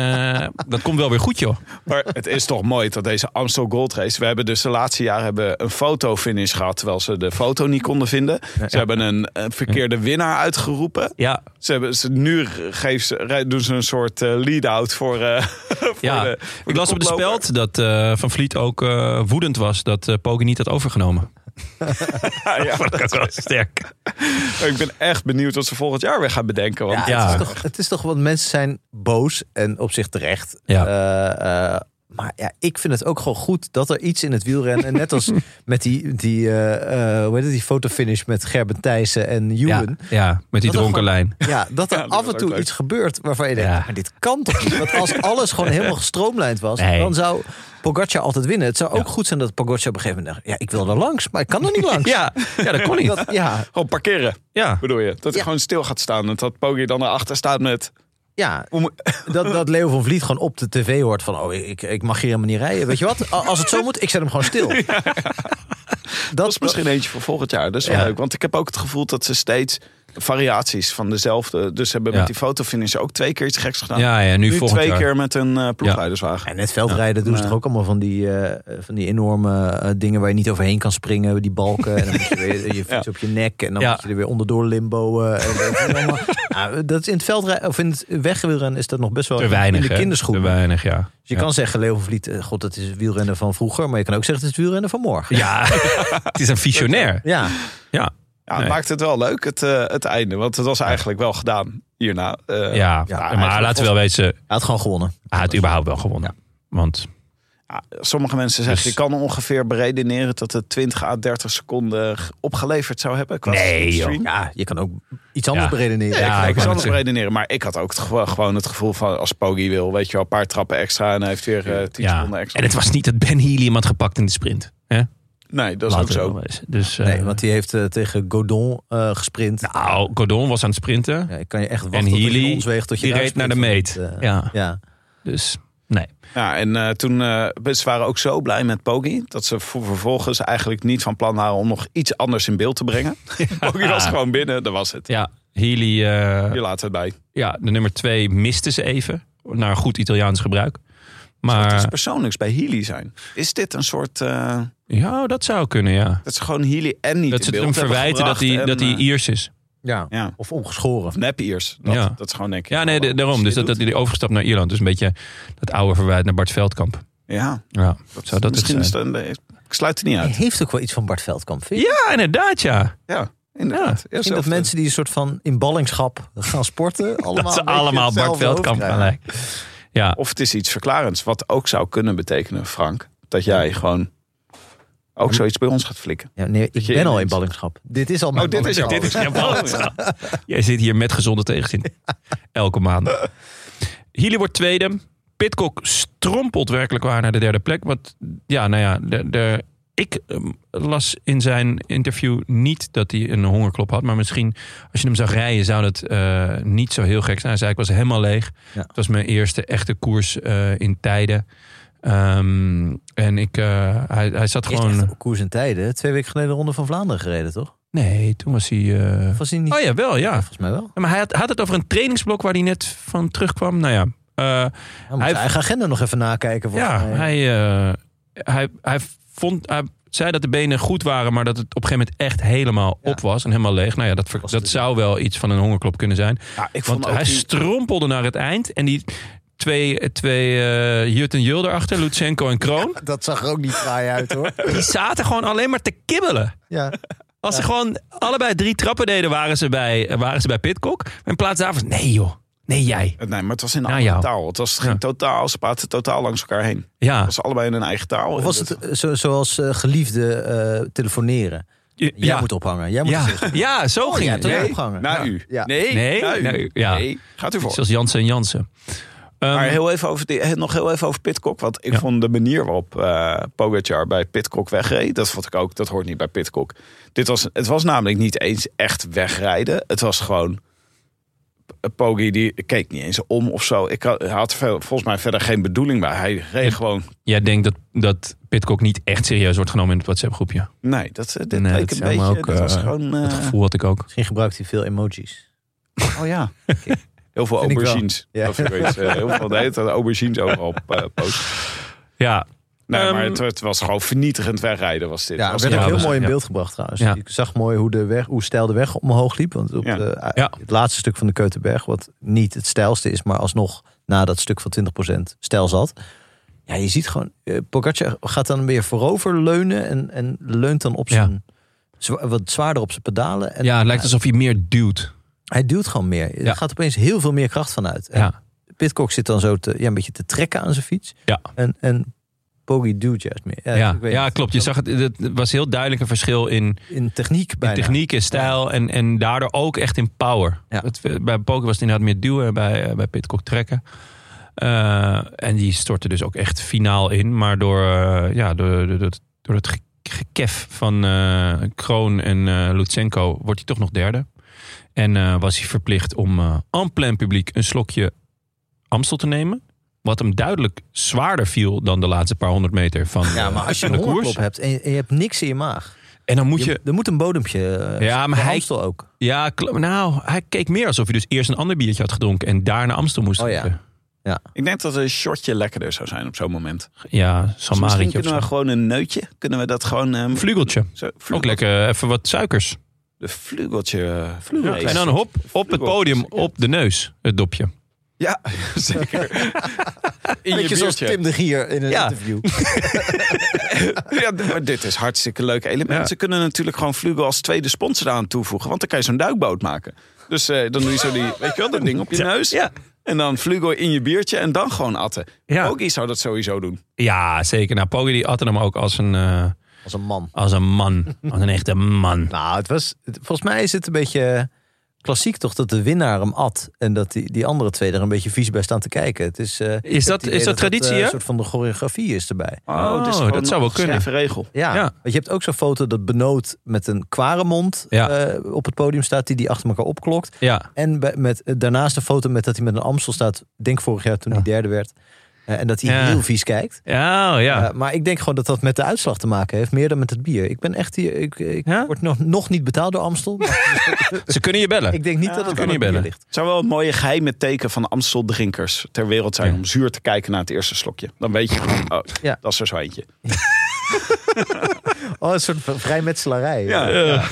S1: eh, dat komt wel weer goed, joh.
S3: Maar het is toch mooi dat deze Amstel Gold Race. We hebben dus de laatste jaren hebben een fotofinish gehad. Terwijl ze de foto niet konden vinden. Ze hebben een, eh, verkeerde winnaar uitgeroepen.
S1: Ja,
S3: Ze hebben, ze, nu geeft ze, re- doen ze een soort eh, lead-out voor. eh, (laughs) voor
S1: ja.
S3: de- voor
S1: ik las op de
S3: koploper.
S1: speld dat eh, Van Vliet ook eh, woedend was dat eh Poggi niet had overgenomen.
S3: Ja,
S1: (laughs)
S3: ja.
S1: Dat is wel sterk.
S3: Ik ben echt benieuwd wat ze volgend jaar weer gaan bedenken. Want
S1: Ja.
S2: Het, is toch, het is toch, want mensen zijn boos en op zich terecht.
S1: Ja.
S2: Eh, eh, maar ja, ik vind het ook gewoon goed dat er iets in het wielrennen,
S1: (laughs)
S2: net als met die, die, eh, eh, hoe heet het, die fotofinish met Gerben Thijssen en
S1: Ja,
S2: Juwen.
S1: ja, met die
S2: Dat
S1: dronken
S2: is
S1: lijn.
S2: Ja, dat er
S3: Ja, dat
S2: af
S3: was
S2: en
S3: ook
S2: toe
S3: leuk.
S2: iets gebeurt waarvan je denkt,
S1: Ja.
S2: maar dit kan toch niet? Want als
S1: (laughs)
S2: alles gewoon helemaal gestroomlijnd was,
S1: Nee.
S2: dan zou Pogacar altijd winnen. Het zou ook
S1: Ja.
S2: goed zijn dat Pogacar op een gegeven moment dacht, ja, ik wil er langs, maar ik kan er
S1: (laughs)
S2: niet langs.
S1: Ja, ja, dat kon
S2: (laughs)
S1: niet.
S2: Dat, ja,
S3: Gewoon Oh, parkeren,
S1: Ja.
S3: bedoel je? Dat hij
S2: Ja.
S3: gewoon stil gaat staan. En dat Poggi dan erachter staat met.
S2: ja.
S3: hoe moet-
S2: Dat, dat Leo van Vliet gewoon op de tv hoort van, oh, ik, ik mag hier helemaal niet rijden. Weet je wat? A- Als het zo moet, ik zet hem gewoon
S1: (laughs)
S2: stil.
S3: Dat is misschien eentje voor volgend jaar. Dat is wel
S1: Ja.
S3: leuk. Want ik heb ook het gevoel dat ze steeds variaties van dezelfde. Dus ze hebben
S1: Ja.
S3: met die fotofinish ook twee keer iets geks gedaan.
S1: Ja, ja, nu,
S3: nu
S1: volgend
S3: twee
S1: jaar.
S3: keer met een eh ploegleiderswagen.
S2: En het veldrijden doen ze toch ook allemaal van die, eh, van die enorme eh, dingen waar je niet overheen kan springen. Die balken. En dan moet je
S1: (laughs)
S2: weer je fiets
S3: Ja.
S2: op je nek. En dan
S1: Ja.
S2: moet je er weer onderdoor limboen. en weet je allemaal. Nou, dat is in het veldrijden, of in het wegwielrennen is dat nog best wel
S1: Te weinig,
S2: in de
S1: hè?
S2: kinderschoenen.
S1: Te weinig, ja.
S2: Dus je
S1: Ja.
S2: kan zeggen, Leo van Vliet, eh, god, dat is het wielrennen van vroeger. Maar je kan ook zeggen, het is het wielrennen van
S3: (laughs)
S2: morgen.
S1: Ja, (laughs) het is een visionair.
S2: Ja,
S1: Ja,
S3: Ja, het
S1: Nee.
S3: maakt het wel leuk, het, eh, het einde. Want het was eigenlijk wel gedaan hierna. Eh,
S1: ja.
S2: Ja,
S1: maar
S2: eigenlijk
S1: laten we wel weten,
S2: hij had gewoon gewonnen.
S1: hij had überhaupt wel gewonnen. Want
S3: ja, ah, Sommige mensen zeggen,
S1: Dus-
S3: je kan ongeveer beredeneren dat het 20 à 30 seconden g- opgeleverd zou hebben. Qua
S1: Nee, joh.
S3: stream.
S2: Ja, je kan ook iets anders
S1: Ja.
S2: beredeneren.
S1: Ja,
S3: Ja,
S1: ik wou
S3: ik zal
S1: net
S3: het
S1: zeggen.
S3: redeneren, maar ik had ook het gevo- gewoon het gevoel van als Poggi wil, weet je wel, een paar trappen extra en hij heeft weer eh 10
S1: ja.
S3: seconden extra.
S1: En het was niet dat Ben Healy iemand gepakt in de sprint. Hè?
S3: nee, dat is
S1: Laten we
S3: ook zo.
S1: wel wezen. Dus, eh,
S2: Nee, want die heeft eh, tegen Godon eh, gesprint.
S1: Nou, Cordon was aan het sprinten.
S2: ja, ik kan je echt wachten
S1: en
S2: tot je in
S1: Healy,
S2: ons weegt tot je
S1: die
S2: daar
S1: reed naar de
S2: sprint.
S1: meet.
S2: Want, eh,
S1: ja.
S2: ja.
S1: dus nee.
S3: Ja, en eh, toen eh, ze waren ook zo blij met Poggi dat ze voor- vervolgens eigenlijk niet van plan waren om nog iets anders in beeld te
S1: (laughs)
S3: brengen. (laughs) Poggi was gewoon binnen, dat was het.
S1: Ja, Healy, eh,
S3: Je laat het bij.
S1: ja, de nummer twee miste ze even. Naar goed Italiaans gebruik.
S3: Zou het iets
S1: Maar
S3: persoonlijks bij Healy zijn? Is dit een soort... eh,
S1: ja, dat zou kunnen, ja.
S3: dat ze gewoon Healy en niet
S1: Dat ze het
S3: in
S1: hem
S3: beeld hebben
S1: verwijten dat hij,
S3: gebracht
S1: dat hij
S3: en, eh,
S1: Iers is.
S2: Ja.
S3: ja,
S2: Of ongeschoren.
S3: of nep-Iers. Dat,
S1: Ja.
S3: dat is gewoon denk ik...
S1: Ja, nee,
S3: wel
S1: de-
S3: wat
S1: daarom.
S3: je
S1: Dus dat,
S3: doet.
S1: dat hij overstapt naar Ierland. Dus een beetje dat oude verwijt naar Bart Veldkamp.
S3: Ja,
S1: Ja, zou dat het
S3: misschien
S1: zijn?
S3: is dat... nee, Ik sluit het niet
S2: Hij
S3: uit.
S2: heeft ook wel iets van Bart Veldkamp. Vind je?
S1: Ja, inderdaad, ja.
S3: Ja, inderdaad. Ja,
S2: Ik vind dat
S3: zelfde.
S2: mensen die een soort van in ballingschap gaan sporten.
S1: (laughs)
S2: Allemaal
S1: Dat ze
S2: een beetje
S1: allemaal Bart
S2: hetzelfde
S1: Veldkamp
S2: hoofd
S1: gaan
S2: krijgen.
S1: lijken. Ja,
S3: Of het is iets verklarends. Wat ook zou kunnen betekenen, Frank. Dat jij gewoon ook
S1: Hm.
S3: zoiets bij ons gaat flikken.
S2: Ja, nee, ik
S3: je
S2: ben al in
S3: ineens-
S2: ballingschap. Dit is al mijn
S3: Oh, dit is,
S2: ballingschap.
S3: dit is
S1: Ja, ballenschap. Jij zit hier met gezonde tegenzin. Elke maand. Healy wordt tweede. Pitcock strompelt werkelijk waar naar de derde plek. Want ja, nou ja, de, de, ik ehm, las in zijn interview niet dat hij een hongerklop had. Maar misschien als je hem zag rijden zou dat eh, niet zo heel gek zijn. Hij zei ik was helemaal leeg.
S2: Ja.
S1: Het was mijn eerste echte koers eh, in tijden. Ehm, en ik, eh, hij, hij zat
S2: Is echt
S1: gewoon...
S2: op koers en tijden. Twee weken geleden de Ronde van Vlaanderen gereden, toch?
S1: Nee, toen was hij... eh,
S2: Of was hij niet?
S1: Oh ja, wel, ja.
S2: Volgens mij wel.
S1: Ja, Maar hij had, hij had het over een trainingsblok waar hij net van terugkwam. Nou ja, eh,
S2: Hij moet
S1: Hij-
S2: zijn eigen agenda nog even nakijken. volgens
S1: ja
S2: mij.
S1: hij, eh, hij, hij, vond, hij zei dat de benen goed waren, maar dat het op een gegeven moment echt helemaal
S2: Ja.
S1: op was en helemaal leeg. Nou ja, dat, ver-
S2: Was
S1: dat
S2: het- dus.
S1: zou wel iets van een hongerklop kunnen zijn.
S3: Ja, ik vond
S1: Want
S3: ook
S1: hij
S3: die-
S1: strompelde naar het eind en die twee, twee eh Jut en Jul erachter, Lutsenko en Kroon,
S2: Dat zag er ook niet fraai uit hoor.
S1: die zaten gewoon alleen maar te kibbelen.
S2: (laughs) Ja.
S1: Als ze gewoon allebei drie trappen deden, waren ze bij, waren ze bij Pitcock. Maar in plaats daarvan, nee joh, nee jij.
S3: Nee, maar het was in een
S1: Nou,
S3: andere
S1: jou.
S3: taal. Het, was, het ging
S1: Ja.
S3: totaal, ze praten totaal langs elkaar heen. Het
S1: Ja,
S3: was allebei in hun eigen taal.
S2: Of was het eh, zo, zoals eh, geliefde eh, telefoneren? Jij
S1: ja.
S2: moet ophangen. Jij moet dus-
S1: Ja,
S2: zeggen.
S1: ja zo ging
S2: ja,
S1: het.
S2: toch?
S1: Ja.
S3: Nee,
S2: opgehangen?
S3: na
S2: Ja.
S3: u.
S2: Ja.
S3: Nee,
S1: Nee,
S3: na u.
S1: naar u. Ja.
S3: Nee, gaat u voor.
S1: Zoals Jansen en Jansen. Ehm,
S3: maar heel even over die, eh, nog heel even over Pitcock. Want ik
S1: Ja.
S3: vond de manier waarop eh Pogacar bij Pitcock wegreed... dat vond ik ook, dat hoort niet bij Pitcock. Dit was, het was namelijk niet eens echt wegrijden. Het was gewoon... eh, Poggi die keek niet eens om of zo. Ik had, hij had er veel- volgens mij verder geen bedoeling bij. Hij reed gewoon...
S1: Jij denkt dat, dat Pitcock niet echt serieus wordt genomen in het WhatsApp groepje.
S3: Nee, dat, eh, dit
S1: Nee,
S3: leek
S1: dat
S3: een
S1: zou me
S3: beetje...
S1: ook,
S3: dit was
S1: eh,
S3: gewoon...
S1: Dat
S3: eh,
S1: gevoel had ik ook.
S2: Misschien gebruikt hij veel emojis.
S3: Oh ja. Heel veel
S2: Vind ik wel.
S3: aubergines.
S2: Ja.
S3: Of zoiets, eh, heel veel de hele tijd aubergines overal op eh, posten.
S1: Ja,
S3: Nee, maar
S1: Ehm,
S3: het, het was gewoon vernietigend wegrijden was dit.
S2: nou Ja,
S3: Was
S2: werd
S3: het-
S2: ook
S1: ja,
S2: heel
S1: was-
S2: mooi in
S1: ja.
S2: beeld gebracht trouwens.
S1: Ja.
S2: Ik zag mooi hoe, de weg, hoe stijl de weg omhoog liep. Want op
S3: Ja.
S2: de- eh,
S1: Ja.
S2: het laatste stuk van de Keuterberg, wat niet het stijlste is, maar alsnog na dat stuk van 20% stijl zat. Ja, je ziet gewoon, eh Pogacar gaat dan weer voorover leunen en, en leunt dan op
S1: Ja.
S2: zijn, zwa- wat zwaarder op zijn pedalen. En
S1: ja het lijkt alsof hij meer duwt.
S2: Hij duwt gewoon meer.
S1: Ja.
S2: Er gaat opeens heel veel meer kracht vanuit. En
S1: Ja.
S2: Pitcock zit dan zo te, ja, een beetje te trekken aan zijn fiets.
S1: Ja.
S2: En, en Poggi duwt juist meer. Ja,
S1: Ja,
S2: Eh, ik weet
S1: ja
S2: niet.
S1: klopt. Je zag het, het was heel duidelijk een verschil in,
S2: In techniek
S1: in
S2: bijna.
S1: techniek, en stijl en, en daardoor ook echt in power.
S2: Ja.
S1: Het, eh, bij Poker was het inderdaad meer duwen, bij, eh, bij Pitcock trekken. Eh, en die stortte dus ook echt finaal in. Maar door, eh, ja, door, door, door, door het ge- gekef van eh, Kroon en eh Lutsenko wordt hij toch nog derde. En eh, was hij verplicht om eh aan plein publiek een slokje Amstel te nemen. Wat hem duidelijk zwaarder viel dan de laatste paar honderd meter van,
S2: Ja, maar
S1: eh,
S2: als je
S1: van
S2: een
S1: de koers.
S2: hongerklop hebt en je, en je hebt niks in je maag.
S1: En dan moet je,
S2: er moet een bodempje. eh,
S1: Ja, maar
S2: voor
S1: hij-
S2: Amstel ook.
S1: Ja, kl- nou, hij keek meer alsof hij dus eerst een ander biertje had gedronken en daarna Amstel moest
S2: Oh ja.
S1: drinken.
S3: Ik denk dat een shotje lekkerder zou zijn op zo'n moment. Dus
S1: Ja,
S3: misschien
S1: Samarietje of
S3: kunnen we
S1: zo.
S3: gewoon een neutje. Kunnen we dat gewoon... ehm,
S1: Vlugeltje.
S3: zo, vlugel-
S1: Ook lekker, eh, even wat suikers.
S3: De vlugeltje. eh,
S1: Ja, En dan hop, op het podium, op de neus, het dopje.
S3: Ja, (laughs) zeker. In je
S2: Beetje zoals
S3: biertje.
S2: Tim de Gier in een
S1: Ja.
S2: interview.
S3: Ja, maar dit is hartstikke leuk element.
S1: Ja.
S3: Ze kunnen natuurlijk gewoon Vlugel als tweede sponsor aan toevoegen. Want dan kan je zo'n duikboot maken. Dus eh, dan doe je
S1: (laughs)
S3: zo die, weet je wel, dat ding op je neus.
S1: Ja.
S3: En dan Vlugel in je biertje en dan gewoon atten.
S1: Ja.
S3: Poggi zou dat sowieso doen.
S1: Ja, zeker. Nou, Poggi die atte hem ook als een, eh,
S2: (laughs) Als een man.
S1: als een man. Als een echte man.
S2: Nou, het was, het- volgens mij is het een beetje klassiek toch dat de winnaar hem at. En dat die, die andere twee er een beetje vies bij staan te kijken. Het is, eh, ik heb
S1: dat-
S2: het idee
S1: is dat traditie,
S2: eh,
S1: hè?
S2: Een soort van de choreografie is erbij.
S1: Oh,
S3: dit is
S1: dat
S3: gewoon
S1: zou wel
S3: een geschreven regel.
S2: Ja,
S1: Ja.
S2: want je hebt ook zo'n foto dat Benoot met een kware mond
S1: Ja.
S2: eh, op het podium staat, die die achter elkaar opklokt.
S1: Ja,
S2: En bij- met, eh, daarnaast een foto met dat hij met een Amstel staat, denk vorig jaar toen
S1: Ja.
S2: hij derde werd. Eh, en dat hij
S1: Ja.
S2: heel vies kijkt.
S1: ja, oh, ja.
S2: Eh, maar ik denk gewoon dat dat met de uitslag te maken heeft, meer dan met het bier. Ik ben echt hier, ik, ik
S1: Ja?
S2: word nog, nog niet betaald door
S1: (laughs)
S2: Amstel. maar
S1: Ze kunnen je bellen.
S2: ik denk niet
S3: Ja,
S2: dat het
S3: we
S2: aan
S1: kunnen
S2: het bier
S1: je bellen.
S2: ligt.
S3: Het zou wel een mooie geheime teken van Amsteldrinkers ter wereld zijn...
S1: Ja.
S3: om zuur te kijken naar het eerste slokje. Dan weet je, gewoon, oh,
S2: Ja.
S3: dat is er zo eentje.
S2: Oh, een soort van vrijmetselarij.
S3: Ja,
S1: Eh,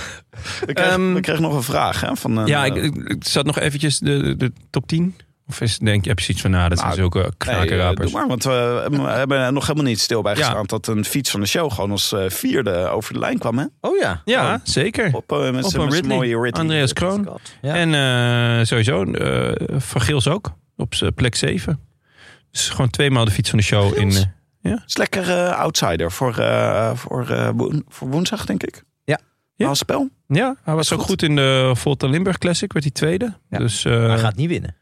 S3: Ik kreeg,
S1: Ehm,
S3: ik kreeg nog een vraag hè, van... een,
S1: ja,
S3: eh,
S1: ik, ik, ik zat nog eventjes de, de- de top 10. Of is, denk je, heb je zoiets van, nou, dat zijn
S3: Nou,
S1: zulke
S3: Nee, eh,
S1: knakenrapers.
S3: doe maar, want we hebben er nog helemaal niet stil bij
S1: Ja.
S3: gestaan... dat een fiets van de show gewoon als eh, vierde over de lijn kwam, hè?
S2: Oh ja.
S1: ja, zeker.
S3: Op, eh, met
S1: Op
S3: zijn
S1: een
S3: met zijn
S1: Ridley.
S3: mooie Ridley.
S1: Andreas
S2: Oh,
S1: Kroon.
S2: Ja.
S1: En eh, sowieso, eh Van Gils ook. Op z'n plek 7. Dus gewoon tweemaal de fiets van de show. In,
S3: Gils?
S1: eh,
S3: is lekker eh, outsider voor, eh, voor, eh, woen- voor woensdag, denk ik.
S2: Ja.
S3: Ja. Als spel.
S1: ja, hij was ook goed. in de Volta Limburg Classic. Werd hij tweede.
S2: Ja.
S1: Dus, eh,
S2: Hij gaat niet winnen.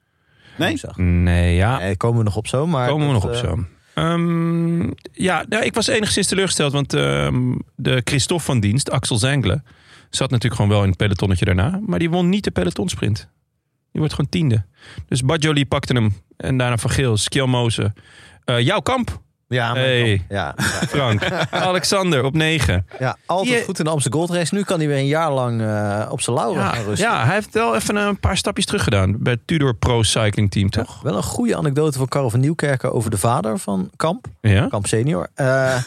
S3: Nee?
S2: Woensdag.
S1: Nee, ja.
S2: Eh, komen we nog op zo. Maar
S1: komen we
S2: dat,
S1: nog op
S2: eh,
S1: zo. Ehm, ja, nou, ik was enigszins teleurgesteld. Want ehm, de Christophe van dienst, Axel Zengelen... zat natuurlijk gewoon wel in het pelotonnetje daarna. Maar die won niet de pelotonsprint. Die wordt gewoon tiende. Dus Badjoli pakte hem. En daarna Van Gils, Kjelmozen. eh jouw kamp.
S2: Ja, maar
S1: Hey.
S2: dan- ja, ja,
S1: Frank. (laughs) Alexander op 9.
S2: ja, altijd
S1: Je-
S2: goed in de Amsterdam Gold Race. Nu kan hij weer een jaar lang eh, op zijn lauren
S1: Ja,
S2: gaan rusten.
S1: ja, hij heeft wel even een paar stapjes terug gedaan bij het Tudor Pro Cycling Team, toch?
S2: Wel een goede anekdote van Karel van Nieuwkerken over de vader van Kamp.
S1: Ja.
S2: Kamp senior.
S1: (laughs)
S2: eh,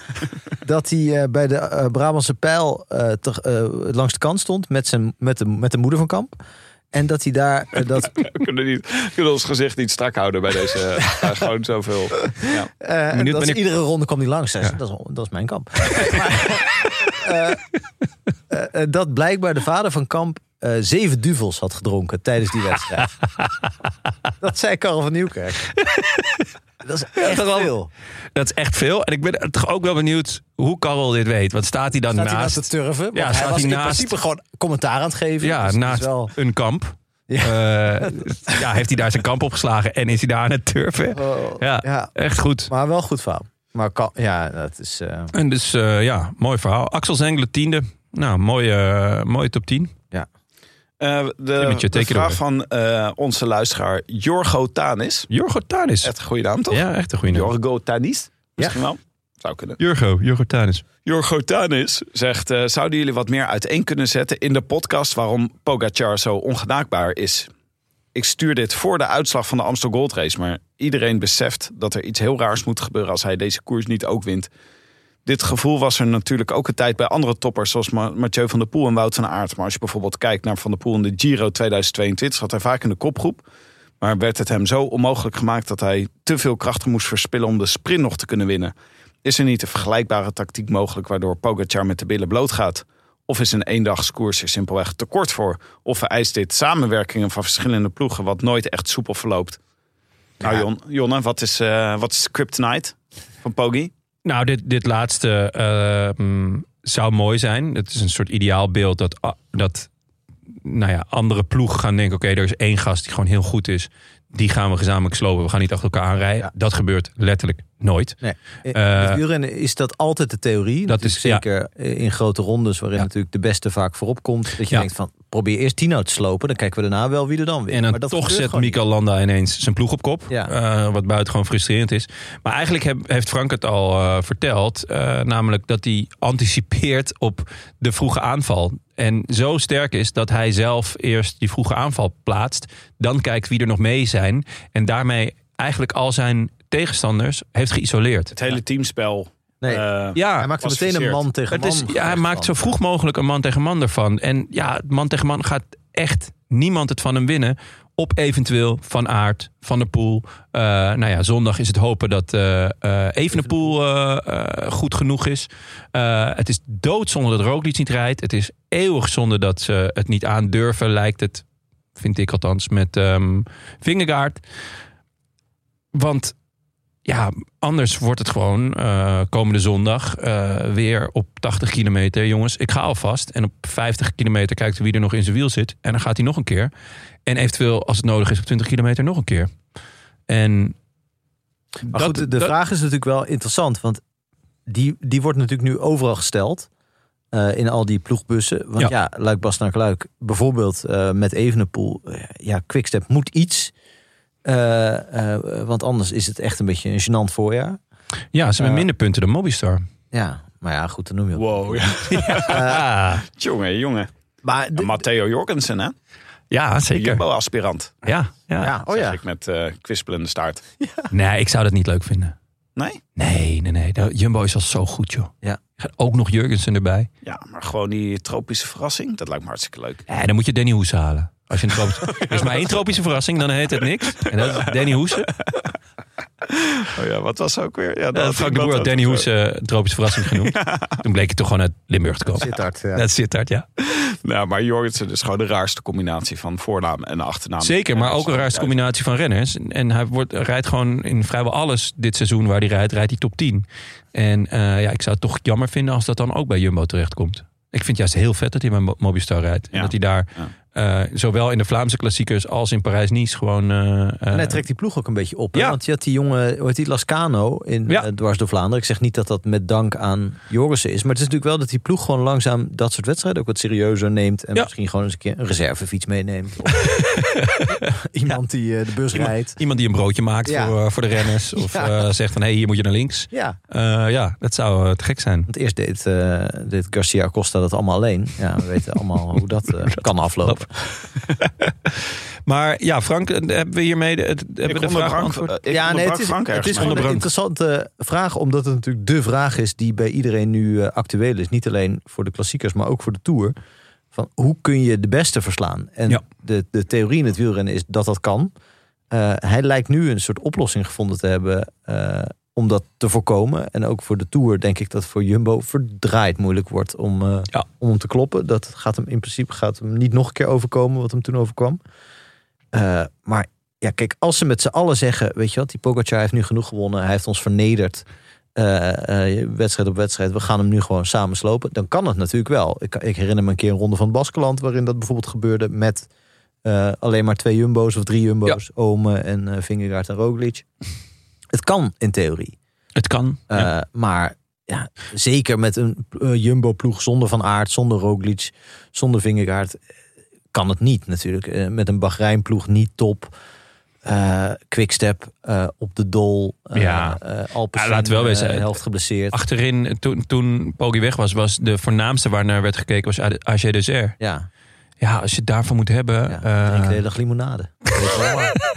S2: dat hij eh, bij de eh, Brabantse pijl eh, te- eh, langs de kant stond met, zijn, met, de, met de moeder van Kamp. En dat hij daar eh, dat,
S3: We kunnen, niet, we kunnen ons gezicht niet strak houden bij deze.
S1: (laughs)
S3: eh, gewoon zoveel. Ja.
S2: Eh, en
S1: Benieuwd
S2: dat is
S1: wanneer-
S2: Iedere ronde kwam hij langs. zei ze. Dat, is, dat is mijn kamp. (laughs) Maar, eh, eh, eh, dat blijkbaar de vader van Kamp eh, zeven duvels had gedronken tijdens die
S1: (laughs)
S2: wedstrijd. dat zei Karel van Nieuwkerk. dat is echt
S1: dat is wel-
S2: veel.
S1: Dat is echt veel. En ik ben toch ook wel benieuwd hoe Karel dit weet. Want staat hij dan
S2: Staat hij naast
S1: naast?
S2: te turven? Want
S1: Ja,
S2: hij
S1: staat
S2: was
S1: hij
S2: in
S1: naast-
S2: principe gewoon commentaar aan het geven.
S1: ja,
S2: Dus het is
S1: naast
S2: wel-
S1: een kamp.
S2: Ja.
S1: Eh, ja, heeft hij daar zijn kamp opgeslagen en is hij daar aan het turven? Ja,
S2: ja,
S1: echt goed.
S2: maar wel goed verhaal. Maar Kam- ja, dat is... eh,
S1: En dus eh, ja, mooi verhaal. Axel Zengelen tiende. Nou, mooie, eh, mooie top 10.
S3: Eh, de,
S1: Timmetje,
S3: de
S1: take it
S3: vraag
S1: away.
S3: van eh, onze luisteraar Jorgo Tanis.
S1: Jorgo Tanis.
S3: Echt een goede naam, toch?
S1: Ja, echt een goede naam.
S3: Jorgo Tanis? Misschien wel. Zou kunnen.
S1: Jurgo, Jurgo Tanis.
S3: Jorgo Tanis zegt... eh, zouden jullie wat meer uiteen kunnen zetten in de podcast... waarom Pogacar zo ongenaakbaar is? Ik stuur dit voor de uitslag van de Amstel Gold Race... maar iedereen beseft dat er iets heel raars moet gebeuren... als hij deze koers niet ook wint. Dit gevoel was er natuurlijk ook een tijd bij andere toppers... zoals Ma- Mathieu van der Poel en Wout van Aert. Maar als je bijvoorbeeld kijkt naar Van der Poel in de Giro 2022... zat hij vaak in de kopgroep. Maar werd het hem zo onmogelijk gemaakt... dat hij te veel krachten moest verspillen om de sprint nog te kunnen winnen... Is er niet een vergelijkbare tactiek mogelijk waardoor Pogacar met de billen bloot gaat? Of is een eendagskoers er simpelweg te kort voor? Of vereist dit samenwerkingen van verschillende ploegen wat nooit echt soepel verloopt? Nou Jon, Jonne, wat is, eh wat is Kryptonite van Pogi?
S1: Nou, dit, dit laatste eh, mm, zou mooi zijn. Het is een soort ideaal beeld dat, ah, dat nou ja, andere ploegen gaan denken... oké, er is één gast die gewoon heel goed is. Die gaan we gezamenlijk slopen. We gaan niet achter elkaar aanrijden.
S2: Ja.
S1: Dat gebeurt letterlijk nooit.
S2: Nee. In
S1: Eh,
S2: het wielrennen is dat altijd de theorie.
S1: Dat
S2: Dat
S1: is-
S2: is zeker eh, in grote rondes, waarin
S1: Ja.
S2: natuurlijk de beste vaak voorop komt. Dat je
S1: Ja.
S2: denkt van probeer eerst Tino te slopen, dan kijken we daarna wel wie er dan wint.
S1: En dan
S2: dat
S1: toch
S2: gebeurt
S1: zet
S2: gewoon
S1: Mika Landa ineens zijn ploeg op kop.
S2: Ja.
S1: Eh, wat buitengewoon frustrerend is. Maar eigenlijk heb- heeft Frank het al eh, verteld. eh, namelijk dat hij anticipeert op de vroege aanval. En zo sterk is dat hij zelf eerst die vroege aanval plaatst. Dan kijkt wie er nog mee zijn. En daarmee eigenlijk al zijn tegenstanders heeft geïsoleerd.
S3: Het hele teamspel.
S2: niet. Nee.
S3: eh,
S1: Ja,
S2: hij maakt er meteen een
S3: pacificeert.
S2: man tegen
S1: ah, het
S2: man.
S1: is, ja, hij
S2: gevecht
S1: maakt zo
S2: van.
S1: vroeg mogelijk een man tegen man ervan. En ja, het man tegen man gaat echt niemand het van hem winnen. Op eventueel Van Aert, Van der Poel. Eh, nou ja, zondag is het hopen dat eh eh Evenepoel eh, eh, goed genoeg is. Eh, het is doodzonde dat Roglic niet rijdt. Het is eeuwig zonde dat ze het niet aandurven, lijkt het. Vind ik althans, met ehm Vingegaard. Want ja, anders wordt het gewoon eh, komende zondag eh, weer op 80 kilometer. Jongens, ik ga alvast. En op 50 kilometer kijkt wie er nog in zijn wiel zit. En dan gaat hij nog een keer. En eventueel, als het nodig is, op 20 kilometer nog een keer. En
S2: Maar
S1: dat-
S2: goed, de
S1: dat-
S2: vraag is natuurlijk wel interessant, want die, die wordt natuurlijk nu overal gesteld. eh, in al die ploegbussen. Want ja, Luik Bas naar Luik. Bijvoorbeeld eh, met Evenepoel. eh, ja, Quickstep moet iets. Eh, eh, want anders is het echt een beetje een gênant voorjaar.
S1: ja, ze hebben
S2: Eh,
S1: minder punten dan Mobistar.
S2: Ja, maar ja, goed, dan noem je het.
S3: Wow, (laughs) ja.
S1: Ah,
S3: jongen, jongen.
S2: Maar de-
S3: En Matteo Jorgensen, hè?
S1: ja, zeker.
S3: Jumbo-aspirant.
S1: Ja, ja.
S2: ja, oh
S3: zeg
S2: ja.
S3: ik met eh kwispelende staart.
S1: Nee, ik zou dat niet leuk vinden.
S3: Nee?
S1: Nee, nee, nee. Nou, Jumbo is al zo goed, joh.
S2: Ja.
S1: Gaat Ook nog Jurgensen erbij.
S3: Ja, maar gewoon die tropische verrassing. Dat lijkt me hartstikke leuk.
S1: Ja, dan moet je Danny Hoes halen. Als je een tropisch- er is maar één tropische verrassing, dan heet het niks. En dat is Danny Hoesen.
S3: Oh ja, wat was ook weer? Ja,
S1: Eh, Frank de Boer had Danny Hoes eh, tropische verrassing genoemd. Toen bleek het toch gewoon uit Limburg te komen.
S2: Sittard, ja.
S1: Dat zit daar, ja.
S3: Nou, maar Jorgensen is gewoon de raarste combinatie van voornaam en achternaam.
S1: Zeker, maar
S3: Ja,
S1: ook een raarste combinatie van renners. En hij wordt, rijdt gewoon in vrijwel alles dit seizoen waar hij rijdt, rijdt hij top 10. En eh, ja, ik zou het toch jammer vinden als dat dan ook bij Jumbo terechtkomt. Ik vind het juist heel vet dat hij bij Mo- Mobistar rijdt. En
S3: Ja.
S1: dat hij daar eh, zowel in de Vlaamse klassiekers als in Parijs-Nice gewoon... eh, eh,
S2: En hij trekt die ploeg ook een beetje op. hè?
S1: Ja.
S2: Want je had die jongen, hoe heet die, Lascano in
S1: Ja.
S2: eh, Dwars door Vlaanderen. Ik zeg niet dat dat met dank aan Jorissen is. Maar het is natuurlijk wel dat die ploeg gewoon langzaam dat soort wedstrijden ook wat serieuzer neemt. En
S1: Ja.
S2: misschien gewoon eens een keer een reservefiets meeneemt. Of iemand die eh, de bus rijdt.
S1: Iemand die een broodje maakt
S2: Ja.
S1: voor, eh, voor de renners. Of
S2: (laughs) Ja.
S1: eh, zegt van, hé, hey, hier moet je naar links.
S2: Ja,
S1: Eh, ja, dat zou eh, te gek zijn.
S2: want eerst deed, eh, deed Garcia Costa dat allemaal alleen. Ja, we weten allemaal hoe dat eh, kan aflopen.
S1: Maar ja, Frank, eh, hebben we hiermee de, het- hebben we de vraag beantwoord?
S3: ja, nee,
S2: het is,
S3: Frank
S2: het is
S3: ergens mee.
S2: gewoon een
S1: Onderbrank.
S2: interessante vraag, omdat het natuurlijk de vraag is die bij iedereen nu eh, actueel is. Niet alleen voor de klassiekers, maar ook voor de Tour. Van hoe kun je de beste verslaan? En
S1: Ja.
S2: de, de theorie in het wielrennen is dat dat kan. Eh, hij lijkt nu een soort oplossing gevonden te hebben eh, om dat te voorkomen. En ook voor de Tour denk ik dat het voor Jumbo verdraaid moeilijk wordt om, eh,
S1: Ja.
S2: om hem te kloppen. Dat gaat hem in principe gaat hem niet nog een keer overkomen wat hem toen overkwam. Eh, maar ja, kijk, als ze met z'n allen zeggen, weet je wat, die Pogacar heeft nu genoeg gewonnen. Hij heeft ons vernederd. eh, eh, wedstrijd op wedstrijd. We gaan hem nu gewoon samen slopen. Dan kan het natuurlijk wel. Ik, ik herinner me een keer een ronde van het Baskeland waarin dat bijvoorbeeld gebeurde met eh, alleen maar twee jumbo's of drie jumbo's. Ome en eh Vingegaard en Roglic. Het kan in theorie.
S1: Het kan.
S2: Eh,
S1: ja.
S2: Maar ja, zeker met een eh, jumbo-ploeg zonder Van Aert, zonder Roglic, zonder Vingegaard... eh, kan het niet natuurlijk. Eh, met een Bahrein-ploeg niet top. Eh, Quickstep eh, op de dol. eh,
S1: Ja.
S2: eh, Alpecin,
S1: Ja, laten we wel wezen,
S2: eh,
S1: eh,
S2: helft geblesseerd.
S1: Achterin, eh, toen, toen Poggi weg was, was de voornaamste waar naar werd gekeken was A- AG Dessert.
S2: ja,
S1: Ja, als je het daarvan moet hebben...
S2: ja.
S1: eh,
S2: drink de hele dag limonade. Weet je
S1: (laughs)
S2: wel.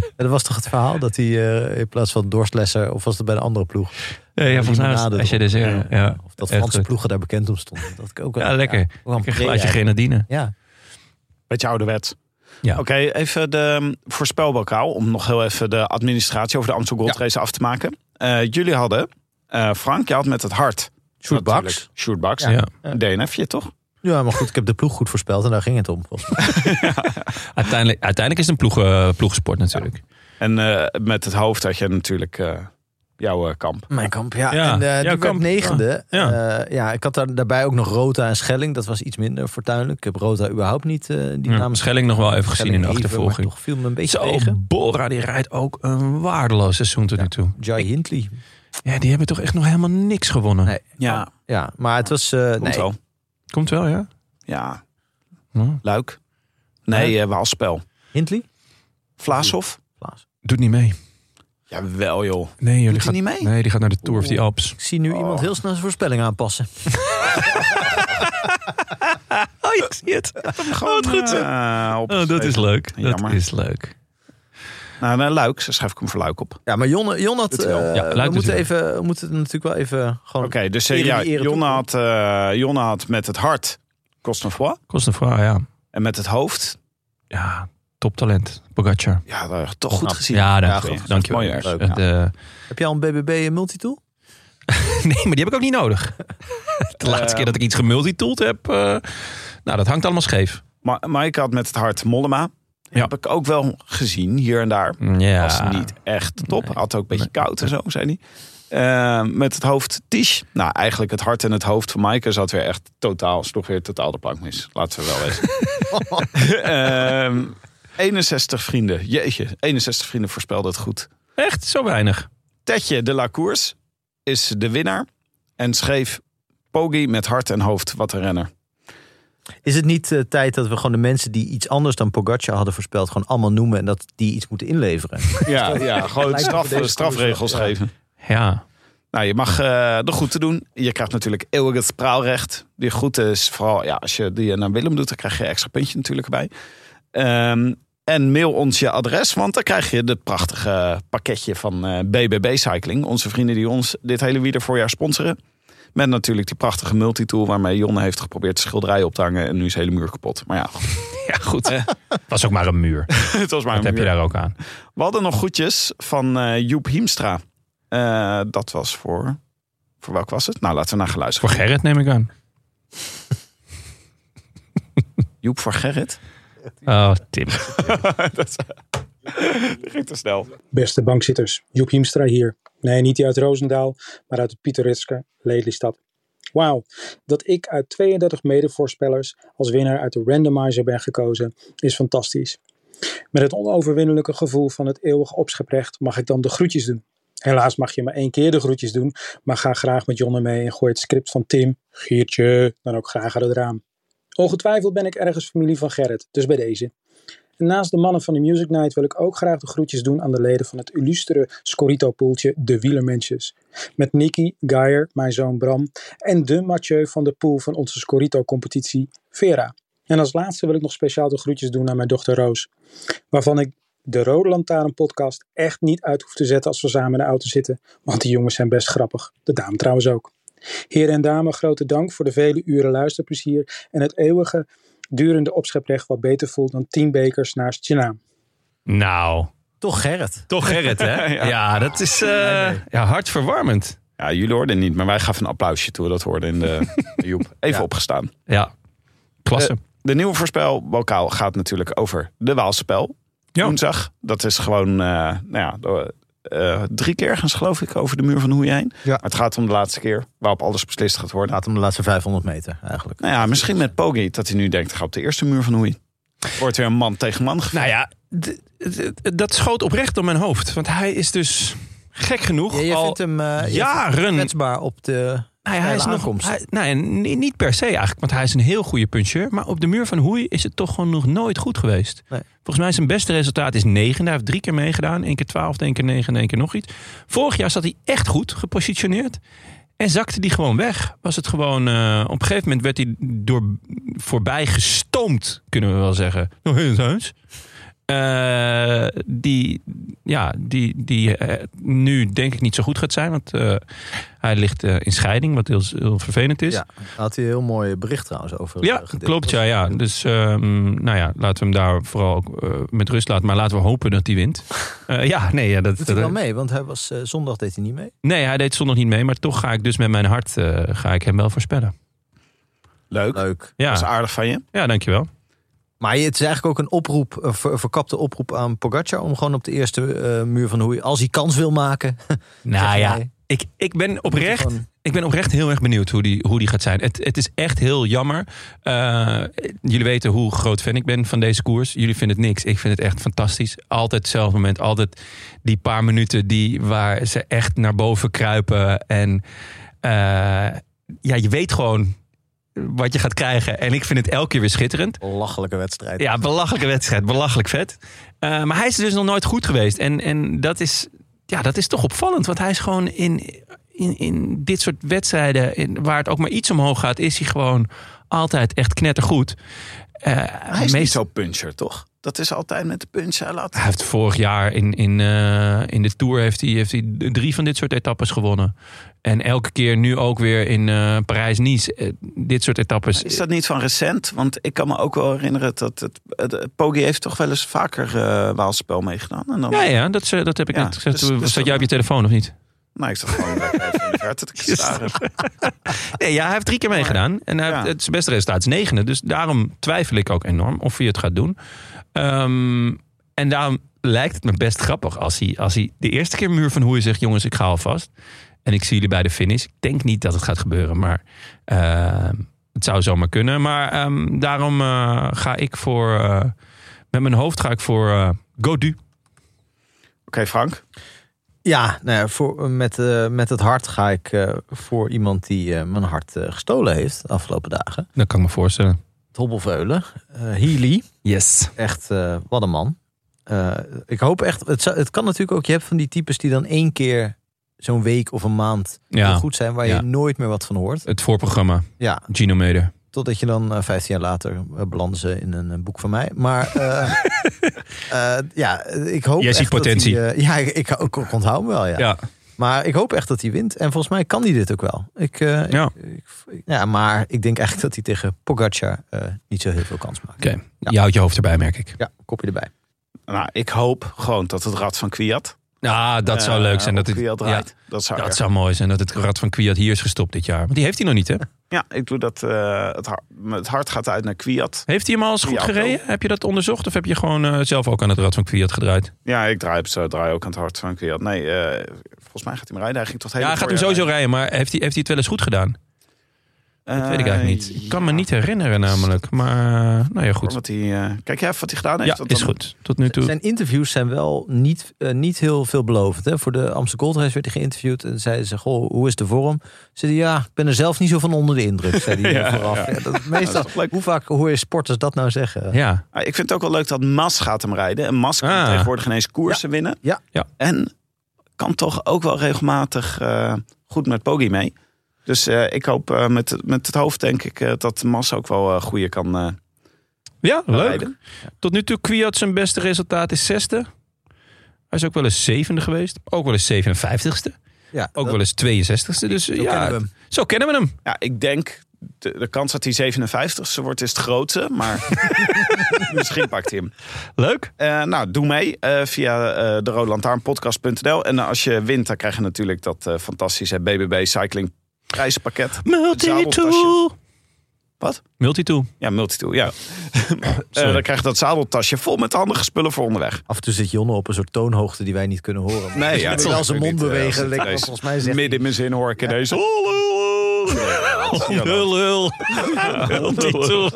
S2: En dat was toch het verhaal dat hij eh, in plaats van Dorstlesser... of was het bij de andere ploeg?
S1: ja, ja, volgens mij was het
S2: limonade
S1: AG Dessert.
S2: erop.
S1: Ja, ja.
S2: Of dat
S1: echt
S2: Franse
S1: goed.
S2: ploegen daar bekend om stonden. Dat ik ook wel-
S1: Ja, lekker.
S2: ja, wel een
S1: Een glaasje
S2: pre-
S1: grenadine.
S2: Ja,
S3: Beetje ouderwets.
S1: Ja.
S3: Oké, even de mm, voorspelbokaal. Om nog heel even de administratie over de Amstel Gold Race af te maken. Eh, jullie hadden, eh, Frank, je had met het hart.
S2: Sjoerd Baks.
S3: Natuurlijk, Sjoerd Baks.
S1: Ja.
S3: Een DNFje, toch?
S2: Ja, maar goed, ik heb de ploeg goed voorspeld en daar ging het om. volgens mij.
S1: Uiteindelijk, uiteindelijk is het een ploeg, eh, ploegensport natuurlijk.
S3: En eh, met het hoofd had je natuurlijk eh, jouw eh, kamp.
S2: Mijn kamp, ja.
S1: Ja,
S2: en eh,
S1: jouw
S2: die werd
S1: kamp.
S2: negende. Eh,
S1: Ja.
S2: Ja. ik had daar, daarbij ook nog Rota en Schelling. Dat was iets minder fortuinlijk. Ik heb Rota überhaupt niet eh, die
S1: Ja,
S2: naam.
S1: Schelling nog wel even gezien in de
S2: even,
S1: achtervolging.
S2: maar toch viel me een beetje
S1: Zo,
S2: tegen.
S1: Bora die rijdt ook een waardeloos seizoen tot nu toe.
S2: Jai Hindley.
S1: Ja, die hebben toch echt nog helemaal niks gewonnen.
S2: Nee.
S3: Ja,
S2: Ja, maar het was... eh,
S3: komt
S2: nee,
S3: wel.
S1: Komt wel, ja.
S3: Ja,
S1: Hm.
S3: Luik. Nee, eh Waalspel.
S2: Hindley?
S3: Vlaashof?
S2: Klaas.
S1: Doet niet mee.
S3: Jawel joh.
S1: Nee, joh, die
S3: Doet hij
S1: gaat,
S3: niet mee?
S1: nee, die gaat naar de Tour of the Alps.
S2: Ik zie nu iemand heel snel zijn voorspelling aanpassen.
S1: Oh, ik zie het.
S3: Gewoon
S1: Wat goed, hè?
S3: eh, op-
S1: Oh, dat is leuk. Dat
S3: Jammer.
S1: is leuk.
S3: Nou, naar Luik, dan schrijf ik hem voor Luik op.
S2: Ja, maar Jon, Jon had...
S3: Doet hij wel.
S2: eh,
S1: Ja, Luik
S2: we,
S1: doet
S2: moeten
S1: hij
S2: even, we moeten het natuurlijk wel even gewoon...
S3: Oké, dus
S2: Ere
S3: eh, ja,
S2: die ere
S3: Jonne
S2: toe.
S3: had, eh, Jonne had met het hart Cosnefroid.
S1: Kost een vrouw, ja.
S3: En met het hoofd,
S1: Ja, toptalent. Pogacar.
S3: ja, eh, toch goed
S2: Knap.
S3: gezien.
S1: Ja,
S2: Ja,
S1: dank
S2: goed.
S1: je
S3: Dat is
S1: Dank je wel.
S3: mooi erg.
S1: Het, eh,
S2: Heb jij al een BBB en multitool?
S1: (laughs) nee, maar die heb ik ook niet nodig. (laughs) De
S3: Eh,
S1: laatste keer dat ik iets gemultitooled heb, eh, nou, dat hangt allemaal scheef.
S3: Ma Mike had met het hart Mollema.
S1: Ja.
S3: Heb ik ook wel gezien, hier en daar.
S1: Ja.
S3: Was niet echt top.
S1: Nee.
S3: Had ook een beetje
S1: Nee.
S3: koud en zo, zei hij. Eh, met het hoofd Tish. Nou, eigenlijk het hart en het hoofd van Maaike zat weer echt totaal, sloeg weer totaal de plank mis. Laten we wel
S1: (laughs)
S3: weten. Ehm, 61 vrienden. Jeetje, 61 vrienden voorspelde het goed.
S1: Echt, zo weinig.
S3: Tetje de la Course is de winnaar. En schreef Pogi met hart en hoofd. Wat een renner.
S2: Is het niet eh, tijd dat we gewoon de mensen die iets anders dan Pogacar hadden voorspeld... gewoon allemaal noemen en dat die iets moeten inleveren?
S3: Ja, ja gewoon
S2: Lijkt me
S3: straf,
S2: voor deze
S3: strafregels
S2: koers wel, ja.
S3: geven.
S1: Ja.
S3: Nou, je mag eh de groeten doen. Je krijgt natuurlijk eeuwig het spraalrecht. Die groeten is vooral, ja, als je die naar Willem doet, dan krijg je een extra puntje natuurlijk bij. Ehm, en mail ons je adres, want dan krijg je het prachtige pakketje van eh, BBB Cycling. Onze vrienden die ons dit hele wielervoorjaar sponsoren. Met natuurlijk die prachtige multitool waarmee Jonne heeft geprobeerd de schilderij op te hangen. En nu is de hele muur kapot. Maar ja, (laughs) goed,
S1: Ja, goed. Was ook maar een muur.
S3: het was
S1: Dat
S3: Eh. maar een
S1: heb je
S3: muur.
S1: daar ook aan.
S3: We hadden nog groetjes van eh, Joep Hiemstra. Eh, dat was voor... Voor welk was het? Nou, laten we naar geluisteren.
S1: Voor Gerrit neem ik aan.
S3: Joep voor Gerrit.
S1: Oh, Tim.
S3: Dat ging te snel.
S4: Beste bankzitters, Joep Hiemstra hier. Nee, niet die uit Roosendaal, maar uit de Pieteritske, Lelystad. Wauw, dat ik uit 32 medevoorspellers als winnaar uit de randomizer ben gekozen, is fantastisch. Met het onoverwinnelijke gevoel van het eeuwige opscheprecht mag ik dan de groetjes doen. Helaas mag je maar één keer de groetjes doen, maar ga graag met Jonne mee en gooi het script van Tim, Geertje, dan ook graag uit het raam. Ongetwijfeld ben ik ergens familie van Gerrit, dus bij deze. En naast de mannen van de Music Night wil ik ook graag de groetjes doen aan de leden van het illustere Scorito-poeltje De Wielermensjes. Met Nicky, Geier, mijn zoon Bram en de Mathieu van de pool van onze Scorito-competitie Vera. En als laatste wil ik nog speciaal de groetjes doen aan mijn dochter Roos, waarvan ik de Rode Lantaarn podcast echt niet uit hoef te zetten als we samen in de auto zitten, want die jongens zijn best grappig. De dame trouwens ook. Heren en dames, grote dank voor de vele uren luisterplezier en het eeuwige durende opscheprecht wat beter voelt dan 10 bekers naast je naam.
S1: Nou,
S2: (laughs) Toch Gerrit.
S1: toch Gerrit, hè? (laughs) ja.
S3: Ja.
S1: dat is eh, ja, hartverwarmend.
S3: Ja, jullie hoorden het niet, maar wij gaven een applausje toe. we Dat hoorden in de
S1: (laughs)
S3: Joep. Even opgestaan.
S1: Ja, Eh, klasse.
S3: De nieuwe voorspelbokaal gaat natuurlijk over de Waalspel.
S1: Ja.
S3: Woensdag. Dat is gewoon eh, nou ja, eh, drie keer ergens geloof ik over de muur van Hoei heen.
S2: Ja.
S3: Maar het gaat om de laatste keer waarop alles beslist gaat worden.
S2: Gaat om de laatste 500 meter eigenlijk.
S3: Nou ja, misschien met Poggi dat hij nu denkt, ik ga op de eerste muur van Hoei. Wordt weer een man tegen man gevecht.
S1: nou ja, d- d- d- dat schoot oprecht door mijn hoofd. Want hij is dus gek genoeg
S2: Ja, je
S1: al
S2: vindt hem eh, je vindt hem
S1: jaren...
S2: kwetsbaar op de
S1: Nou ja, hij is nog,
S2: aankomst.
S1: hij, nou ja, ni- niet per se eigenlijk, want hij is een heel goede puncheur. Maar op de muur van Hoei is het toch gewoon nog nooit goed geweest.
S2: Nee.
S1: Volgens mij zijn beste resultaat is 9. Hij heeft drie keer meegedaan. één keer 12, één keer 9 en één keer nog iets. Vorig jaar zat hij echt goed gepositioneerd. En zakte die gewoon weg. Was het gewoon, eh, op een gegeven moment werd hij door, voorbij gestoomd, kunnen we wel zeggen. Nog heel eens. Eh, die ja, die, die eh, nu denk ik niet zo goed gaat zijn. Want eh, hij ligt eh, in scheiding, wat heel, heel vervelend is.
S2: Ja, daar had hij een heel mooi bericht trouwens over.
S1: Ja,
S2: eh, gedeeld.
S1: klopt. Ja, ja. Dus ehm, nou ja, laten we hem daar vooral ook, eh, met rust laten. Maar laten we hopen dat hij
S2: (laughs)
S1: wint. Eh, ja, nee, ja, dat,
S2: Doet hij wel
S1: dat-
S2: mee, want hij was, eh, zondag deed hij niet mee.
S1: nee, hij deed zondag niet mee. Maar toch ga ik dus met mijn hart eh, ga ik hem wel voorspellen.
S3: Leuk.
S2: Leuk.
S3: Dat is
S1: Ja,
S3: aardig van je.
S1: ja dankjewel.
S2: Maar het is eigenlijk ook een oproep, een ver- verkapte oproep aan Pogacar... om gewoon op de eerste eh, muur van hoe je, als hij kans wil maken...
S1: Nou
S2: zeg
S1: ja,
S2: jij,
S1: ik, ik ben
S2: moet hij
S1: oprecht
S2: gewoon-
S1: Ik ben oprecht heel erg benieuwd hoe die, hoe die gaat zijn. Het, het is echt heel jammer. Eh, jullie weten hoe groot fan ik ben van deze koers. Jullie vinden het niks. Ik vind het echt fantastisch. Altijd hetzelfde moment. Altijd die paar minuten die, waar ze echt naar boven kruipen. En eh, ja, je weet gewoon wat je gaat krijgen. En ik vind het elke keer weer schitterend.
S2: Lachelijke wedstrijd.
S1: Ja, belachelijke wedstrijd. Belachelijk vet. Eh, maar hij is dus nog nooit goed geweest. En, en dat, is, ja, dat is toch opvallend. Want hij is gewoon in, in, in dit soort wedstrijden... In, waar het ook maar iets omhoog gaat... is hij gewoon altijd echt knettergoed. Eh,
S3: Hij is niet
S1: meest-
S3: zo puncher, toch? Dat is altijd met de punch. Hij laat
S1: hij heeft vorig jaar in, in, eh, in de Tour heeft hij, heeft hij drie van dit soort etappes gewonnen. En elke keer nu ook weer in eh, Parijs-Nice. eh, dit soort etappes.
S3: Is dat niet van recent? Want ik kan me ook wel herinneren dat het, het, het- Poggi heeft toch wel eens vaker eh Waalspel meegedaan. En dan,
S1: Ja, ja dat, is, eh, dat heb ik
S3: Ja,
S1: net gezegd.
S3: dus- dus-
S1: Zat jij op je telefoon of niet?
S3: Nou, ik zat gewoon lekker even in de verte
S1: (laughs)
S3: te staren.
S1: Nee, ja, hij heeft drie keer meegedaan. En hij
S3: Ja.
S1: heeft het zijn beste resultaat is negende. Dus daarom twijfel ik ook enorm of hij het gaat doen. Ehm, en daarom lijkt het me best grappig als hij, als hij de eerste keer muur van hoe je zegt... jongens, ik ga alvast. En ik zie jullie bij de finish. Ik denk niet dat het gaat gebeuren, maar ehm, het zou zomaar kunnen. Maar ehm, daarom eh, ga ik voor... eh, met mijn hoofd ga ik voor eh Godu.
S3: Oké, Frank.
S2: Ja, nou ja voor, met, eh, met het hart ga ik eh, voor iemand die eh, mijn hart eh, gestolen heeft de afgelopen dagen.
S1: Dat kan ik me voorstellen.
S2: Het hobbelveulen. eh Healy.
S1: Yes.
S2: Echt, eh, wat een man. Eh, ik hoop echt, het, zou- het kan natuurlijk ook, je hebt van die types die dan één keer zo'n week of een maand heel
S1: Ja,
S2: goed zijn, waar
S1: Ja.
S2: je nooit meer wat van hoort.
S1: het voorprogramma.
S2: Ja,
S1: Gino Meder.
S2: totdat je dan eh, 15 jaar later eh, belanden ze in een, eh, boek van mij.
S1: (laughs)
S2: Maar eh, eh, ja, ik hoop
S1: Jij
S2: echt
S1: ziet
S2: dat
S1: potentie.
S2: hij, eh, ja, ik, ik, ik onthoud hem wel, ja.
S1: Ja.
S2: Maar ik hoop echt dat hij wint. En volgens mij kan hij dit ook wel. Ik, eh, ik-
S1: Ja.
S2: ik- ik- ja. maar ik denk eigenlijk dat hij tegen Pogacar eh, niet zo heel veel kans maakt.
S1: Oké, je houdt je hoofd erbij, merk ik.
S2: Ja, kopje erbij.
S3: Nou, ik hoop gewoon dat het rad van Kwiat.
S1: Ah, dat zou
S3: eh,
S1: leuk zijn.
S3: op
S1: Dat het,
S3: Kwiat
S1: ja,
S3: rijdt. dat zou
S1: dat
S3: erg-
S1: zou mooi zijn dat het rad van Kwiat hier is gestopt dit jaar. Want die heeft hij nog
S3: (laughs)
S1: niet, hè?
S3: Ja, ik doe dat. eh, het, har- het hart gaat uit naar Kwiat.
S1: Heeft hij hem al eens goed
S3: Ja,
S1: gereden? Heb je dat onderzocht? Of heb je gewoon eh, zelf ook aan het rad van Kwiat gedraaid?
S3: Ja, ik draai, zo, draai ook aan het hart van Kwiat. Nee, eh, volgens mij gaat hij hem rijden. Hij ging tot
S1: Ja, hij gaat hem sowieso rijden, maar heeft hij, heeft hij het wel eens goed gedaan? Dat weet ik eigenlijk niet. Ik kan me niet herinneren namelijk. Maar nou ja, goed.
S3: Eh, Wat hij, eh, kijk jij even wat hij gedaan heeft?
S1: Ja,
S3: want
S1: is
S3: dan-
S1: goed. Tot nu toe.
S2: Zijn interviews zijn wel niet, eh, niet heel veelbelovend. Hè? Voor de Amsterdam Gold Race werd hij geïnterviewd. En zeiden ze, goh, hoe is de vorm? Ze zei, ja, ik ben er zelf niet zo van onder de indruk. Zei hij
S3: (laughs) Ja,
S2: vooraf.
S3: ja.
S2: Ja, dat, meestal,
S3: toch leuk?
S2: hoe vaak hoor je sporters dat nou zeggen?
S1: Ja,
S3: Ah, ik vind het ook wel leuk dat Mas gaat hem rijden. En Mas kan
S1: Ah.
S3: tegenwoordig ineens koersen winnen.
S2: Ja.
S1: Ja.
S3: En kan toch ook wel regelmatig eh, goed met Poggi mee. Dus eh, ik hoop eh, met, met het hoofd denk ik eh, dat Mas ook wel eh goede kan eh,
S1: ja leuk.
S3: rijden.
S1: Tot nu toe Kwiat zijn beste resultaat is zesde. Hij is ook wel eens zevende geweest. Ook wel eens 57ste.
S2: Ja,
S1: Ook
S2: dat-
S1: wel eens 62ste. Dus
S2: zo
S1: ja,
S2: kennen we hem.
S1: zo kennen we hem.
S3: Ja, ik denk de, de kans dat hij 57ste wordt is het grootste. Maar (laughs) misschien pakt hij hem.
S1: Leuk.
S3: Eh, nou, doe mee eh, via eh de En eh, als je wint, dan krijg je natuurlijk dat eh, fantastische BBB Cycling prijspakket.
S1: Multitool.
S3: zadeltasje. Wat?
S1: Multitool.
S3: Ja, multitool, (coughs) ja. Eh dan krijg je dat zadeltasje vol met handige spullen voor onderweg.
S2: Af en toe zit Jonne op een soort toonhoogte die wij niet kunnen horen. Maar
S3: Nee, ja,
S2: hij wil wel zijn mond
S3: niet, eh,
S2: bewegen.
S3: als het
S2: lekker,
S3: ineens
S2: volgens mij zegt
S3: Midden in mijn zin hoor ik ineens... oh,
S1: Oh, Lul, lul.
S3: (laughs)
S1: Multitool.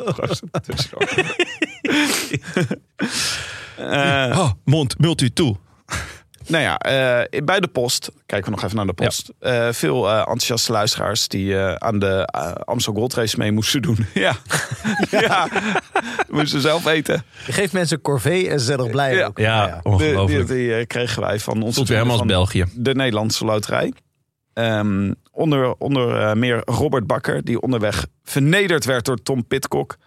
S3: Eh,
S1: Oh, mond, multitool.
S3: Nou ja, eh, bij de post, kijken we nog even naar de post. Eh, veel eh, enthousiaste luisteraars die eh, aan de eh, Amstel Gold Race mee moesten doen. (laughs) ja. ja, moesten zelf weten.
S2: Je geeft mensen een corvée en ze zijn er blij
S3: Ja.
S2: ook. Nou
S1: Ja,
S3: Die, die,
S1: ongelooflijk.
S3: die, eh, kregen wij van onze
S1: Voelt weer helemaal als
S3: vrienden
S1: België.
S3: van de Nederlandse Loterij. Ehm, onder onder eh, meer Robert Bakker, die onderweg vernederd werd door Tom Pitcock.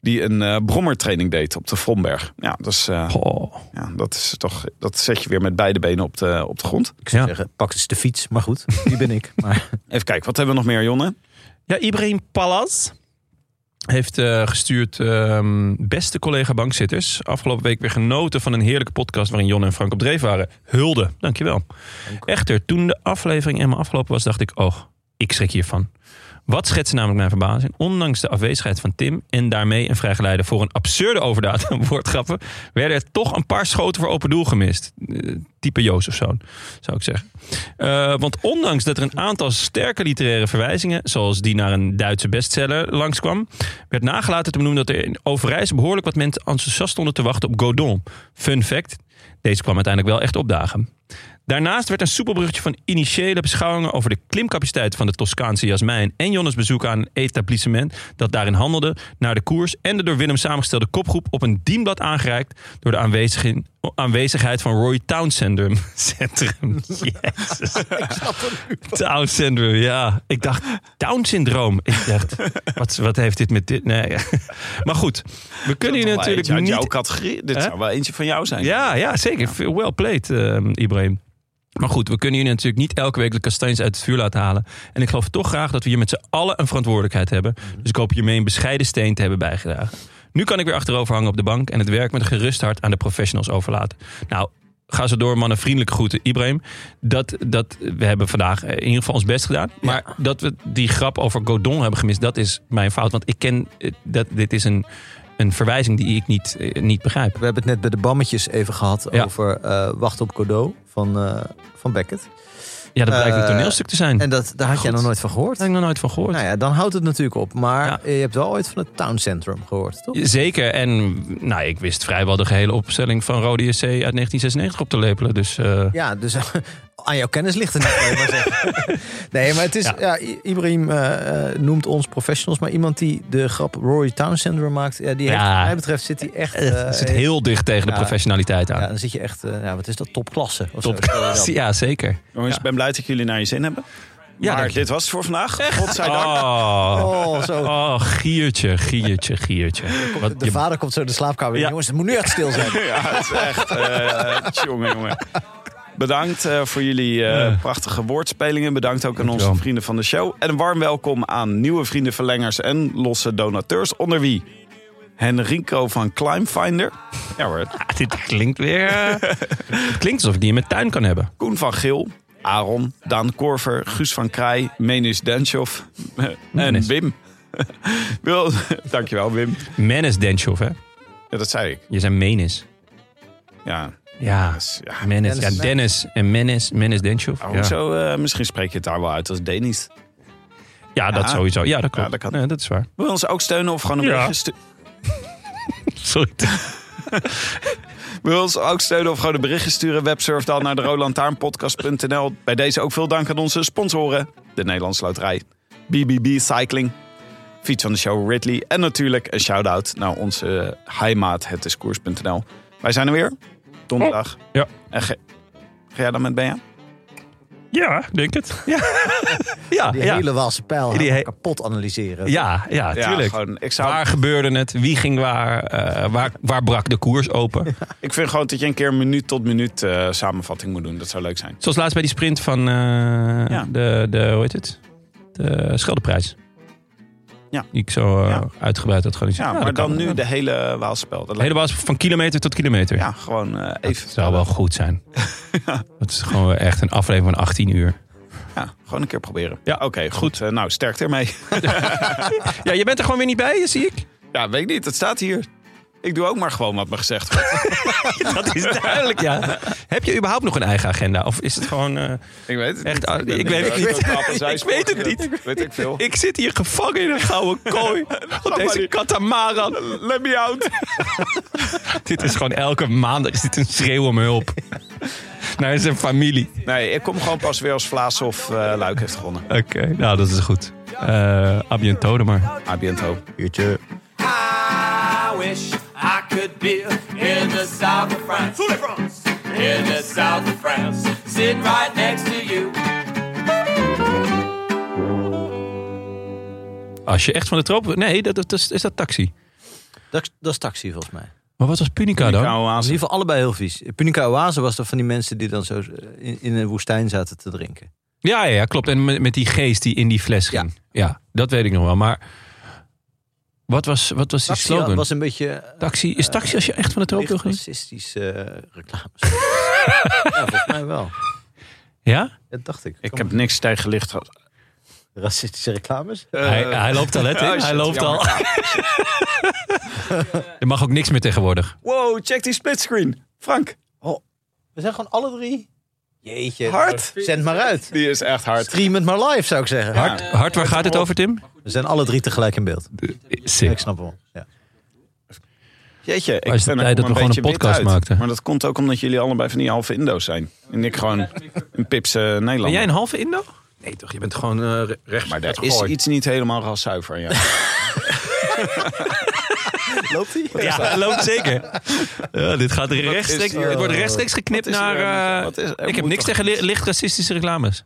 S3: Die een eh, brommertraining deed op de Vomberg. Ja, dat is, eh,
S1: Oh.
S3: ja, dat is toch. Dat zet je weer met beide benen op de, op de grond.
S2: Ik zou
S1: Ja.
S2: zeggen, pak eens de fiets. Maar goed, die ben ik. Maar
S3: Even kijken, wat hebben we nog meer, Jonne?
S1: Ja, Ibrahim Pallas heeft eh, gestuurd... ehm, beste collega bankzitters, afgelopen week weer genoten van een heerlijke podcast... waarin Jon en Frank op dreef waren. Hulde, dankjewel. Echter, toen de aflevering helemaal afgelopen was, dacht ik... oh, ik schrik hiervan. Wat schetste namelijk mijn verbazing? Ondanks de afwezigheid van Tim en daarmee een vrijgeleide voor een absurde overdaad aan woordgrappen, werden er toch een paar schoten voor open doel gemist. Eh, type Jozefzoon, zou ik zeggen. Eh, want ondanks dat er een aantal sterke literaire verwijzingen, zoals die naar een Duitse bestseller langskwam, werd nagelaten te benoemen dat er in Overijs behoorlijk wat mensen enthousiast stonden te wachten op Godon. Fun fact, deze kwam uiteindelijk wel echt opdagen. Daarnaast werd een soepel bruggetje van initiële beschouwingen over de klimcapaciteit van de Toscaanse Jasmijn en Jonnes bezoek aan een etablissement dat daarin handelde naar de koers en de door Willem samengestelde kopgroep op een dienblad aangereikt door de aanwezigin- aanwezigheid van Roy Town Syndrome. (laughs) Centrum. Jezus. Town Syndrome, ja. Ik dacht, Down Syndroom. Ik dacht, wat, wat heeft dit met dit? Nee. (laughs) Maar goed, we kunnen hier
S3: Dat is wel
S1: natuurlijk
S3: eentje uit
S1: niet
S3: jouw categorie. Dit
S1: Hè?
S3: zou wel eentje van jou zijn.
S1: ja, ja, zeker. Well played, ehm, Ibrahim. Maar goed, we kunnen jullie natuurlijk niet elke week de kastanjes uit het vuur laten halen. En ik geloof toch graag dat we hier met z'n allen een verantwoordelijkheid hebben. Dus ik hoop hiermee een bescheiden steen te hebben bijgedragen. Nu kan ik weer achterover hangen op de bank en het werk met een gerust hart aan de professionals overlaten. Nou, ga zo door, mannen. Vriendelijke groeten, Ibrahim. Dat, dat, we hebben vandaag eh, in ieder geval ons best gedaan. Maar dat we die grap over Godon hebben gemist, dat is mijn fout. Want ik ken, eh, dat, dit is een, een verwijzing die ik niet, eh, niet begrijp.
S2: we hebben het net bij de bammetjes even gehad
S1: Ja.
S2: over eh Wacht op Godot van, eh, van Beckett.
S1: Ja, dat blijkt een
S2: Eh,
S1: toneelstuk te zijn.
S2: En dat, daar had jij
S1: Goed.
S2: nog nooit van gehoord.
S1: Daar heb ik nog nooit van gehoord.
S2: Nou ja, dan houdt het natuurlijk op. Maar
S1: Ja.
S2: je hebt wel ooit van het Town Centrum gehoord, toch?
S1: Zeker. En nou, ik wist vrijwel de gehele opstelling van Rode JC uit 1996 op te lepelen. Dus eh,
S2: Ja, dus aan jouw kennis ligt het niet. kan je maar
S1: (laughs)
S2: zeggen. nee, maar het is... Ja. I- Ibrahim eh, eh, noemt ons professionals. Maar iemand die de grap Rory Town Syndrome maakt... Ja, die heeft,
S1: Ja.
S2: wat mij betreft zit hij echt... eh,
S1: het zit heel dicht tegen de
S2: ja.
S1: professionaliteit aan.
S2: Ja,
S1: Ja,
S2: dan zit je echt... eh, ja, wat is dat? Topklasse. Of zo.
S1: (laughs) ja zeker.
S3: Jongens, ik ben blij dat jullie naar je zin hebben.
S1: Ja,
S3: maar
S1: dank je.
S3: dit was het voor vandaag. Godzijdank.
S1: Oh,
S2: Oh, zo.
S1: oh, giertje, giertje, giertje.
S2: (laughs)
S1: Wat,
S2: De
S1: je-
S2: vader komt zo de slaapkamer. in.
S1: Ja.
S2: Jongens, het moet nu echt stil (laughs) zijn.
S3: (laughs) Ja, het is echt... eh, jongen, jongen. Bedankt eh, voor jullie eh, prachtige woordspelingen. Bedankt ook aan onze
S1: Dankjewel.
S3: vrienden van de show. En een warm welkom aan nieuwe vrienden, verlengers en losse donateurs. Onder wie Henrico van Climbfinder. Ja hoor.
S1: Ah, dit klinkt weer... eh, (laughs) het klinkt alsof ik die in mijn tuin kan hebben.
S3: Koen van Geel. Aaron, Daan Korver, Guus van Krij, Menis Denshoff (laughs) en
S1: Menis.
S3: Wim. (laughs) Wil, dankjewel Wim.
S1: Menes Denchoff, hè?
S3: Ja, dat zei ik.
S1: Je zei Menes.
S3: Ja.
S1: Ja,
S3: Dus, ja.
S1: Menes. Ja, Dennis en Menes. Menes Denchoff.
S3: Oh,
S1: ja.
S3: Zo, eh, misschien spreek je het daar wel uit als Denis.
S1: Ja, dat
S3: Ja.
S1: sowieso. Ja, dat klopt.
S3: Ja, dat kan.
S1: Nee, dat is waar.
S3: Wil je ons ook steunen of gewoon een
S1: Ja.
S3: berichtje sturen?
S1: Sorry.
S3: Wil je ons ook steunen of gewoon een berichtje sturen? Websurf dan naar de roodlantaarnpodcast.nl. Bij deze ook veel dank aan onze sponsoren. De Nederlandse Loterij, BBB Cycling, fiets van de show Ridley. En natuurlijk een shout-out naar onze heimaat, het is koers.nl. Wij zijn er weer, donderdag.
S1: Ja.
S3: En ge- ga jij dan met Benja?
S1: Ja, denk het. Ja, (laughs) ja,
S2: Die
S1: ja.
S2: hele Waalse pijl
S1: Die he-
S2: kapot analyseren.
S1: ja, ja, tuurlijk.
S3: gewoon, ik, zou,
S1: Waar gebeurde het? Wie ging waar? Eh, waar, waar brak de koers open?
S3: ik vind gewoon dat je een keer een minuut tot minuut eh, samenvatting moet doen. Dat zou leuk zijn.
S1: Zoals laatst bij die sprint van eh, de, de, hoe heet het? De Scheldeprijs.
S3: Ja.
S1: Die ik zo eh,
S3: Ja.
S1: uitgebreid had georganiseerd.
S3: Ja,
S1: dat
S3: maar
S1: kan.
S3: dan nu
S1: Ja.
S3: de hele Waalspel. Dat
S1: De hele
S3: lijkt-
S1: baas van kilometer tot kilometer.
S3: Ja, gewoon eh, even.
S1: Dat zou wel goed
S3: (laughs)
S1: zijn. Dat is gewoon echt een aflevering van 18 uur.
S3: Ja, gewoon een keer proberen.
S1: Ja,
S3: oké, goed. Eh, nou, sterkte ermee.
S1: Ja, je bent er gewoon weer niet bij, zie ik.
S3: (laughs) ja, weet ik niet. Het staat hier. Ik doe ook maar gewoon wat me gezegd wordt. (laughs)
S1: Dat is duidelijk, ja. (laughs) Heb je überhaupt nog een eigen agenda? Of is het gewoon... eh,
S3: Ik weet het
S1: Echt,
S3: niet.
S1: ah, ik weet het
S3: ben
S1: niet.
S3: een totaal van (laughs)
S1: Ik weet het
S3: zijspoor. Weet ik veel.
S1: ik zit hier gevangen in een gouden kooi. Op deze katamaran.
S3: Let me out.
S1: (laughs) Dit is gewoon elke maandag is dit een schreeuw om hulp. Naar zijn familie.
S3: (laughs) Nee, ik kom gewoon pas weer als Vlaas of eh, Luik heeft gewonnen.
S1: Oké, nou dat is goed. Eh Abientode maar.
S3: Abiento.
S2: Uurtje.
S5: I wish I could be in the south of France. In the south of France. Sitting right next to you.
S1: Als je echt van de tropen... Nee, dat, dat is, is dat taxi.
S2: Dat, dat is taxi volgens mij.
S1: Maar wat was Punica dan?
S2: Dat is in ieder geval allebei heel vies. Punica Oase was dat van die mensen die dan zo eh, in, in een woestijn zaten te drinken.
S1: Ja, ja, ja, klopt. En met, met die geest die in die fles ging. Ja. dat weet ik nog wel. Maar wat was, wat was die
S2: Taxi
S1: slogan?
S2: was een beetje eh,
S1: Taxi, is taxi als je echt van de tropen
S2: licht
S1: wil gaan?
S2: racistische eh, reclames. (laughs) ja, volgens mij wel.
S1: Ja?
S2: Dat dacht ik.
S3: Ik heb niks tegen licht gehad.
S2: Racistische reclames?
S1: hij, hij loopt al, hè? Tim?
S3: oh, shit,
S1: hij loopt
S3: jammer.
S1: al. er mag ook niks meer tegenwoordig.
S3: (laughs) Wow, check die splitscreen. Frank,
S2: We zijn gewoon alle drie. Jeetje.
S3: Hard.
S2: Zend maar uit.
S3: die is echt hard.
S2: Stream het maar live, zou ik zeggen.
S1: Hart, hart, waar gaat het over, Tim?
S2: We zijn alle drie tegelijk in beeld. Ja, ik
S1: Sick.
S2: snap hem. wel. Ja.
S3: Jeetje, ik
S1: Maar is het
S3: ben er
S1: tijd dat
S3: allemaal
S1: we gewoon
S3: beetje
S1: een
S3: wit
S1: podcast
S3: uit.
S1: maakten?
S3: Maar dat komt ook omdat jullie allebei van die halve Indo's zijn. En ik gewoon een pipse Nederlander.
S1: Ben jij een halve Indo? Nee, toch? Je bent gewoon eh, re- rechts.
S3: Maar daar is
S1: rechtsgooid.
S3: iets niet helemaal raszuiver aan jou.
S2: Loopt hij?
S1: Ja, dat loopt zeker. eh, Ja, dit gaat rechtstreeks.
S3: hier-
S1: Het wordt rechtstreeks geknipt
S3: Wat is er
S1: naar.
S3: aan de-
S1: eh,
S3: wat is- er
S1: ik heb
S3: moet
S1: niks
S3: toch
S1: tegen li- licht racistische reclames.